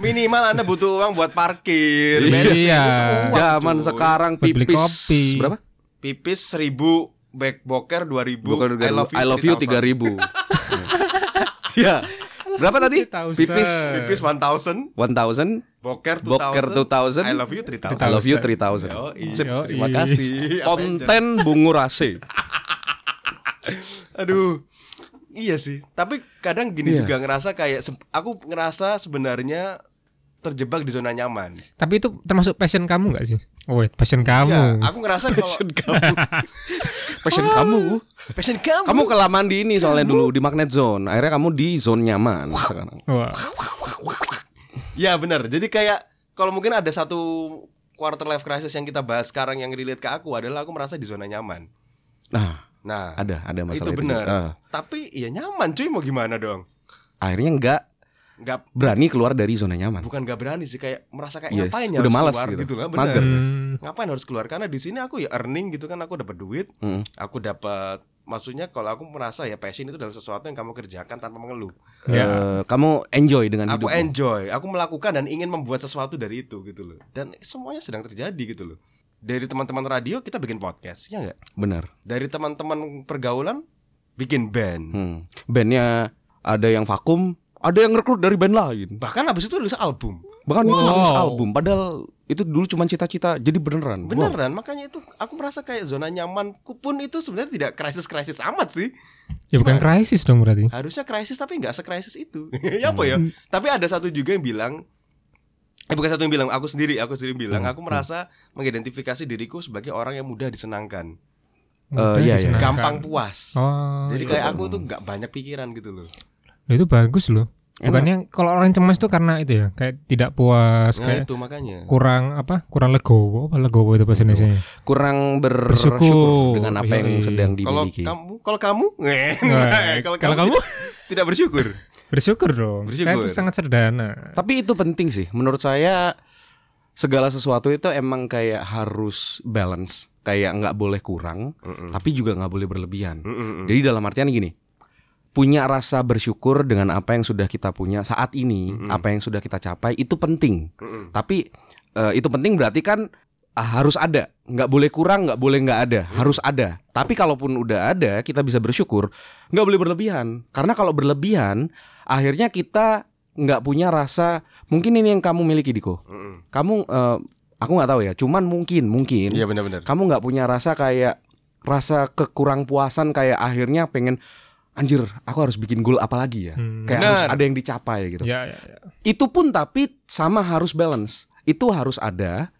[SPEAKER 3] Minimal Anda butuh uang buat parkir,
[SPEAKER 5] Iya.
[SPEAKER 3] bensin,
[SPEAKER 5] Iya.
[SPEAKER 3] butuh uang,
[SPEAKER 4] Oh, Zaman
[SPEAKER 3] cuy.
[SPEAKER 4] sekarang
[SPEAKER 5] Buat beli
[SPEAKER 4] pipis
[SPEAKER 5] kopi.
[SPEAKER 4] berapa?
[SPEAKER 3] Pipis seribu, back boker dua ribu,
[SPEAKER 4] Bukan
[SPEAKER 3] I love you,
[SPEAKER 4] tiga
[SPEAKER 3] 3000. (laughs)
[SPEAKER 4] ribu. (laughs) Ya. Berapa tadi?
[SPEAKER 5] 3000.
[SPEAKER 4] Pipis
[SPEAKER 3] Pipis one thousand,
[SPEAKER 4] 1000,
[SPEAKER 3] boker two
[SPEAKER 4] boker
[SPEAKER 3] thousand,
[SPEAKER 4] 2000,
[SPEAKER 3] I love you three
[SPEAKER 4] I
[SPEAKER 3] thousand.
[SPEAKER 4] love you 3000.
[SPEAKER 5] Yoi.
[SPEAKER 3] terima kasih. Ya, Apa yang
[SPEAKER 4] Konten bungu rase.
[SPEAKER 3] Aduh. Iya sih, tapi kadang gini
[SPEAKER 4] Iya.
[SPEAKER 3] juga ngerasa kayak se- aku ngerasa sebenarnya terjebak di zona nyaman.
[SPEAKER 5] Tapi itu termasuk passion kamu nggak sih? Oh, wait, passion
[SPEAKER 3] Ya,
[SPEAKER 5] kamu.
[SPEAKER 3] aku ngerasa kalau
[SPEAKER 4] kamu. Passion kamu.
[SPEAKER 5] Oh.
[SPEAKER 3] passion kamu.
[SPEAKER 4] Kamu kelamaan di ini soalnya dulu di magnet zone. Akhirnya kamu di zone nyaman sekarang.
[SPEAKER 5] Wah,
[SPEAKER 3] Ya benar. Jadi kayak kalau mungkin ada satu quarter life crisis yang kita bahas sekarang yang relate ke aku adalah aku merasa di zona nyaman.
[SPEAKER 4] Nah,
[SPEAKER 3] Nah,
[SPEAKER 4] ada ada
[SPEAKER 3] itu
[SPEAKER 4] masalah
[SPEAKER 3] benar.
[SPEAKER 4] Ah,
[SPEAKER 3] tapi ya nyaman cuy mau gimana dong?
[SPEAKER 4] akhirnya nggak
[SPEAKER 3] Nggak
[SPEAKER 4] berani keluar dari zona nyaman.
[SPEAKER 3] bukan nggak berani sih kayak merasa kayak
[SPEAKER 4] Yes,
[SPEAKER 3] ngapain ya
[SPEAKER 4] udah
[SPEAKER 3] harus
[SPEAKER 4] malas
[SPEAKER 3] keluar
[SPEAKER 4] gitu.
[SPEAKER 3] gitu lah,
[SPEAKER 4] Mager.
[SPEAKER 3] benar.
[SPEAKER 5] hmm,
[SPEAKER 3] Ngapain harus keluar karena di sini aku ya earning gitu kan aku dapat duit,
[SPEAKER 4] Mm.
[SPEAKER 3] aku dapat maksudnya kalau aku merasa ya passion itu adalah sesuatu yang kamu kerjakan tanpa mengeluh.
[SPEAKER 5] Ya.
[SPEAKER 4] Eh, kamu enjoy dengan
[SPEAKER 3] Aku
[SPEAKER 4] Kan hidupmu.
[SPEAKER 3] enjoy, aku melakukan dan ingin membuat sesuatu dari itu gitu loh. Dan semuanya sedang terjadi gitu loh. Dari teman-teman radio kita bikin podcast, ya nggak?
[SPEAKER 4] Benar.
[SPEAKER 3] Dari teman-teman pergaulan bikin band.
[SPEAKER 4] Hmm. Bandnya ada yang vakum, ada yang rekrut dari band lain.
[SPEAKER 3] Bahkan habis itu rilis album.
[SPEAKER 4] Bahkan
[SPEAKER 5] Wow.
[SPEAKER 4] nulis album. Padahal itu dulu cuma cita-cita jadi beneran. Wow.
[SPEAKER 3] Beneran, makanya itu aku merasa kayak zona nyamanku pun itu sebenarnya tidak krisis-krisis amat sih.
[SPEAKER 5] ya bukan krisis dong berarti.
[SPEAKER 3] Harusnya krisis tapi nggak sekrisis itu. (laughs) ya apa
[SPEAKER 4] Hmm.
[SPEAKER 3] ya? Tapi ada satu juga yang bilang Eh bukan satu yang bilang, aku sendiri, aku sendiri bilang,
[SPEAKER 4] Hmm.
[SPEAKER 3] aku merasa mengidentifikasi diriku sebagai orang yang mudah disenangkan.
[SPEAKER 5] Mudah
[SPEAKER 4] Eh, iya, iya.
[SPEAKER 5] disenangkan.
[SPEAKER 3] gampang puas.
[SPEAKER 5] ya, Oh,
[SPEAKER 3] Jadi
[SPEAKER 5] iya.
[SPEAKER 3] kayak aku tuh nggak banyak pikiran gitu loh.
[SPEAKER 5] Nah, itu bagus loh. Bukannya kalau orang cemas tuh karena itu ya, kayak tidak puas,
[SPEAKER 3] Nah
[SPEAKER 5] kayak
[SPEAKER 3] itu makanya.
[SPEAKER 5] kurang apa? Kurang legowo, apa legowo itu bahasa Indonesia.
[SPEAKER 4] Kurang ber-
[SPEAKER 5] Bersyukur.
[SPEAKER 4] bersyukur Iya, dengan apa yang
[SPEAKER 5] Yoi.
[SPEAKER 4] sedang
[SPEAKER 3] Kalau
[SPEAKER 4] dimiliki.
[SPEAKER 3] kamu, kalau kamu, Eh, (laughs) kalau kamu,
[SPEAKER 5] Nah, Kalau
[SPEAKER 3] (laughs)
[SPEAKER 5] kamu
[SPEAKER 3] tidak- tidak bersyukur.
[SPEAKER 5] bersyukur dong. Saya
[SPEAKER 3] Bersyukur.
[SPEAKER 5] tuh sangat sederhana.
[SPEAKER 4] Tapi itu penting sih menurut saya segala sesuatu itu emang kayak harus balance. Kayak nggak boleh kurang, tapi juga nggak boleh berlebihan.
[SPEAKER 3] Hmm.
[SPEAKER 4] Jadi dalam artian gini, punya rasa bersyukur dengan apa yang sudah kita punya saat ini, apa yang sudah kita capai itu penting. Tapi eh, itu penting berarti kan ah, harus ada, nggak boleh kurang, nggak boleh nggak ada, harus ada. Tapi kalaupun udah ada, kita bisa bersyukur, nggak boleh berlebihan. Karena kalau berlebihan, akhirnya kita nggak punya rasa. Mungkin ini yang kamu miliki Diko. Kamu, eh, aku nggak tahu ya. Cuman mungkin, mungkin
[SPEAKER 3] Iya benar-benar.
[SPEAKER 4] kamu nggak punya rasa kayak rasa kekurangpuasan kayak akhirnya pengen anjir aku harus bikin goal apa lagi ya
[SPEAKER 5] Hmm.
[SPEAKER 4] kayak
[SPEAKER 3] Benar.
[SPEAKER 4] harus ada yang dicapai gitu
[SPEAKER 5] Ya, ya, ya.
[SPEAKER 4] itu pun tapi sama harus balance itu harus ada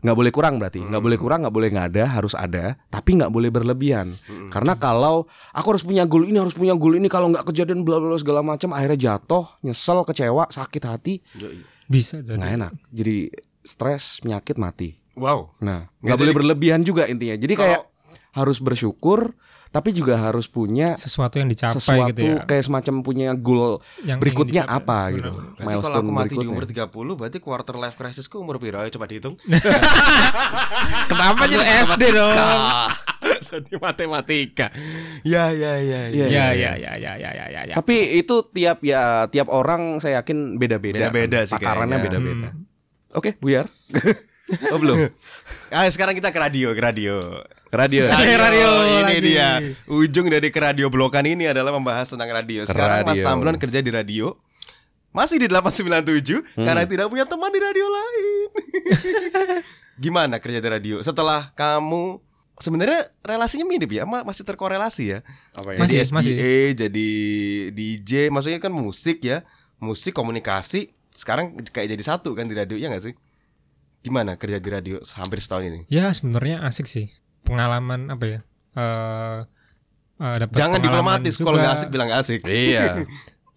[SPEAKER 4] nggak boleh kurang berarti nggak boleh kurang nggak boleh nggak ada harus ada tapi nggak boleh berlebihan
[SPEAKER 3] Hmm.
[SPEAKER 4] karena kalau aku harus punya goal ini harus punya goal ini kalau nggak kejadian bla bla bla segala macam akhirnya jatuh nyesel kecewa sakit hati
[SPEAKER 5] bisa jadi.
[SPEAKER 3] Nah,
[SPEAKER 4] nggak enak jadi stres penyakit mati
[SPEAKER 3] Wow.
[SPEAKER 4] Nah,
[SPEAKER 3] Ya,
[SPEAKER 4] nggak boleh
[SPEAKER 3] jadi-
[SPEAKER 4] berlebihan juga intinya. Jadi
[SPEAKER 3] Kalau-
[SPEAKER 4] kayak harus bersyukur, tapi juga harus
[SPEAKER 3] ya.
[SPEAKER 4] punya
[SPEAKER 5] Sesuatu yang dicapai
[SPEAKER 4] sesuatu
[SPEAKER 5] gitu ya.
[SPEAKER 4] kayak semacam punya goal
[SPEAKER 5] Yang ingin
[SPEAKER 4] berikutnya
[SPEAKER 5] dicapai.
[SPEAKER 4] apa gitu.
[SPEAKER 5] Benar-benar.
[SPEAKER 3] Berarti kalau aku mati di umur
[SPEAKER 4] berikutnya.
[SPEAKER 3] 30 berarti quarter life crisisku umur piro? Ayo coba
[SPEAKER 5] (laughs)
[SPEAKER 3] dihitung.
[SPEAKER 5] Kenapa jadi SD dong?
[SPEAKER 3] (laughs) Tadi matematika. Ya ya ya. ya.
[SPEAKER 5] Ya ya ya ya ya ya ya. ya.
[SPEAKER 4] Tapi itu tiap ya tiap orang saya yakin beda-beda.
[SPEAKER 3] Beda-beda sih kayaknya.
[SPEAKER 4] Takarannya
[SPEAKER 5] Hmm.
[SPEAKER 3] Hmm.
[SPEAKER 4] beda-beda. Oke, Buyar. (laughs) oh belum.
[SPEAKER 3] Ayo sekarang kita ke radio, ke radio.
[SPEAKER 4] Radio. ya?
[SPEAKER 3] Radio,
[SPEAKER 5] radio
[SPEAKER 3] ini
[SPEAKER 5] lagi.
[SPEAKER 3] dia. Ujung dari ke radio blokan ini adalah membahas tentang radio.
[SPEAKER 4] Ke
[SPEAKER 3] Sekarang Mas
[SPEAKER 4] radio.
[SPEAKER 3] Tamblon kerja di radio. Masih di 897
[SPEAKER 5] Hmm.
[SPEAKER 3] karena tidak punya teman di radio
[SPEAKER 5] (laughs)
[SPEAKER 3] lain. Gimana kerja di radio? Setelah kamu sebenarnya relasinya mirip ya, ma- masih terkorelasi ya.
[SPEAKER 4] Apa ya?
[SPEAKER 3] (laughs)
[SPEAKER 5] Mas-
[SPEAKER 3] Jadi
[SPEAKER 5] Masih, masih.
[SPEAKER 3] SBA, jadi DJ, maksudnya kan musik ya. Musik komunikasi sekarang kayak jadi satu kan di radio ya nggak sih? Gimana kerja di radio hampir setahun ini?
[SPEAKER 5] Ya sebenarnya asik sih pengalaman apa ya? Eh eh, dapat
[SPEAKER 3] Jangan
[SPEAKER 5] pengalaman
[SPEAKER 3] diplomatis kalau
[SPEAKER 5] juga.
[SPEAKER 3] nggak asik bilang nggak asik.
[SPEAKER 4] Iya.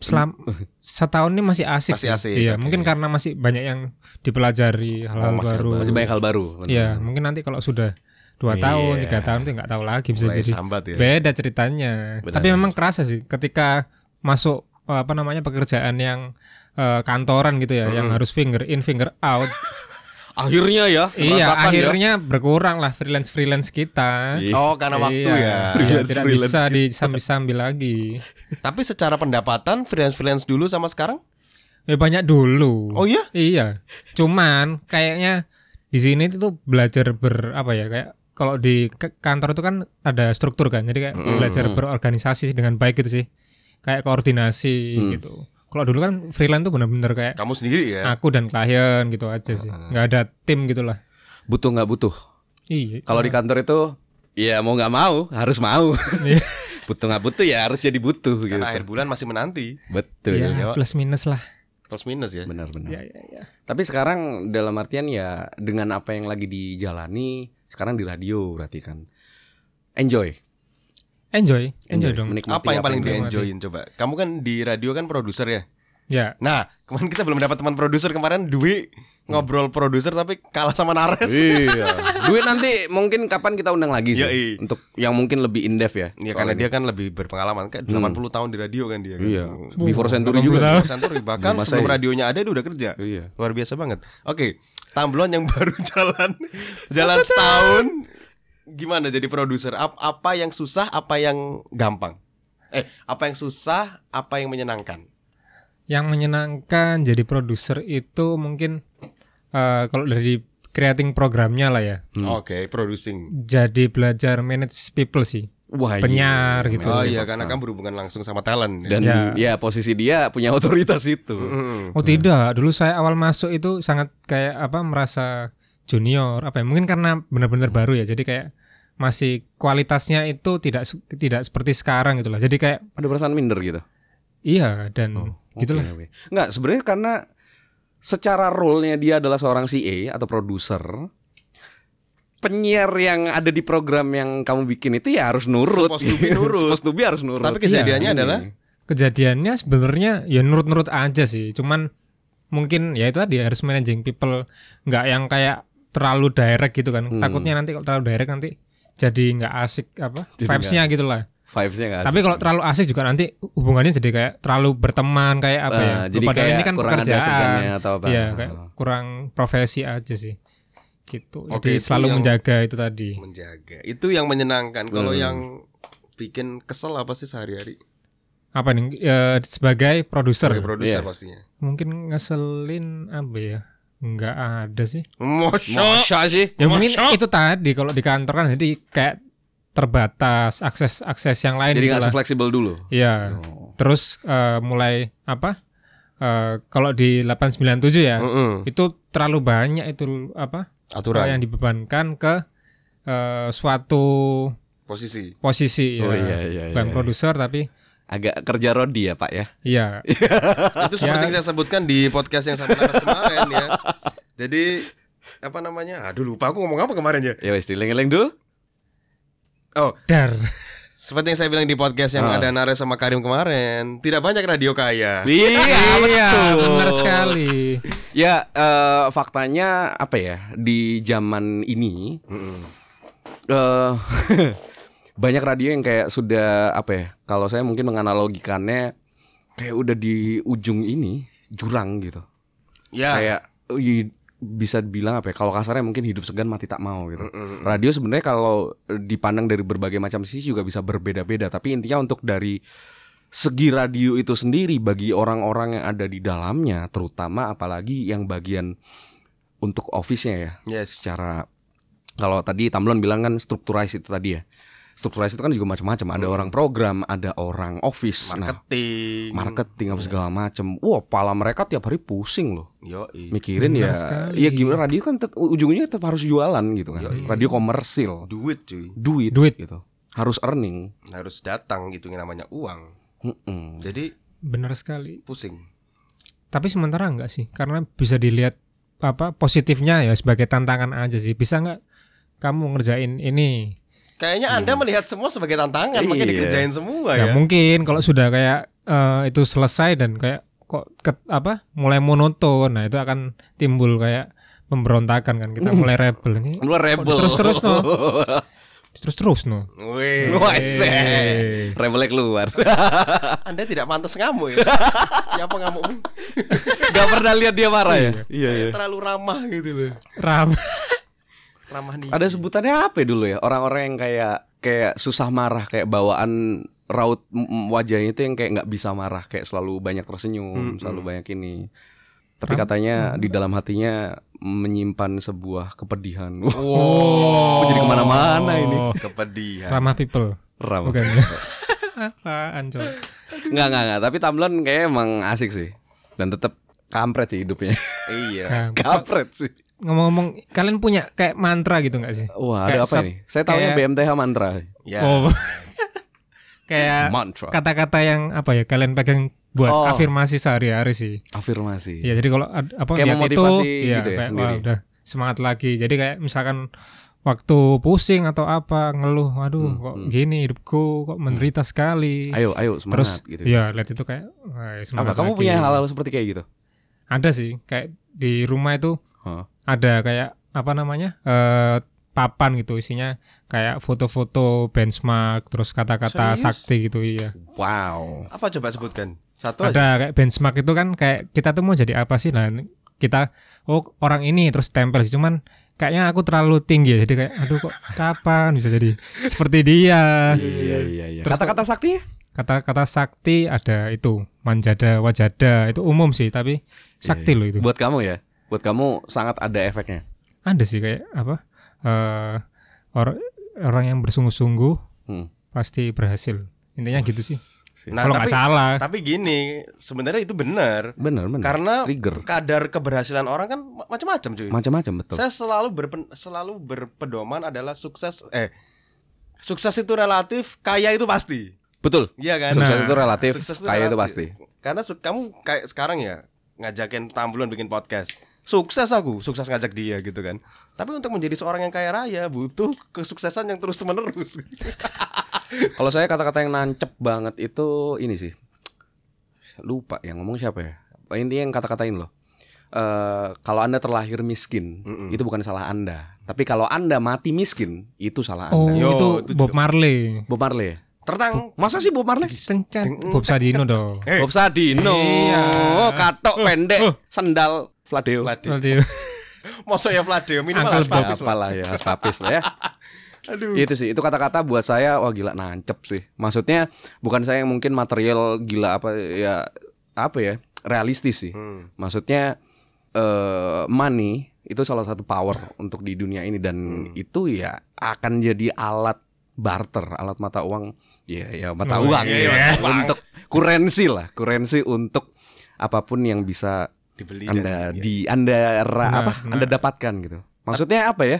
[SPEAKER 5] Selam setahun ini masih asik.
[SPEAKER 3] Masih
[SPEAKER 5] sih.
[SPEAKER 3] asik,
[SPEAKER 5] Iya,
[SPEAKER 3] oke.
[SPEAKER 5] mungkin karena masih banyak yang dipelajari
[SPEAKER 3] Oh,
[SPEAKER 5] hal-hal
[SPEAKER 3] masih
[SPEAKER 5] baru.
[SPEAKER 4] Masih banyak hal baru.
[SPEAKER 5] Iya, mungkin nanti kalau sudah dua
[SPEAKER 4] Iya.
[SPEAKER 5] tahun, tiga tahun tuh nggak tahu lagi bisa
[SPEAKER 3] Mulai
[SPEAKER 5] jadi
[SPEAKER 3] sambat ya.
[SPEAKER 5] beda ceritanya.
[SPEAKER 4] Benar.
[SPEAKER 5] Tapi memang kerasa sih ketika masuk eh, apa namanya pekerjaan yang eh, kantoran gitu ya, yang harus finger in finger
[SPEAKER 3] (laughs)
[SPEAKER 5] out.
[SPEAKER 4] Akhirnya ya.
[SPEAKER 5] iya,
[SPEAKER 4] merasakan ya.
[SPEAKER 5] akhirnya berkurang lah freelance freelance kita.
[SPEAKER 4] Iya.
[SPEAKER 3] Oh karena waktu
[SPEAKER 5] Iya,
[SPEAKER 3] ya.
[SPEAKER 5] yang
[SPEAKER 4] Freelance-
[SPEAKER 5] tidak
[SPEAKER 4] freelance
[SPEAKER 5] bisa disambil-sambil lagi.
[SPEAKER 3] Tapi secara pendapatan freelance freelance dulu sama sekarang?
[SPEAKER 5] Ya banyak dulu.
[SPEAKER 3] Oh iya?
[SPEAKER 5] Iya. Cuman kayaknya di sini itu tuh belajar ber apa ya kayak kalau di ke- kantor itu kan ada struktur kan. Jadi kayak belajar berorganisasi dengan baik gitu sih. Kayak koordinasi gitu. Kalau dulu kan freelance tuh bener-bener kayak
[SPEAKER 3] Kamu sendiri ya.
[SPEAKER 4] Ah,
[SPEAKER 5] aku dan klien gitu aja sih. nggak ada tim gitu lah.
[SPEAKER 4] Butuh nggak butuh?
[SPEAKER 5] Iya.
[SPEAKER 4] (laughs)
[SPEAKER 5] Iya.
[SPEAKER 4] Kalau di kantor itu ya mau nggak mau harus mau.
[SPEAKER 6] butuh nggak butuh ya harus jadi butuh gitu.
[SPEAKER 3] Karena akhir bulan masih menanti
[SPEAKER 6] Betul.
[SPEAKER 5] ya,
[SPEAKER 3] ya.
[SPEAKER 5] plus minus lah.
[SPEAKER 3] plus minus ya.
[SPEAKER 4] Benar-benar.
[SPEAKER 5] Ya, ya, ya.
[SPEAKER 4] Tapi sekarang dalam artian ya dengan apa yang lagi dijalani sekarang di radio berarti kan. Enjoy.
[SPEAKER 5] Enjoy, enjoy, dong.
[SPEAKER 4] Menikmati
[SPEAKER 3] Apa yang paling
[SPEAKER 5] yang kamu
[SPEAKER 3] dienjoyin coba? Kamu kan di radio kan produser ya.
[SPEAKER 5] Ya,
[SPEAKER 3] Nah, (laughs) kemarin kita belum dapat teman produser kemarin Dwi ngobrol produser tapi kalah sama Nares.
[SPEAKER 4] Hmm. Iya. Duit nanti mungkin kapan kita undang lagi sih
[SPEAKER 3] Yoi.
[SPEAKER 4] untuk yang mungkin lebih in depth ya.
[SPEAKER 3] Ya karena
[SPEAKER 4] soalnya. Hmm.
[SPEAKER 3] dia kan lebih berpengalaman kan 80 tahun di radio kan dia kan.
[SPEAKER 4] iya. Before century juga.
[SPEAKER 3] Bos Santuri, bahkan
[SPEAKER 4] Masa
[SPEAKER 3] sebelum
[SPEAKER 4] iya.
[SPEAKER 3] radionya ada dia udah kerja.
[SPEAKER 4] Iya.
[SPEAKER 3] Luar biasa banget. Oke, Tamblon yang (laughs) baru jalan jalan setahun gimana jadi produser? Ap- apa yang susah, apa yang gampang? Eh, apa yang susah, apa yang menyenangkan?
[SPEAKER 5] yang menyenangkan jadi produser itu mungkin eh, kalau dari creating programnya lah ya.
[SPEAKER 4] Hmm. Oh,
[SPEAKER 3] Oke, producing.
[SPEAKER 5] Jadi belajar manage people sih.
[SPEAKER 4] Wah, iya.
[SPEAKER 5] Penyiar gitu.
[SPEAKER 3] Oh iya, karena kan berhubungan langsung sama talent. ya.
[SPEAKER 4] Dan
[SPEAKER 5] Iya.
[SPEAKER 4] ya posisi dia punya otoritas itu.
[SPEAKER 3] Mm-mm.
[SPEAKER 5] Oh tidak, dulu saya awal masuk itu sangat kayak apa merasa junior apa ya? Mungkin karena
[SPEAKER 4] Hmm.
[SPEAKER 5] benar-benar baru ya. Jadi kayak masih kualitasnya itu tidak se- tidak seperti sekarang gitu lah. Jadi kayak
[SPEAKER 4] Ada perasaan minder gitu.
[SPEAKER 5] iya dan gitulah.
[SPEAKER 4] Oh, Oke, oke. Nggak, sebenarnya karena secara role-nya dia adalah seorang CA atau produser. Penyiar yang ada di program yang kamu bikin itu ya harus nurut.
[SPEAKER 3] Supposed to
[SPEAKER 4] (laughs)
[SPEAKER 3] be nurut.
[SPEAKER 4] Supposed to be harus nurut.
[SPEAKER 3] Tapi kejadiannya
[SPEAKER 4] Iya.
[SPEAKER 3] adalah?
[SPEAKER 5] Kejadiannya sebenarnya ya nurut-nurut aja sih. Cuman mungkin ya itu tadi harus managing people nggak yang kayak terlalu direct gitu kan.
[SPEAKER 4] Hmm.
[SPEAKER 5] Takutnya nanti kalau terlalu direct nanti jadi nggak asik apa
[SPEAKER 4] Jadi
[SPEAKER 5] vibes-nya gitu lah.
[SPEAKER 4] vibes-nya nggak
[SPEAKER 5] Tapi
[SPEAKER 4] asik.
[SPEAKER 5] kalau terlalu asik juga nanti hubungannya jadi kayak terlalu berteman kayak apa ya.
[SPEAKER 4] Eh, jadi
[SPEAKER 5] Padahal
[SPEAKER 4] kayak
[SPEAKER 5] ini kan
[SPEAKER 4] kurang ada ya,
[SPEAKER 5] pekerjaan.
[SPEAKER 4] segannya atau apa. Oh.
[SPEAKER 5] Iya, kayak
[SPEAKER 4] Hmm.
[SPEAKER 5] kurang profesi aja sih. Gitu.
[SPEAKER 3] Oke,
[SPEAKER 5] jadi
[SPEAKER 3] itu
[SPEAKER 5] selalu
[SPEAKER 3] yang-
[SPEAKER 5] menjaga itu tadi.
[SPEAKER 3] Menjaga. Itu yang menyenangkan. Kalau
[SPEAKER 4] Hmm.
[SPEAKER 3] yang bikin kesel apa sih sehari-hari?
[SPEAKER 5] Apa nih e, sebagai produser
[SPEAKER 3] Sebagai produser
[SPEAKER 4] Iya.
[SPEAKER 3] pastinya.
[SPEAKER 5] mungkin ngeselin apa ya? Nggak ada sih.
[SPEAKER 3] Mosok.
[SPEAKER 4] Masa sih?
[SPEAKER 5] Ya mungkin itu tadi kalau di kantor kan jadi kayak terbatas akses akses yang lain
[SPEAKER 4] Jadi
[SPEAKER 5] gitu
[SPEAKER 4] nggak
[SPEAKER 5] lah.
[SPEAKER 4] fleksibel dulu.
[SPEAKER 5] Iya.
[SPEAKER 4] Oh.
[SPEAKER 5] Terus eh, mulai apa? Eh, kalau di 897 ya,
[SPEAKER 3] Mm-mm.
[SPEAKER 5] itu terlalu banyak itu apa
[SPEAKER 3] Aturan.
[SPEAKER 5] yang dibebankan ke eh, suatu
[SPEAKER 3] Posisi.
[SPEAKER 5] posisi ya.
[SPEAKER 4] Oh, iya, iya,
[SPEAKER 5] bukan
[SPEAKER 4] iya.
[SPEAKER 5] produser tapi
[SPEAKER 4] Agak kerja rodi ya, Pak ya.
[SPEAKER 5] ya
[SPEAKER 3] Itu seperti
[SPEAKER 5] Ya.
[SPEAKER 3] yang saya sebutkan di podcast yang sama Nanas kemarin ya. Jadi apa namanya? Aduh lupa aku ngomong apa kemarin ya. Oh,
[SPEAKER 4] Ya wes dileng-leng dulu. (laughs)
[SPEAKER 5] dar (laughs)
[SPEAKER 3] Seperti yang saya bilang di podcast yang
[SPEAKER 4] Ah.
[SPEAKER 3] ada Nares sama Karim kemarin, tidak banyak radio kaya.
[SPEAKER 4] Iya, betul.
[SPEAKER 5] benar sekali
[SPEAKER 4] Ya, eh, faktanya apa ya? Di zaman ini
[SPEAKER 3] Mm-mm.
[SPEAKER 4] eh (laughs) banyak radio yang kayak sudah apa ya? Kalau saya mungkin menganalogikannya kayak udah di ujung ini jurang gitu.
[SPEAKER 3] Ya.
[SPEAKER 4] Kayak i- bisa bilang apa ya? Kalau kasarnya mungkin hidup segan mati tak mau gitu.
[SPEAKER 3] Mm-mm.
[SPEAKER 4] Radio sebenarnya kalau dipandang dari berbagai macam sisi juga bisa berbeda-beda, tapi intinya untuk dari segi radio itu sendiri bagi orang-orang yang ada di dalamnya, terutama apalagi yang bagian untuk office-nya ya,
[SPEAKER 3] Yes.
[SPEAKER 4] secara kalau tadi Tamlon bilang kan strukturize itu tadi ya. Strukturize itu kan juga macam-macam, ada orang program, ada orang office, nah,
[SPEAKER 3] Marketing. Iya.
[SPEAKER 4] marketing apa segala macam. Wah, pala mereka tiap hari pusing loh
[SPEAKER 3] Yoi.
[SPEAKER 4] mikirin ya
[SPEAKER 5] Benar sekali.
[SPEAKER 4] ya gimana radio kan tet- ujungnya tetap harus jualan gitu kan
[SPEAKER 3] Ya, iya.
[SPEAKER 4] radio komersil
[SPEAKER 3] Duit cuy.
[SPEAKER 4] duit
[SPEAKER 5] Duit.
[SPEAKER 4] gitu harus earning
[SPEAKER 3] Harus datang gitu yang namanya uang.
[SPEAKER 4] Mm-mm.
[SPEAKER 3] Jadi
[SPEAKER 5] benar sekali
[SPEAKER 3] pusing.
[SPEAKER 5] tapi sementara enggak sih karena bisa dilihat apa positifnya ya sebagai tantangan aja sih bisa nggak kamu ngerjain ini
[SPEAKER 3] Kayaknya Anda melihat semua sebagai tantangan, makanya
[SPEAKER 4] Hmm. Iya.
[SPEAKER 3] dikerjain semua
[SPEAKER 5] ya
[SPEAKER 3] ya.
[SPEAKER 5] mungkin kalau sudah kayak eh, itu selesai dan kayak kok ke- apa mulai monoton nah itu akan timbul kayak pemberontakan kan
[SPEAKER 4] (laughs)
[SPEAKER 5] kita mulai rebel ini
[SPEAKER 4] lu rebel
[SPEAKER 5] terus-terus, no. Eh. terus terus no
[SPEAKER 3] Weh.
[SPEAKER 4] (laughs) Wah, seh. rebelnya keluar (laughs)
[SPEAKER 3] Anda tidak pantas ngamuk ya. ya apa ngamukmu?
[SPEAKER 4] gak pernah lihat dia marah ya iya
[SPEAKER 3] Terlalu ramah gitu loh.
[SPEAKER 5] ram
[SPEAKER 3] Ramah nih.
[SPEAKER 4] ada sebutannya apa ya dulu ya orang-orang yang kayak kayak susah marah kayak bawaan raut m- m- wajahnya itu yang kayak nggak bisa marah kayak selalu banyak tersenyum
[SPEAKER 3] Mm-mm.
[SPEAKER 4] selalu banyak ini tapi katanya di dalam hatinya menyimpan sebuah kepedihan (laughs) Wah,
[SPEAKER 3] Wow.
[SPEAKER 4] Oh. kok jadi kemana-mana ini Oh.
[SPEAKER 3] Kepedihan.
[SPEAKER 5] ramah Oh. people
[SPEAKER 4] ram (laughs)
[SPEAKER 5] bukan apaan coy
[SPEAKER 4] nggak nggak nggak tapi Tamlon kayak emang asik sih dan tetap kampret sih hidupnya
[SPEAKER 3] Iya.
[SPEAKER 5] Nah,
[SPEAKER 4] kampret sih
[SPEAKER 5] ngomong-ngomong kalian punya kayak mantra gitu nggak sih
[SPEAKER 4] wah ada
[SPEAKER 5] Kayak
[SPEAKER 4] apa
[SPEAKER 5] sub-
[SPEAKER 4] nih saya tahunya
[SPEAKER 5] kayak-
[SPEAKER 4] BMTH mantra
[SPEAKER 3] Ya.
[SPEAKER 5] oh (laughs) kayak
[SPEAKER 4] mantra
[SPEAKER 5] kata-kata yang apa ya kalian pegang buat
[SPEAKER 4] Oh.
[SPEAKER 5] afirmasi sehari-hari sih.
[SPEAKER 4] afirmasi
[SPEAKER 5] Ya jadi kalau ad- apa
[SPEAKER 4] Kayak
[SPEAKER 5] lihat
[SPEAKER 4] memotivasi
[SPEAKER 5] ya,
[SPEAKER 4] gitu ya
[SPEAKER 5] kayak,
[SPEAKER 4] sendiri.
[SPEAKER 5] wah, udah semangat lagi. Jadi kayak misalkan waktu pusing atau apa ngeluh, waduh
[SPEAKER 4] Hmm,
[SPEAKER 5] kok
[SPEAKER 4] hmm.
[SPEAKER 5] gini hidupku kok menderita sekali.
[SPEAKER 4] ayo ayo
[SPEAKER 5] Terus
[SPEAKER 4] semangat gitu
[SPEAKER 5] ya lihat itu kayak wah, ya,
[SPEAKER 4] apa
[SPEAKER 5] semangat
[SPEAKER 4] kamu
[SPEAKER 5] lagi.
[SPEAKER 4] punya hal-hal seperti kayak gitu
[SPEAKER 5] Ada sih kayak di rumah itu
[SPEAKER 4] Hah?
[SPEAKER 5] ada kayak apa namanya? eh papan gitu isinya kayak foto-foto benchmark terus
[SPEAKER 3] Serius?
[SPEAKER 5] kata-kata sakti gitu iya.
[SPEAKER 4] wow
[SPEAKER 3] Apa coba sebutkan? Satu aja.
[SPEAKER 5] ada kayak benchmark itu kan kayak kita tuh mau jadi apa sih lah kita oh orang ini terus tempel sih cuman kayaknya aku terlalu tinggi ya, jadi kayak aduh kok kapan bisa jadi seperti dia
[SPEAKER 4] iya iya iya
[SPEAKER 5] Nah, Terus-
[SPEAKER 4] kata-kata sakti ya
[SPEAKER 5] kata-kata sakti ada itu manjada wajada itu umum sih
[SPEAKER 4] Iya,
[SPEAKER 5] tapi sakti loh itu
[SPEAKER 4] buat kamu ya buat kamu sangat ada efeknya
[SPEAKER 5] ada sih kayak apa eh orang orang yang bersungguh-sungguh
[SPEAKER 4] Hmm.
[SPEAKER 5] pasti berhasil intinya gitu sih
[SPEAKER 3] Nah,
[SPEAKER 5] kalau
[SPEAKER 3] tapi,
[SPEAKER 5] nggak salah
[SPEAKER 3] tapi gini, sebenarnya itu benar.
[SPEAKER 4] bener bener
[SPEAKER 3] Karena
[SPEAKER 4] trigger
[SPEAKER 3] kadar keberhasilan orang kan ma- macam-macam cuy.
[SPEAKER 4] macam-macam betul
[SPEAKER 3] Saya selalu berpen- selalu berpedoman adalah sukses eh sukses itu relatif, kaya itu pasti.
[SPEAKER 4] betul
[SPEAKER 3] Iya kan?
[SPEAKER 5] Nah.
[SPEAKER 4] sukses itu relatif
[SPEAKER 3] Sukses itu
[SPEAKER 4] kaya itu
[SPEAKER 3] relatif.
[SPEAKER 4] pasti
[SPEAKER 3] Karena su- kamu kayak sekarang ya ngajakin tambulan bikin podcast. Sukses aku, sukses ngajak dia gitu kan. Tapi untuk menjadi seorang yang kaya raya butuh kesuksesan yang terus menerus.
[SPEAKER 4] Kalau saya kata-kata yang nancep banget itu ini sih. Lupa yang ngomong siapa ya. Intinya yang kata-katain loh. Eh kalau Anda terlahir miskin,
[SPEAKER 3] Mm-mm.
[SPEAKER 4] itu bukan salah Anda. Tapi kalau Anda mati miskin, itu salah
[SPEAKER 5] oh
[SPEAKER 4] Anda.
[SPEAKER 3] Yo,
[SPEAKER 5] itu
[SPEAKER 3] itu
[SPEAKER 5] Bob
[SPEAKER 3] juga.
[SPEAKER 5] Marley
[SPEAKER 4] Bob Marley. ya?
[SPEAKER 3] Tertang.
[SPEAKER 4] Masa sih Bob Marley?
[SPEAKER 5] Sencet Bob Sadino dong
[SPEAKER 3] Eh.
[SPEAKER 4] Bob Sadino,
[SPEAKER 5] Iya.
[SPEAKER 4] katok pendek,
[SPEAKER 5] uh.
[SPEAKER 4] sendal Fladeo.
[SPEAKER 3] Vlade.
[SPEAKER 5] Kalau dia-
[SPEAKER 3] Mosok ya Vlade minimal
[SPEAKER 5] Uncle
[SPEAKER 3] harus
[SPEAKER 4] Ya,
[SPEAKER 3] papis lah.
[SPEAKER 4] apalah ya, Mas papis lah ya.
[SPEAKER 3] Aduh.
[SPEAKER 4] Itu sih, itu kata-kata buat saya wah gila nancep sih. Maksudnya bukan saya yang mungkin material gila apa ya apa ya? Realistis sih.
[SPEAKER 3] Hmm.
[SPEAKER 4] Maksudnya eh money itu salah satu power untuk di dunia ini
[SPEAKER 3] Hmm.
[SPEAKER 4] dan itu ya akan jadi alat barter, alat mata uang, ya ya mata
[SPEAKER 5] Oh,
[SPEAKER 4] uang
[SPEAKER 3] iya, iya,
[SPEAKER 4] ya.
[SPEAKER 3] mata uang.
[SPEAKER 4] untuk kurensi lah, kurensi untuk apapun yang bisa
[SPEAKER 3] Dibeli dan-
[SPEAKER 4] anda
[SPEAKER 3] iya.
[SPEAKER 4] di anda ra,
[SPEAKER 5] Benar,
[SPEAKER 4] apa
[SPEAKER 5] benar.
[SPEAKER 4] anda dapatkan gitu maksudnya apa ya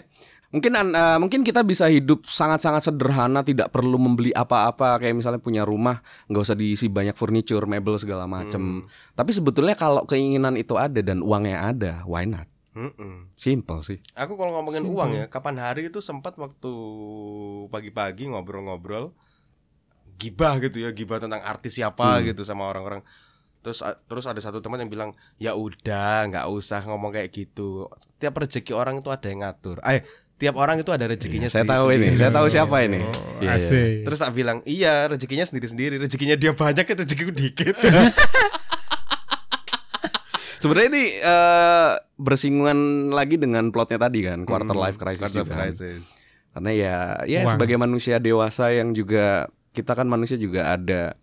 [SPEAKER 4] mungkin an- eh, mungkin kita bisa hidup sangat-sangat sederhana tidak perlu membeli apa-apa kayak misalnya punya rumah nggak usah diisi banyak furniture mebel segala
[SPEAKER 3] Hmm.
[SPEAKER 4] macem tapi sebetulnya kalau keinginan itu ada dan uangnya ada why not
[SPEAKER 3] Iya. Mm-mm.
[SPEAKER 4] simple sih
[SPEAKER 3] Aku kalau ngomongin
[SPEAKER 5] Simpel.
[SPEAKER 3] uang ya, kapan hari itu sempat waktu pagi-pagi ngobrol-ngobrol gibah gitu ya, gibah tentang artis siapa
[SPEAKER 4] Hmm.
[SPEAKER 3] gitu sama orang-orang. Terus a- terus ada satu teman yang bilang, "Ya udah, nggak usah ngomong kayak gitu. Tiap rezeki orang itu ada yang ngatur." Eh, tiap orang itu ada rezekinya
[SPEAKER 4] Iya, saya tahu
[SPEAKER 3] sendiri-sendiri.
[SPEAKER 4] ini, saya tahu siapa ini.
[SPEAKER 5] Oh,
[SPEAKER 4] Iya, iya.
[SPEAKER 5] asik.
[SPEAKER 3] Terus tak bilang, "Iya, rezekinya sendiri-sendiri. Rezekinya dia banyak, ya rezekiku dikit."
[SPEAKER 4] (laughs) sebenarnya ini eh, bersinggungan lagi dengan plotnya tadi kan quarter
[SPEAKER 3] Hmm,
[SPEAKER 4] life crisis
[SPEAKER 3] quarter
[SPEAKER 4] juga. kan.
[SPEAKER 3] crisis.
[SPEAKER 4] karena ya ya
[SPEAKER 5] Uang.
[SPEAKER 4] sebagai manusia dewasa yang juga kita kan manusia juga ada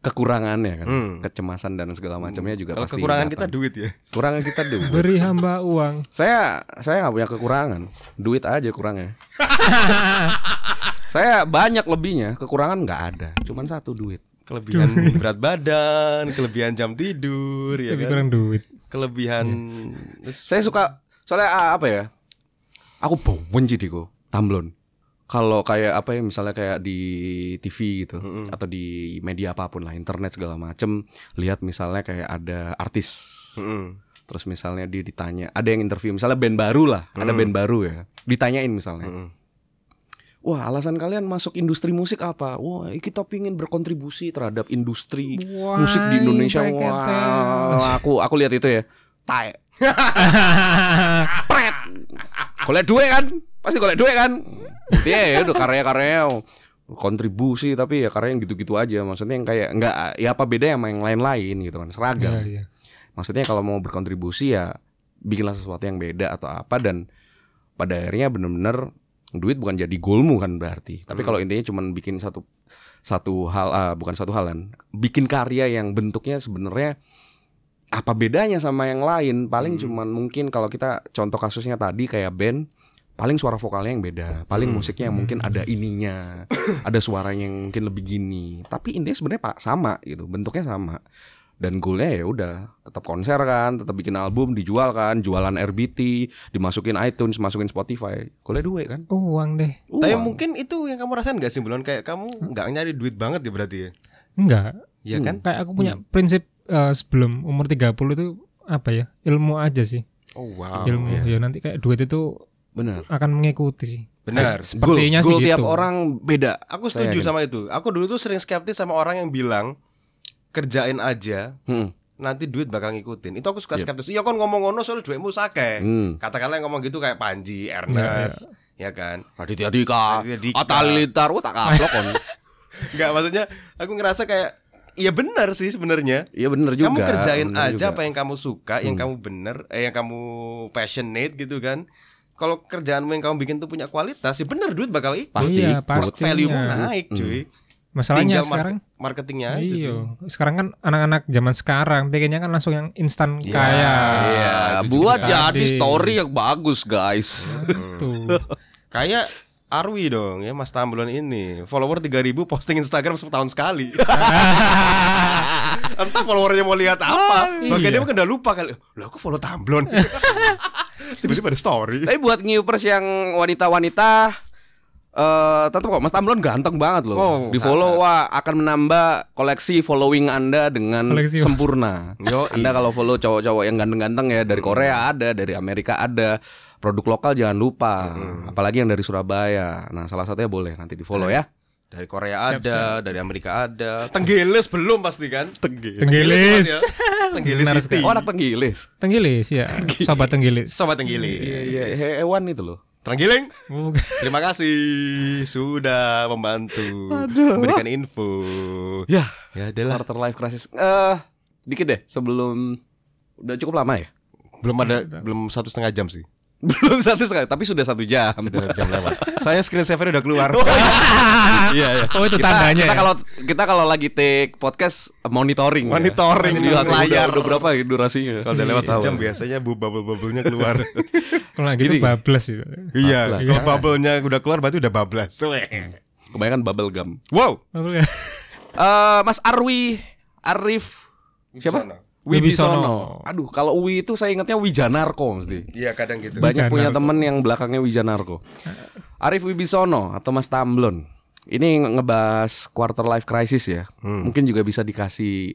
[SPEAKER 4] kekurangannya kan
[SPEAKER 3] Hmm.
[SPEAKER 4] kecemasan dan segala macamnya juga
[SPEAKER 3] Kalau
[SPEAKER 4] pasti
[SPEAKER 3] kekurangan kita
[SPEAKER 4] datang.
[SPEAKER 3] duit ya.
[SPEAKER 4] kekurangan kita duit
[SPEAKER 3] (laughs)
[SPEAKER 5] Beri hamba uang.
[SPEAKER 4] saya saya nggak punya kekurangan duit aja kurangnya
[SPEAKER 3] (laughs)
[SPEAKER 4] saya banyak lebihnya kekurangan nggak ada cuman satu duit
[SPEAKER 3] Kelebihan berat badan, kelebihan jam tidur, ya
[SPEAKER 4] Iya
[SPEAKER 5] Tapi
[SPEAKER 3] kan?
[SPEAKER 5] kurang duit.
[SPEAKER 3] kelebihan
[SPEAKER 4] saya suka soalnya ah, apa ya aku bau benci diko tamblon kalau kayak apa ya misalnya kayak di TV gitu
[SPEAKER 3] Mm-mm.
[SPEAKER 4] atau di media apapun lah internet segala macem lihat misalnya kayak ada artis
[SPEAKER 3] Mm-mm.
[SPEAKER 4] terus misalnya dia ditanya ada yang interview misalnya band baru lah ada
[SPEAKER 3] Mm.
[SPEAKER 4] band baru ya ditanyain misalnya
[SPEAKER 3] Mm-mm.
[SPEAKER 4] wah alasan kalian masuk industri musik apa wah kita pingin berkontribusi terhadap industri musik di Indonesia
[SPEAKER 5] ya.
[SPEAKER 4] wah aku aku lihat itu ya tae pret golek duit kan pasti golek duit kan iya ya udah karya-karya kontribusi tapi ya karya yang gitu-gitu aja maksudnya yang kayak nggak ya apa beda sama yang lain-lain gitu kan seragam
[SPEAKER 5] Iya, iya.
[SPEAKER 4] maksudnya kalau mau berkontribusi ya bikinlah sesuatu yang beda atau apa dan pada akhirnya bener-bener duit bukan jadi goalmu kan berarti
[SPEAKER 3] Hmm.
[SPEAKER 4] tapi kalau intinya cuman bikin satu satu hal ah, bukan satu hal kan bikin karya yang bentuknya sebenarnya apa bedanya sama yang lain
[SPEAKER 3] Hmm.
[SPEAKER 4] paling cuman mungkin kalau kita contoh kasusnya tadi kayak band paling suara vokalnya yang beda paling
[SPEAKER 3] Hmm.
[SPEAKER 4] musiknya yang mungkin ada (coughs) ininya ada suaranya yang mungkin lebih gini tapi intinya sebenarnya pak sama gitu bentuknya sama dan goalnya ya udah tetap konser kan tetap bikin album dijual kan jualan RBT dimasukin iTunes masukin Spotify goalnya duit kan
[SPEAKER 5] uang deh
[SPEAKER 3] Tapi
[SPEAKER 4] Uang.
[SPEAKER 3] mungkin itu yang kamu rasain gak sih Bulan? Kayak kamu nggak nyari duit banget ya berarti ya?
[SPEAKER 5] enggak
[SPEAKER 3] Iya
[SPEAKER 4] Hmm.
[SPEAKER 3] kan?
[SPEAKER 5] kayak aku punya prinsip eh, sebelum umur 30 itu apa ya ilmu aja sih
[SPEAKER 3] Oh wow.
[SPEAKER 5] ilmu
[SPEAKER 3] Iya.
[SPEAKER 5] ya nanti kayak duit itu
[SPEAKER 4] benar
[SPEAKER 5] akan mengikuti sih
[SPEAKER 3] Benar.
[SPEAKER 5] sepertinya
[SPEAKER 4] Goal- goal
[SPEAKER 5] sih gitu
[SPEAKER 4] tiap orang beda
[SPEAKER 3] Aku
[SPEAKER 4] Saya
[SPEAKER 3] setuju
[SPEAKER 4] yakin.
[SPEAKER 3] sama itu. Aku dulu tuh sering skeptis sama orang yang bilang kerjain aja,
[SPEAKER 4] Hmm.
[SPEAKER 3] nanti duit bakal ngikutin. Itu aku suka
[SPEAKER 4] Yep.
[SPEAKER 3] skeptis. Iya kan ngomong ngono soal duitmu sake.
[SPEAKER 4] Hmm.
[SPEAKER 3] Katakanlah yang ngomong gitu kayak Panji, Ernest, ya kan?
[SPEAKER 4] Raditya Dika,
[SPEAKER 3] Raditya Dika.
[SPEAKER 4] Atta Halilintar, wah tak kaplok kon.
[SPEAKER 3] Enggak, maksudnya aku ngerasa kayak iya benar sih sebenarnya.
[SPEAKER 4] (laughs) Iya bener juga.
[SPEAKER 3] Kamu kerjain
[SPEAKER 4] bener
[SPEAKER 3] aja
[SPEAKER 4] juga.
[SPEAKER 3] apa yang kamu suka, yang kamu
[SPEAKER 4] Hmm.
[SPEAKER 3] bener, eh, yang kamu passionate gitu kan. Kalau kerjaanmu yang kamu bikin tuh punya kualitas, ya bener duit bakal ikut.
[SPEAKER 4] Pasti.
[SPEAKER 5] Iya,
[SPEAKER 4] Buat
[SPEAKER 5] pastinya.
[SPEAKER 3] Value naik,
[SPEAKER 4] Hmm.
[SPEAKER 3] cuy. Tinggal
[SPEAKER 5] masalahnya
[SPEAKER 3] market-
[SPEAKER 5] sekarang
[SPEAKER 3] Marketingnya aja
[SPEAKER 5] iya
[SPEAKER 3] sih.
[SPEAKER 5] sekarang kan anak-anak zaman sekarang pengennya kan langsung yang instan
[SPEAKER 3] Iya.
[SPEAKER 5] kaya
[SPEAKER 4] Iya,
[SPEAKER 3] itu
[SPEAKER 4] buat
[SPEAKER 5] juga
[SPEAKER 4] jadi
[SPEAKER 5] tadi.
[SPEAKER 4] story yang bagus guys.
[SPEAKER 5] tuh
[SPEAKER 3] Kayak Arwi dong ya Mas Tambulan ini Follower 3000 posting Instagram setahun
[SPEAKER 5] (laughs)
[SPEAKER 3] sekali Entah followernya mau lihat apa
[SPEAKER 5] Ah,
[SPEAKER 3] Makanya
[SPEAKER 5] iya.
[SPEAKER 3] dia mungkin udah lupa kali Loh aku follow
[SPEAKER 5] (laughs)
[SPEAKER 3] Tamblon Tiba-tiba ada story
[SPEAKER 4] Tapi buat ngiupers yang wanita-wanita eh tetap kok Mas Tamblon ganteng banget loh.
[SPEAKER 3] Oh,
[SPEAKER 4] Di follow wah akan menambah koleksi following Anda dengan
[SPEAKER 5] Koleksi.
[SPEAKER 4] sempurna.
[SPEAKER 3] Yo,
[SPEAKER 4] Anda kalau follow cowok-cowok yang ganteng-ganteng ya dari Korea ada, dari Amerika ada. Produk lokal jangan lupa, apalagi yang dari Surabaya. Nah, salah satunya boleh nanti di-follow ya.
[SPEAKER 3] Dari Korea
[SPEAKER 5] Siap,
[SPEAKER 3] ada Dari Amerika ada Tenggeles belum pasti kan Tenggeles
[SPEAKER 5] Tenggeles.
[SPEAKER 3] ya, Mas, ya. Tenggeles
[SPEAKER 5] Benar
[SPEAKER 3] City
[SPEAKER 4] Oh, anak Tenggilis.
[SPEAKER 5] tenggilis ya sobat tenggilis
[SPEAKER 3] Sobat
[SPEAKER 4] Iya,
[SPEAKER 3] Tenggelis
[SPEAKER 4] hewan itu loh.
[SPEAKER 3] Tenggiling
[SPEAKER 5] Bukan.
[SPEAKER 3] Terima kasih Sudah membantu Berikan info
[SPEAKER 4] Ya.
[SPEAKER 3] Ya adalah
[SPEAKER 4] Quarter life crisis. Eh, dikit deh sebelum udah cukup lama ya? (laughs)
[SPEAKER 3] Belum ada Belum satu setengah jam sih
[SPEAKER 4] Belum satu sekali, tapi sudah satu jam.
[SPEAKER 3] Sudah jam lewat Soalnya screen saver udah keluar
[SPEAKER 4] Iya, iya.
[SPEAKER 5] oh itu
[SPEAKER 4] Kita,
[SPEAKER 5] tandanya
[SPEAKER 4] kita
[SPEAKER 5] ya?
[SPEAKER 4] kalau kita kalau lagi take podcast monitoring. ya.
[SPEAKER 3] Monitoring
[SPEAKER 4] Jadi lihat
[SPEAKER 3] layar.
[SPEAKER 4] Udah, udah berapa ya durasinya?
[SPEAKER 3] Kalau udah lewat
[SPEAKER 4] Tahu.
[SPEAKER 3] sejam biasanya bu bubble bubblenya keluar.
[SPEAKER 5] kalau
[SPEAKER 4] gini.
[SPEAKER 5] gitu bablas itu
[SPEAKER 3] iya,
[SPEAKER 4] Bablas.
[SPEAKER 3] kalau bubblenya udah keluar berarti udah bablas. Weh.
[SPEAKER 4] Kebanyakan bubble gum.
[SPEAKER 3] Wow.
[SPEAKER 5] Apa ya?
[SPEAKER 4] Eh, Mas Arwi Arif siapa?
[SPEAKER 5] Wibisono.
[SPEAKER 4] Aduh, kalau Wi itu saya ingatnya Wijanarko mesti.
[SPEAKER 3] Iya kadang gitu.
[SPEAKER 4] Banyak
[SPEAKER 5] Wijanarko.
[SPEAKER 4] punya temen yang belakangnya Wijanarko. Arif Wibisono atau Mas Tamblon. Ini ngebahas quarter life crisis ya. Mungkin juga bisa dikasih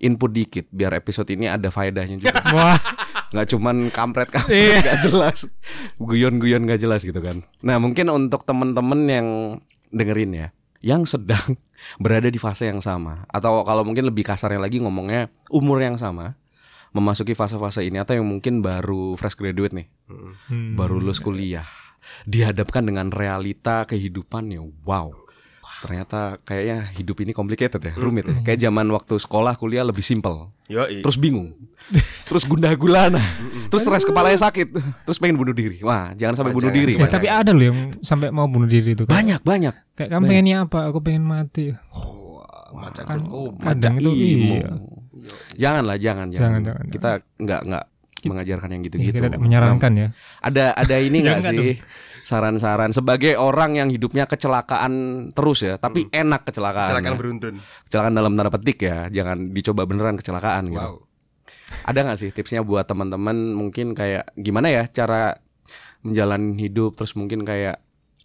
[SPEAKER 4] input dikit biar episode ini ada faedahnya juga.
[SPEAKER 5] wah
[SPEAKER 4] nggak cuman kampret-kampret nggak jelas. Guyon-guyon nggak jelas gitu kan. Nah, mungkin untuk temen-temen yang dengerin ya, yang sedang (laughs) berada di fase yang sama atau kalau mungkin lebih kasarnya lagi ngomongnya umur yang sama memasuki fase-fase ini atau yang mungkin baru fresh graduate nih
[SPEAKER 5] Hmm.
[SPEAKER 4] baru lulus kuliah dihadapkan dengan realita kehidupannya wow ternyata kayaknya hidup ini complicated ya rumit ya
[SPEAKER 5] Hmm.
[SPEAKER 4] kayak zaman waktu sekolah kuliah lebih simple
[SPEAKER 3] Yo,
[SPEAKER 4] terus bingung terus gundah gulana terus stres kepalanya sakit terus pengen bunuh diri wah jangan sampai
[SPEAKER 3] Wah,
[SPEAKER 4] bunuh
[SPEAKER 3] jangan,
[SPEAKER 4] diri
[SPEAKER 5] Eh,
[SPEAKER 3] ya?
[SPEAKER 5] tapi ada loh yang sampai mau bunuh diri itu kan.
[SPEAKER 4] banyak banyak
[SPEAKER 5] Kayak kamu pengennya apa? Aku pengen mati.
[SPEAKER 3] macan
[SPEAKER 5] Kan
[SPEAKER 3] kerut kobra.
[SPEAKER 5] kadang itu
[SPEAKER 4] Imo.
[SPEAKER 5] iya.
[SPEAKER 4] janganlah jangan jangan,
[SPEAKER 5] Jangan, jangan,
[SPEAKER 4] kita nggak nggak mengajarkan yang
[SPEAKER 5] Iya,
[SPEAKER 4] gitu-gitu
[SPEAKER 5] Kita tidak menyarankan ya.
[SPEAKER 4] ada
[SPEAKER 3] (laughs)
[SPEAKER 4] ada ini
[SPEAKER 3] Ya
[SPEAKER 4] nggak
[SPEAKER 5] Jangan
[SPEAKER 4] sih saran-saran sebagai orang yang hidupnya kecelakaan terus ya tapi enak kecelakaan
[SPEAKER 3] Hmm. Kecelakaan
[SPEAKER 4] ya.
[SPEAKER 3] beruntun.
[SPEAKER 4] kecelakaan dalam tanda petik ya jangan dicoba beneran kecelakaan
[SPEAKER 3] Wow.
[SPEAKER 4] gitu ada nggak sih tipsnya buat teman-teman mungkin kayak gimana ya cara menjalani hidup terus mungkin kayak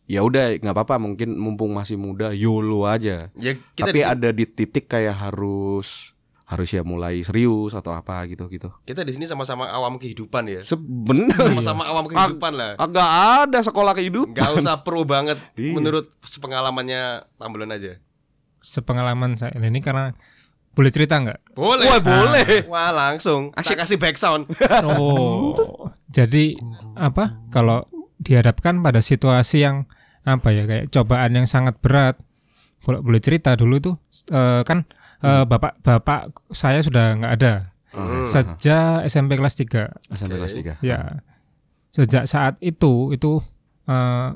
[SPEAKER 4] ya udah nggak apa-apa mungkin mumpung masih muda YOLO aja
[SPEAKER 3] Ya kita di,
[SPEAKER 4] tapi ada di titik kayak harus harus ya mulai serius atau apa gitu gitu
[SPEAKER 3] kita di sini sama-sama awam kehidupan ya.
[SPEAKER 4] Iya. sebenarnya
[SPEAKER 3] Sama-sama awam kehidupan lah.
[SPEAKER 4] agak ada sekolah kehidupan
[SPEAKER 3] Gak Hmm.
[SPEAKER 4] (laughs)
[SPEAKER 3] usah pro banget
[SPEAKER 4] Iya.
[SPEAKER 3] menurut pengalamannya tambulan aja.
[SPEAKER 5] Sepengalaman saya ini karena boleh cerita nggak?
[SPEAKER 3] Boleh. Ah.
[SPEAKER 4] Wah, boleh.
[SPEAKER 3] Wah, langsung. Asyik kasih back sound.
[SPEAKER 5] Oh. Jadi apa? Kalau dihadapkan pada situasi yang apa ya kayak cobaan yang sangat berat. Boleh, boleh cerita dulu tuh eh, kan eh, bapak-bapak saya sudah nggak ada
[SPEAKER 4] Hmm.
[SPEAKER 5] sejak SMP kelas 3.
[SPEAKER 4] SMP kelas tiga.
[SPEAKER 5] Ya, sejak saat itu itu eh,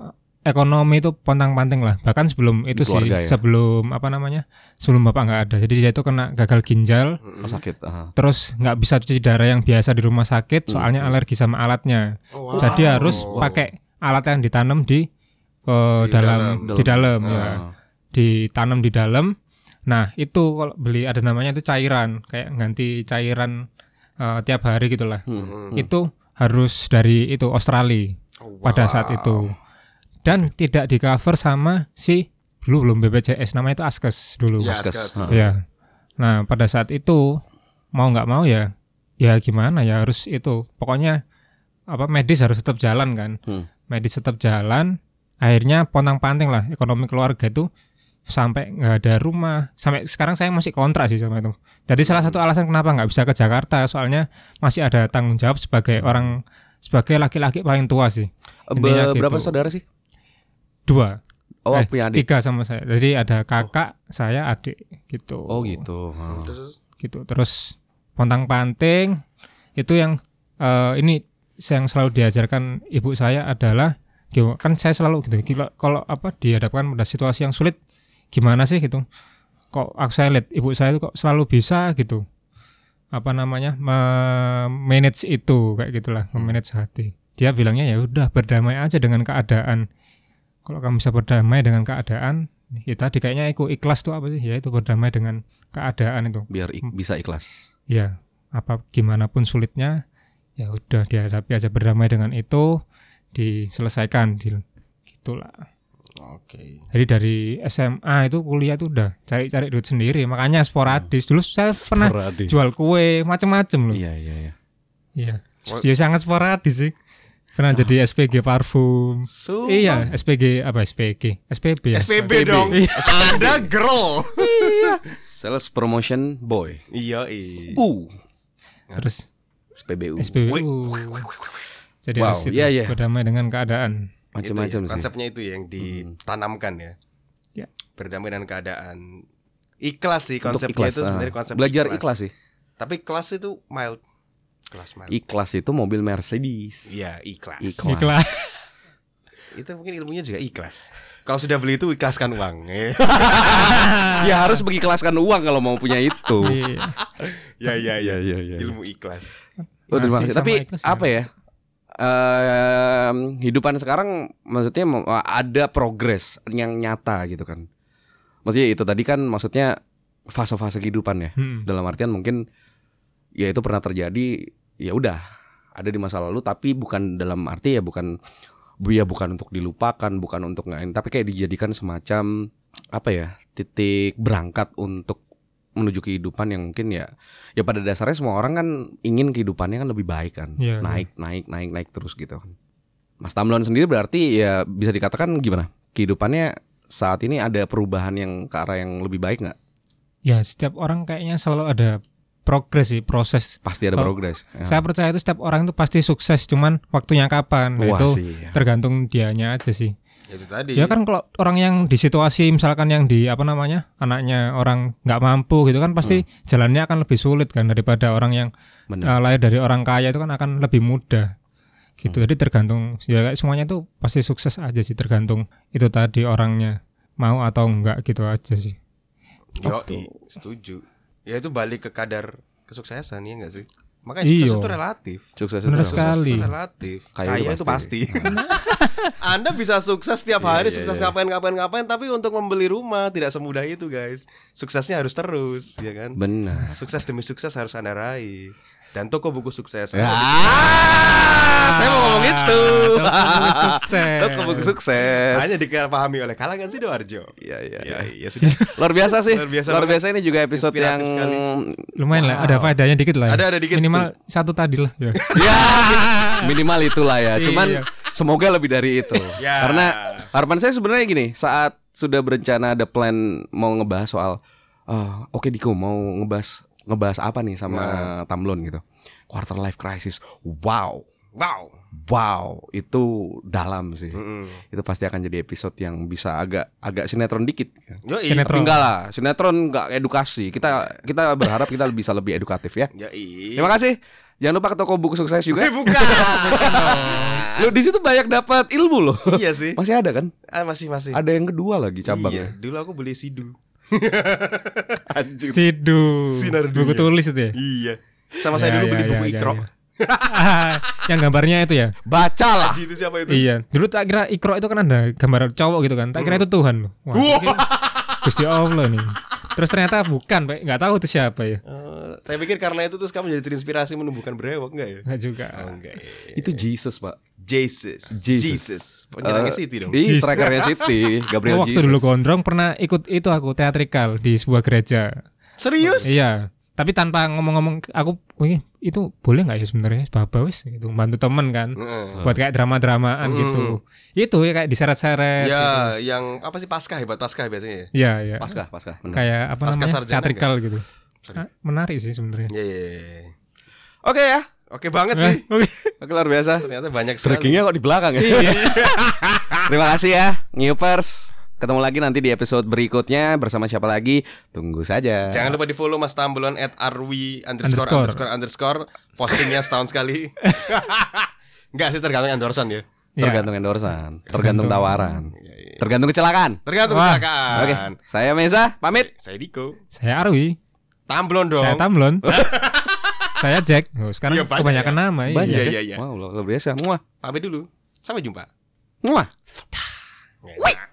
[SPEAKER 5] ekonomi itu pontang-panting lah. Bahkan sebelum itu sih,
[SPEAKER 4] keluarga ya?
[SPEAKER 5] sebelum apa namanya, sebelum bapak nggak ada. Jadi dia itu kena gagal ginjal,
[SPEAKER 4] Oh, sakit ah.
[SPEAKER 5] terus nggak bisa cuci darah yang biasa di rumah sakit, soalnya alergi sama alatnya.
[SPEAKER 3] Oh, Hmm, wow.
[SPEAKER 5] Jadi harus pakai alat yang ditanam di, eh,
[SPEAKER 3] Di
[SPEAKER 5] dalam,
[SPEAKER 4] dalam.
[SPEAKER 5] di dalam, ya.
[SPEAKER 4] Ah.
[SPEAKER 5] ditanam di dalam. Nah, itu kalau beli ada namanya itu cairan, kayak ganti cairan eh, tiap hari gitulah.
[SPEAKER 3] Hmm.
[SPEAKER 5] Itu harus dari itu Australia
[SPEAKER 3] Oh,
[SPEAKER 5] pada saat
[SPEAKER 3] wow.
[SPEAKER 5] itu. Dan tidak di cover sama si dulu belum BPJS namanya itu Askes dulu.
[SPEAKER 3] Ya,
[SPEAKER 4] Askes.
[SPEAKER 3] Askes.
[SPEAKER 4] Heeh.
[SPEAKER 5] Ya. Nah, pada saat itu mau nggak mau ya, ya gimana ya harus itu. Pokoknya apa medis harus tetap jalan kan.
[SPEAKER 4] Hmm.
[SPEAKER 5] Medis tetap jalan. Akhirnya pontang-panting lah ekonomi keluarga itu sampai nggak ada rumah. Sampai sekarang saya masih kontrak sih sama itu. Jadi salah satu alasan kenapa nggak bisa ke Jakarta soalnya masih ada tanggung jawab sebagai orang sebagai laki-laki paling tua sih.
[SPEAKER 4] Eh,
[SPEAKER 5] Intinya
[SPEAKER 7] Be- berapa
[SPEAKER 5] gitu.
[SPEAKER 7] saudara sih?
[SPEAKER 5] Dua,
[SPEAKER 7] Oh,
[SPEAKER 5] Eh,
[SPEAKER 7] punya adik.
[SPEAKER 5] tiga sama saya. Jadi ada kakak, saya, adik gitu.
[SPEAKER 7] Oh gitu. Ah.
[SPEAKER 3] Terus
[SPEAKER 5] gitu terus pontang panting itu yang eh, ini yang selalu diajarkan ibu saya adalah gitu, kan saya selalu gitu kalau kalau apa dihadapkan pada situasi yang sulit gimana sih gitu kok aku saya lihat ibu saya itu kok selalu bisa gitu apa namanya manage itu kayak gitulah manage hati dia bilangnya ya udah berdamai aja dengan keadaan kalau kamu bisa berdamai dengan keadaan ya tadi kayaknya iku ikhlas tuh apa sih ya itu berdamai dengan keadaan itu
[SPEAKER 4] biar ik- bisa ikhlas.
[SPEAKER 5] ya apa gimana pun sulitnya ya udah dihadapi aja berdamai dengan itu diselesaikan di gitulah
[SPEAKER 3] oke.
[SPEAKER 5] jadi dari SMA itu kuliah itu udah cari-cari duit sendiri makanya sporadis dulu saya pernah
[SPEAKER 4] Sporadis.
[SPEAKER 5] jual kue macem-macem loh
[SPEAKER 4] Iya iya iya.
[SPEAKER 5] iya ya sangat sporadis sih pernah
[SPEAKER 4] Ah.
[SPEAKER 5] jadi SPG parfum
[SPEAKER 3] So,
[SPEAKER 5] iya SPG apa SPG SPB ya.
[SPEAKER 3] SPB dong.
[SPEAKER 4] Iya.
[SPEAKER 3] Anda girl.
[SPEAKER 4] Sales promotion boy.
[SPEAKER 3] Iya,
[SPEAKER 4] U.
[SPEAKER 5] terus
[SPEAKER 4] SPBU.
[SPEAKER 5] SPBU jadi
[SPEAKER 4] Wow,
[SPEAKER 5] harus itu,
[SPEAKER 4] iya, iya.
[SPEAKER 5] berdamai dengan keadaan
[SPEAKER 4] Macam-macam
[SPEAKER 3] Itu ya,
[SPEAKER 4] sih.
[SPEAKER 3] Konsepnya itu yang
[SPEAKER 4] Hmm.
[SPEAKER 3] ditanamkan ya.
[SPEAKER 5] Ya.
[SPEAKER 3] Berdamai dengan keadaan. Ikhlas sih konsepnya itu
[SPEAKER 4] ah.
[SPEAKER 3] sebenarnya konsep
[SPEAKER 4] Belajar ikhlas. sih.
[SPEAKER 3] Tapi kelas itu mild. Kelas mild.
[SPEAKER 4] Ikhlas itu mobil Mercedes.
[SPEAKER 3] Iya, ikhlas.
[SPEAKER 4] Ikhlas. Wah.
[SPEAKER 5] Ikhlas
[SPEAKER 3] Itu mungkin ilmunya juga ikhlas. Kalau sudah beli itu ikhlaskan (laughs) uang. Eh,
[SPEAKER 4] Ya harus mengikhlaskan uang kalau mau punya itu.
[SPEAKER 5] Iya.
[SPEAKER 3] ya, ya, ya,
[SPEAKER 4] iya
[SPEAKER 3] Ilmu ikhlas.
[SPEAKER 4] Oh, terima
[SPEAKER 5] Masih
[SPEAKER 4] kasih.
[SPEAKER 5] sama
[SPEAKER 4] Tapi
[SPEAKER 5] ikhlas ya.
[SPEAKER 4] apa ya? Eh hidupan sekarang maksudnya mem- ada progres yang nyata gitu kan. Maksudnya itu tadi kan maksudnya fase-fase kehidupan ya.
[SPEAKER 5] Hmm.
[SPEAKER 4] Dalam artian mungkin ya itu pernah terjadi ya udah ada di masa lalu tapi bukan dalam arti ya bukan ya bukan untuk dilupakan, bukan untuk ngain, tapi kayak dijadikan semacam apa ya? titik berangkat untuk menuju kehidupan yang mungkin ya ya pada dasarnya semua orang kan ingin kehidupannya kan lebih baik kan
[SPEAKER 5] Iya,
[SPEAKER 4] naik naik naik naik terus gitu kan Mas Tamlon sendiri berarti ya bisa dikatakan gimana kehidupannya saat ini ada perubahan yang ke arah yang lebih baik nggak
[SPEAKER 5] Ya setiap orang kayaknya selalu ada progres sih proses.
[SPEAKER 4] pasti ada
[SPEAKER 5] Kalau-
[SPEAKER 4] progres ya.
[SPEAKER 5] Saya percaya itu setiap orang itu pasti sukses, cuman waktunya kapan Nah,
[SPEAKER 4] Wah,
[SPEAKER 5] itu
[SPEAKER 4] sih, Iya. ya.
[SPEAKER 5] tergantung dianya aja sih.
[SPEAKER 3] Itu tadi.
[SPEAKER 5] Ya kan kalau orang yang di situasi misalkan yang di apa namanya anaknya orang nggak mampu gitu
[SPEAKER 4] Hmm.
[SPEAKER 5] kan pasti jalannya akan lebih sulit kan daripada orang yang
[SPEAKER 4] Bener.
[SPEAKER 5] eh, lahir dari orang kaya itu kan akan lebih mudah
[SPEAKER 4] Hmm.
[SPEAKER 5] gitu. Jadi tergantung ya kayak semuanya itu pasti sukses aja sih tergantung itu tadi orangnya mau atau enggak gitu aja sih.
[SPEAKER 3] Yoi, setuju. Ya itu balik ke kadar kesuksesan ya enggak sih? Makanya
[SPEAKER 5] Iya.
[SPEAKER 3] sukses itu relatif.
[SPEAKER 4] sukses
[SPEAKER 5] Bener
[SPEAKER 4] terus.
[SPEAKER 5] sekali.
[SPEAKER 3] Sukses itu relatif.
[SPEAKER 4] Kaya
[SPEAKER 3] Kaya,
[SPEAKER 4] itu
[SPEAKER 3] itu (laughs) pasti. Iya, Anda bisa sukses setiap hari, sukses ngapain-ngapain-ngapain, tapi untuk membeli rumah tidak semudah itu, guys. Suksesnya harus terus, ya kan?
[SPEAKER 4] benar
[SPEAKER 3] Sukses demi sukses harus Anda raih. Dan toko buku sukses.
[SPEAKER 4] Ya. ah, saya mau ngomong itu (laughs)
[SPEAKER 5] sukses.
[SPEAKER 4] Toko buku sukses
[SPEAKER 3] Hanya dipahami oleh kalangan Sidoarjo.
[SPEAKER 4] Iya, iya,
[SPEAKER 3] Ya,
[SPEAKER 4] iya.
[SPEAKER 3] iya sudah.
[SPEAKER 4] (laughs) Luar biasa sih.
[SPEAKER 3] Luar biasa
[SPEAKER 4] Luar
[SPEAKER 3] banget.
[SPEAKER 4] biasa ini juga episode yang
[SPEAKER 3] Inspiratif sekali.
[SPEAKER 5] Lumayan lah, ada faedahnya dikit lah. ya.
[SPEAKER 3] Ada- ada dikit.
[SPEAKER 5] Minimal satu tadi lah. (laughs) Ya.
[SPEAKER 4] (laughs) ya minimal itulah ya. Cuman
[SPEAKER 5] Iya.
[SPEAKER 4] semoga lebih dari itu.
[SPEAKER 3] Ya.
[SPEAKER 4] Karena harapan saya sebenarnya gini, saat sudah berencana ada plan mau ngebahas soal "Ah, oke Diko mau ngebahas ngebahas apa nih sama Tamlon gitu. Quarter life crisis. Wow.
[SPEAKER 3] Wow.
[SPEAKER 4] Wow, itu dalam sih.
[SPEAKER 3] Mm-mm.
[SPEAKER 4] Itu pasti akan jadi episode yang bisa agak agak sinetron dikit.
[SPEAKER 3] Yoi.
[SPEAKER 4] Tapi
[SPEAKER 5] Sinetron.
[SPEAKER 4] enggak lah, sinetron enggak edukasi. Kita kita berharap kita (laughs) bisa lebih edukatif ya.
[SPEAKER 3] Yoi.
[SPEAKER 4] Terima kasih. Jangan lupa ke toko buku sukses juga.
[SPEAKER 3] Eh,
[SPEAKER 4] (laughs)
[SPEAKER 3] bukan.
[SPEAKER 4] Lu di situ banyak dapat ilmu loh.
[SPEAKER 3] iya sih.
[SPEAKER 4] Masih ada kan?
[SPEAKER 3] Ah, masih masih.
[SPEAKER 4] Ada yang kedua lagi
[SPEAKER 3] Iya,
[SPEAKER 4] cabangnya.
[SPEAKER 3] Dulu aku beli sidu.
[SPEAKER 4] (laughs)
[SPEAKER 5] Sidu.
[SPEAKER 3] Sinar
[SPEAKER 5] buku
[SPEAKER 3] dunia.
[SPEAKER 5] tulis itu ya. iya,
[SPEAKER 3] Iya. Sama
[SPEAKER 4] Ya,
[SPEAKER 3] saya dulu beli buku Ikro.
[SPEAKER 5] (laughs) yang gambarnya itu ya.
[SPEAKER 4] Bacalah.
[SPEAKER 3] Haji Ah, itu siapa itu?
[SPEAKER 5] Iya. Dulu tak kira
[SPEAKER 3] Hmm.
[SPEAKER 5] ikro itu kan ada gambar cowok gitu kan. Tak kira itu Tuhan loh. Wah, mungkin Gusti Allah nih. Terus ternyata bukan, Pak. nggak tahu itu siapa ya.
[SPEAKER 3] Eh, saya pikir karena itu terus kamu jadi terinspirasi menumbuhkan brewok enggak ya?
[SPEAKER 5] Enggak juga.
[SPEAKER 3] Oh, enggak. ya.
[SPEAKER 4] Itu Jesus, Pak.
[SPEAKER 3] Jesus.
[SPEAKER 4] Jesus.
[SPEAKER 3] Penyerangnya
[SPEAKER 4] Eh,
[SPEAKER 3] City dong.
[SPEAKER 4] Di
[SPEAKER 5] Jesus.
[SPEAKER 4] strikernya City, Gabriel
[SPEAKER 5] waktu
[SPEAKER 4] Jesus.
[SPEAKER 5] dulu gondrong pernah ikut itu aku teatrikal di sebuah gereja.
[SPEAKER 3] Serius?
[SPEAKER 5] Iya. Tapi tanpa ngomong-ngomong aku wih, itu boleh nggak ya sebenarnya Bapak wis gitu bantu temen kan.
[SPEAKER 3] Heeh.
[SPEAKER 5] Buat kayak drama-dramaan
[SPEAKER 3] Hmm.
[SPEAKER 5] gitu. Itu ya kayak
[SPEAKER 3] Ya,
[SPEAKER 5] diseret-seret gitu.
[SPEAKER 3] yang apa sih paskah hebat paskah biasanya ya?
[SPEAKER 5] Iya, iya.
[SPEAKER 4] Paskah, Paskah. benar.
[SPEAKER 5] Kayak apa
[SPEAKER 3] Pasca
[SPEAKER 5] namanya?
[SPEAKER 3] sarjana
[SPEAKER 5] Teatrikal gitu.
[SPEAKER 3] Sorry.
[SPEAKER 5] Ah, menarik sih sebenarnya.
[SPEAKER 3] Iya, iya, iya.
[SPEAKER 4] Oke ya,
[SPEAKER 3] Oke banget Iya sih.
[SPEAKER 5] Eh, oke.
[SPEAKER 4] luar biasa.
[SPEAKER 3] Ternyata banyak sekali.
[SPEAKER 4] Trackingnya kok di belakang ya. (laughs) Terima kasih ya, Newpers. Ketemu lagi nanti di episode berikutnya bersama siapa lagi? Tunggu saja.
[SPEAKER 3] Jangan lupa di follow Mas Tambulan at rw underscore
[SPEAKER 5] Underscore.
[SPEAKER 3] underscore underscore postingnya setahun sekali. (laughs) Enggak sih tergantung endorsan ya.
[SPEAKER 5] Iya.
[SPEAKER 4] Tergantung endorsan, tergantung tawaran,
[SPEAKER 3] Iya,
[SPEAKER 4] tergantung kecelakaan.
[SPEAKER 3] Tergantung
[SPEAKER 5] Wah.
[SPEAKER 3] kecelakaan.
[SPEAKER 4] Oke, saya Meza pamit.
[SPEAKER 3] Saya Diko.
[SPEAKER 5] Saya Arwi,
[SPEAKER 3] Tamblon dong.
[SPEAKER 5] saya
[SPEAKER 3] (laughs)
[SPEAKER 5] Tamlon. saya Jack. Oh,
[SPEAKER 3] Iya,
[SPEAKER 5] sekarang
[SPEAKER 3] banyak
[SPEAKER 5] kebanyakan
[SPEAKER 3] ya.
[SPEAKER 5] nama iya.
[SPEAKER 3] Iya,
[SPEAKER 4] ya?
[SPEAKER 3] iya, iya.
[SPEAKER 4] Wow, luar biasa. Muah.
[SPEAKER 3] Pamit dulu. Sampai jumpa.
[SPEAKER 4] Muah.
[SPEAKER 3] Wih.